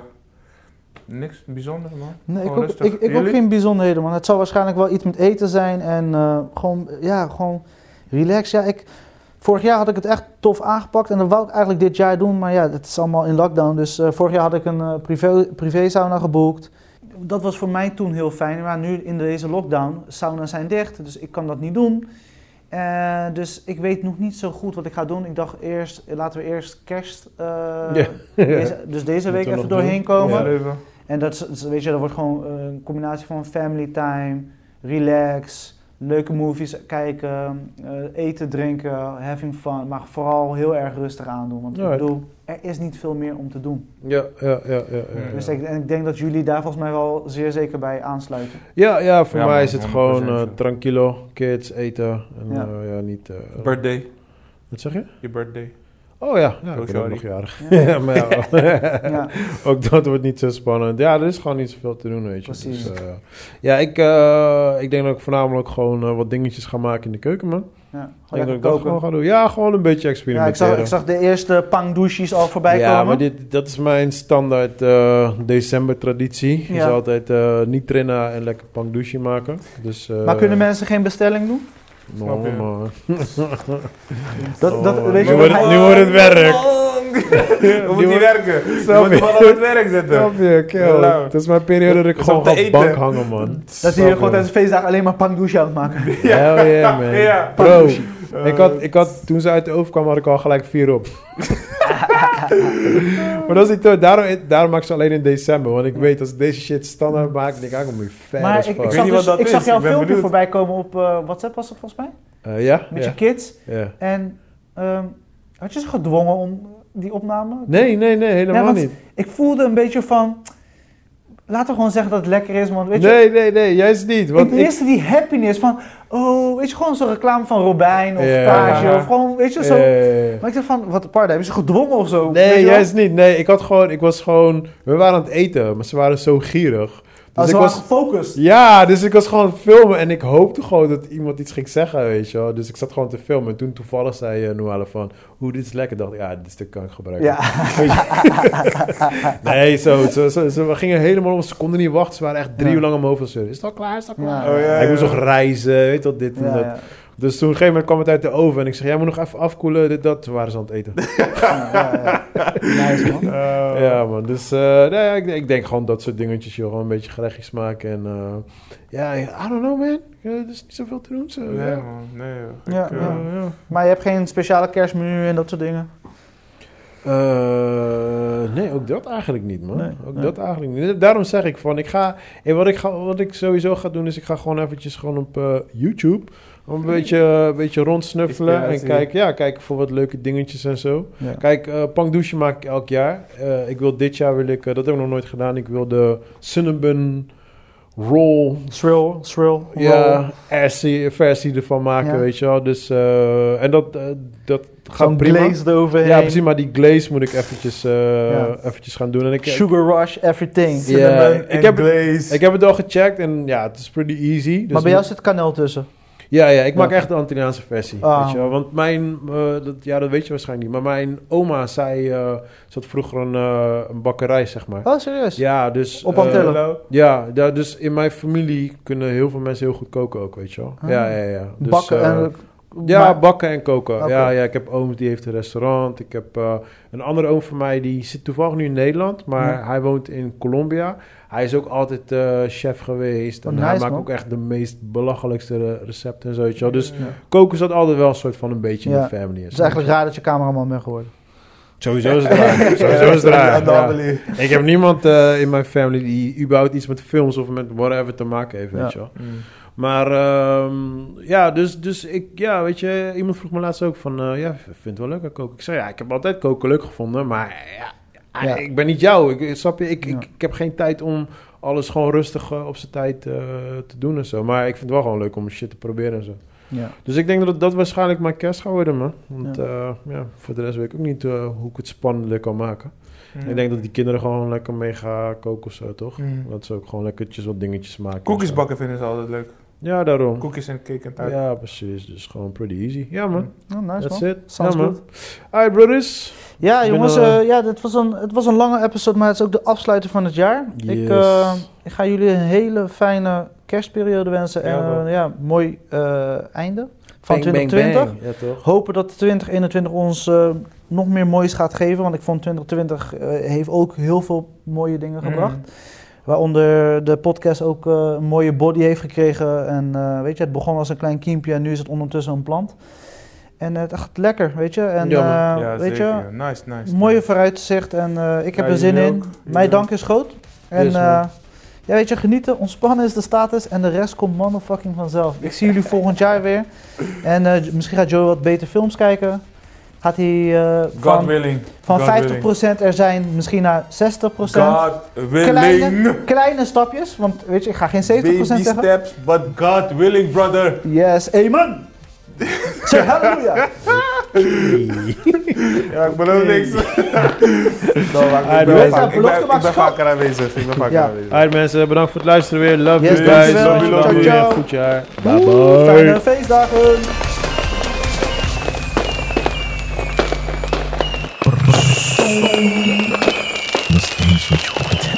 niks bijzonders, man. Nee, ik Gewoon ook, rustig. ik, ik ook Jullie? geen bijzonderheden, man. Het zal waarschijnlijk wel iets met eten zijn en eh, gewoon, ja, gewoon relax. Ja, ik, vorig jaar had ik het echt tof aangepakt en dat wou ik eigenlijk dit jaar doen, maar ja, het is allemaal in lockdown. Dus eh, vorig jaar had ik een eh, privé, privé sauna geboekt. Dat was voor mij toen heel fijn, maar nu in deze lockdown, sauna's zijn dicht, dus ik kan dat niet doen. Eh, dus ik weet nog niet zo goed wat ik ga doen. Ik dacht eerst, laten we eerst kerst, eh, Ja. deze- dus deze Moeten we week nog even doen. doorheen komen. Ja, leven. En dat, is- dat is- weet je, dat wordt gewoon eh, een combinatie van family time, relax, leuke movies kijken, eh, eten, drinken, having fun. Maar vooral heel erg rustig aandoen. Want ik Alright. bedoel, er is niet veel meer om te doen. Ja, ja, ja, ja, ja. Dus ik, en ik denk dat jullie daar volgens mij wel zeer zeker bij aansluiten. Ja, ja, voor Ja, mij man, is het 100% gewoon eh, zo. tranquilo, kids, eten. En, Ja. eh, ja, niet... eh, Birthday. wat zeg je? Je birthday. Oh ja, ja ik Oh, ben ook sorry. nog jarig. Ja. Ja, maar ja, Ja. ook dat wordt niet zo spannend. Ja, er is gewoon niet zoveel te doen, weet je. Precies. Dus, eh, ja, ik, eh, ik denk dat ik voornamelijk gewoon eh, wat dingetjes ga maken in de keuken, man. Ja, Ik denk gewoon dat ik lekker dat gewoon koken. ga doen. Ja, gewoon een beetje Ja, ik experimenteren. zag, ik zag de eerste pangdouches al voorbij ja, komen. maar dit, dat is mijn standaard eh, december-traditie. Is Ja. altijd eh, niet trainen en lekker pangdouche maken. Dus, eh, Maar kunnen mensen geen bestelling doen? no, Snap je. man. Dat, dat, Oh, weet nu je, wordt het- hij- nu wordt het werk. We moeten niet werken. Snap We moeten je? wel aan het werk zetten. Snap je, kerel. Hello. Het is mijn periode dat ik Het is gewoon om te op de bank eten. hangen, man. dat hij Snap hier je? gewoon tijdens feestdagen alleen maar pangdouche aan het maken. Hell yeah, man. Ja. Bro, Eh, ik had, ik had, toen ze uit de oven kwam, had ik al gelijk vier op. maar dat is niet te- daarom, daarom maak ik ze alleen in december. Want ik weet, als ik deze shit standaard maak, denk ik, I'm gonna be fat as Maar ik, fuck. ik, weet zag, niet dus, wat dat ik zag is, jouw ik ben filmpje benieuwd. voorbij komen op eh, WhatsApp, was dat volgens mij? Eh, ja? Met ja, je kids. ja. En ehm, had je ze gedwongen om die opname? Nee, nee, nee, helemaal Ja, want- niet. Ik voelde een beetje van. Laten we gewoon zeggen dat het lekker is, want weet je. Nee, nee, nee, juist niet. Want Ik ik, miste die happiness van, oh, weet je, gewoon zo'n reclame van Robijn of Ja. Paasje of gewoon, weet je, zo. Eh, Maar ik dacht van, wat, pardon, hebben ze gedwongen of zo? Weet Nee, je wel? juist niet. Nee, ik had gewoon, ik was gewoon, we waren aan het eten, maar ze waren zo Als gierig. Dus Ah, ze ik waren was, gefocust. Ja, dus ik was gewoon aan het filmen en ik hoopte gewoon dat iemand iets ging zeggen, weet je wel. Dus ik zat gewoon te filmen en toen toevallig zei eh Noelle van, hoe dit is lekker. dacht ik, ja, dit stuk kan ik gebruiken. Ja, Nee, zo, zo, zo, zo, we gingen helemaal om, ze konden niet wachten. Ze waren echt drie Ja. uur lang omhoog van zeuren. Is het al klaar? Is het al klaar? Ja. Oh, ja, ik moest ja. nog reizen, weet je wel, dit en ja, dat. ja. Dus toen op een gegeven moment kwam het uit de oven en ik zeg, jij moet nog even afkoelen, dit, dat. Toen waren ze aan het eten. ja, ja, ja. Nice, man. Ja, man. Dus eh, nou ja, ik, ik denk gewoon dat soort dingetjes, joh. Gewoon een beetje gerechtjes maken. En eh, ja, I don't know, man. Eh, er is niet zoveel te doen. Zo, Nee, ja. man. Nee, joh. Ik, Ja, eh, ja. ja. Maar je hebt geen speciale kerstmenu en dat soort dingen? Eh, nee, ook dat eigenlijk niet, man. Nee, ook nee. dat eigenlijk niet. Daarom zeg ik van, ik ga, en wat, ik ga, wat ik sowieso ga doen, is ik ga gewoon eventjes gewoon op eh, YouTube een beetje, een beetje rondsnuffelen en Inspiratie. kijken, ja, kijken voor wat leuke dingetjes en zo. Ja. Kijk, eh pangdouche maak ik elk jaar. Eh, ik wil dit jaar, wil ik, eh, dat heb ik nog nooit gedaan, ik wil de cinnamon roll Shrill, shrill. ja, versie, versie ervan maken, Ja. weet je wel. Dus, eh, en dat, eh, dat gaat Zo'n prima. glaze eroverheen. Ja, precies, maar die glaze moet ik eventjes, eh, Ja. eventjes gaan doen. En ik, ik, Sugar rush, everything. Ja, cinnamon ik en heb- glaze. heb het al gecheckt en ja, het is pretty easy. Dus maar bij jou moet- zit kaneel tussen. Ja, ja, ik Ja. maak echt de Antilliaanse versie, Ah. weet je wel. Want mijn, eh, dat, ja, dat weet je waarschijnlijk niet, maar mijn oma, zij eh zat vroeger een, eh, een bakkerij, zeg maar. Oh, serieus? Ja, dus... Op eh, Antillen? ja, da- dus in mijn familie kunnen heel veel mensen heel goed koken ook, weet je wel. Ah. Ja, ja, ja. Dus, Bakken eh, en Ja, Maar- bakken en koken. Oké. Ja, ja, ik heb oom die heeft een restaurant. Ik heb eh, een andere oom van mij die zit toevallig nu in Nederland, maar Ja. hij woont in Colombia. Hij is ook altijd eh, chef geweest. Wat en hij Oh, nice, maakt man. ook echt de meest belachelijkste eh, recepten en zoiets. joh. Dus Ja. koken zat altijd wel een soort van een beetje in Ja. de family. en Het is zo. eigenlijk raar dat je cameraman bent geworden. Sowieso is het raar. Sowieso is het raar. ja. Ik heb niemand eh, in mijn family die überhaupt iets met films of met whatever te maken heeft, weet Ja. je wel. Mm. Maar ehm, ja, dus, dus ik, ja, weet je, iemand vroeg me laatst ook van, eh, ja, vind het wel lekker koken? Ik zei, ja, ik heb altijd koken leuk gevonden, maar ja, ah, Ja. ik ben niet jou. Ik- Ik, snap je, ik, Ja. ik, ik heb geen tijd om alles gewoon rustig eh, op zijn tijd eh, te doen en zo. Maar ik vind het wel gewoon leuk om shit te proberen en zo. Ja. Dus ik denk dat dat waarschijnlijk mijn kerst gaat worden, man. Want Ja. eh, ja, voor de rest weet ik ook niet eh, hoe ik het spannender kan maken. Ik denk dat die kinderen gewoon lekker mee gaan koken of zo, toch? Mm. Dat ze ook gewoon lekkertjes wat dingetjes maken. en Koekjes zo. bakken vinden ze altijd leuk. Ja, daarom. Koekjes en cake en taart. Ja, precies. Dus gewoon pretty easy. Ja, man. Oh, nice That's man. it. Sounds ja, man. good. Alright, brothers. Ja, Ik ben jongens, al, eh, eh, ja, dit was een, het was een lange episode, maar het is ook de afsluiter van het jaar. Ik, Yes. eh, ik ga jullie een hele fijne kerstperiode wensen en Ja, ja, bro. ja, mooi eh, einde van 2020. Ja, toch? Hopen dat 2021 ons eh, nog meer moois gaat geven, want ik vond 2020 eh, heeft ook heel veel mooie dingen Mm. gebracht. Waaronder de podcast ook eh, een mooie body heeft gekregen. En eh, weet je, het begon als een klein kiempje en nu is het ondertussen een plant. En het gaat lekker, weet je. En Ja, eh, man. Ja, weet zeker. je, Nice, nice. Mooie nice. vooruitzicht en eh, ik heb Ja, er zin jullie in. ook. Jullie Mijn ook. dank is groot. En Yes, man. eh, ja, weet je, genieten, ontspannen is de status en de rest komt motherfucking vanzelf. Ik zie jullie volgend jaar weer. En eh, misschien gaat Joe wat beter films kijken. Gaat hij eh, God van, willing. van God 50% er zijn misschien naar 60%. God willing. Kleine, kleine stapjes, want weet je, ik ga geen 70% Baby zeggen. steps, but God willing, brother. Yes, amen! Say hallelujah! Ja, ik beloof niks. Ah, ik ben- vaak- ik ben- ik ben vaker vaker aanwezig. Ik ben vaker Ja. aanwezig. Alright, mensen. Bedankt voor het luisteren weer. Love Yes, you guys. dankjewel. Love you, Ciao, love you. ciao. Goed jaar. Bye Doei, Fijne bye. feestdagen! Nog steeds niet goed.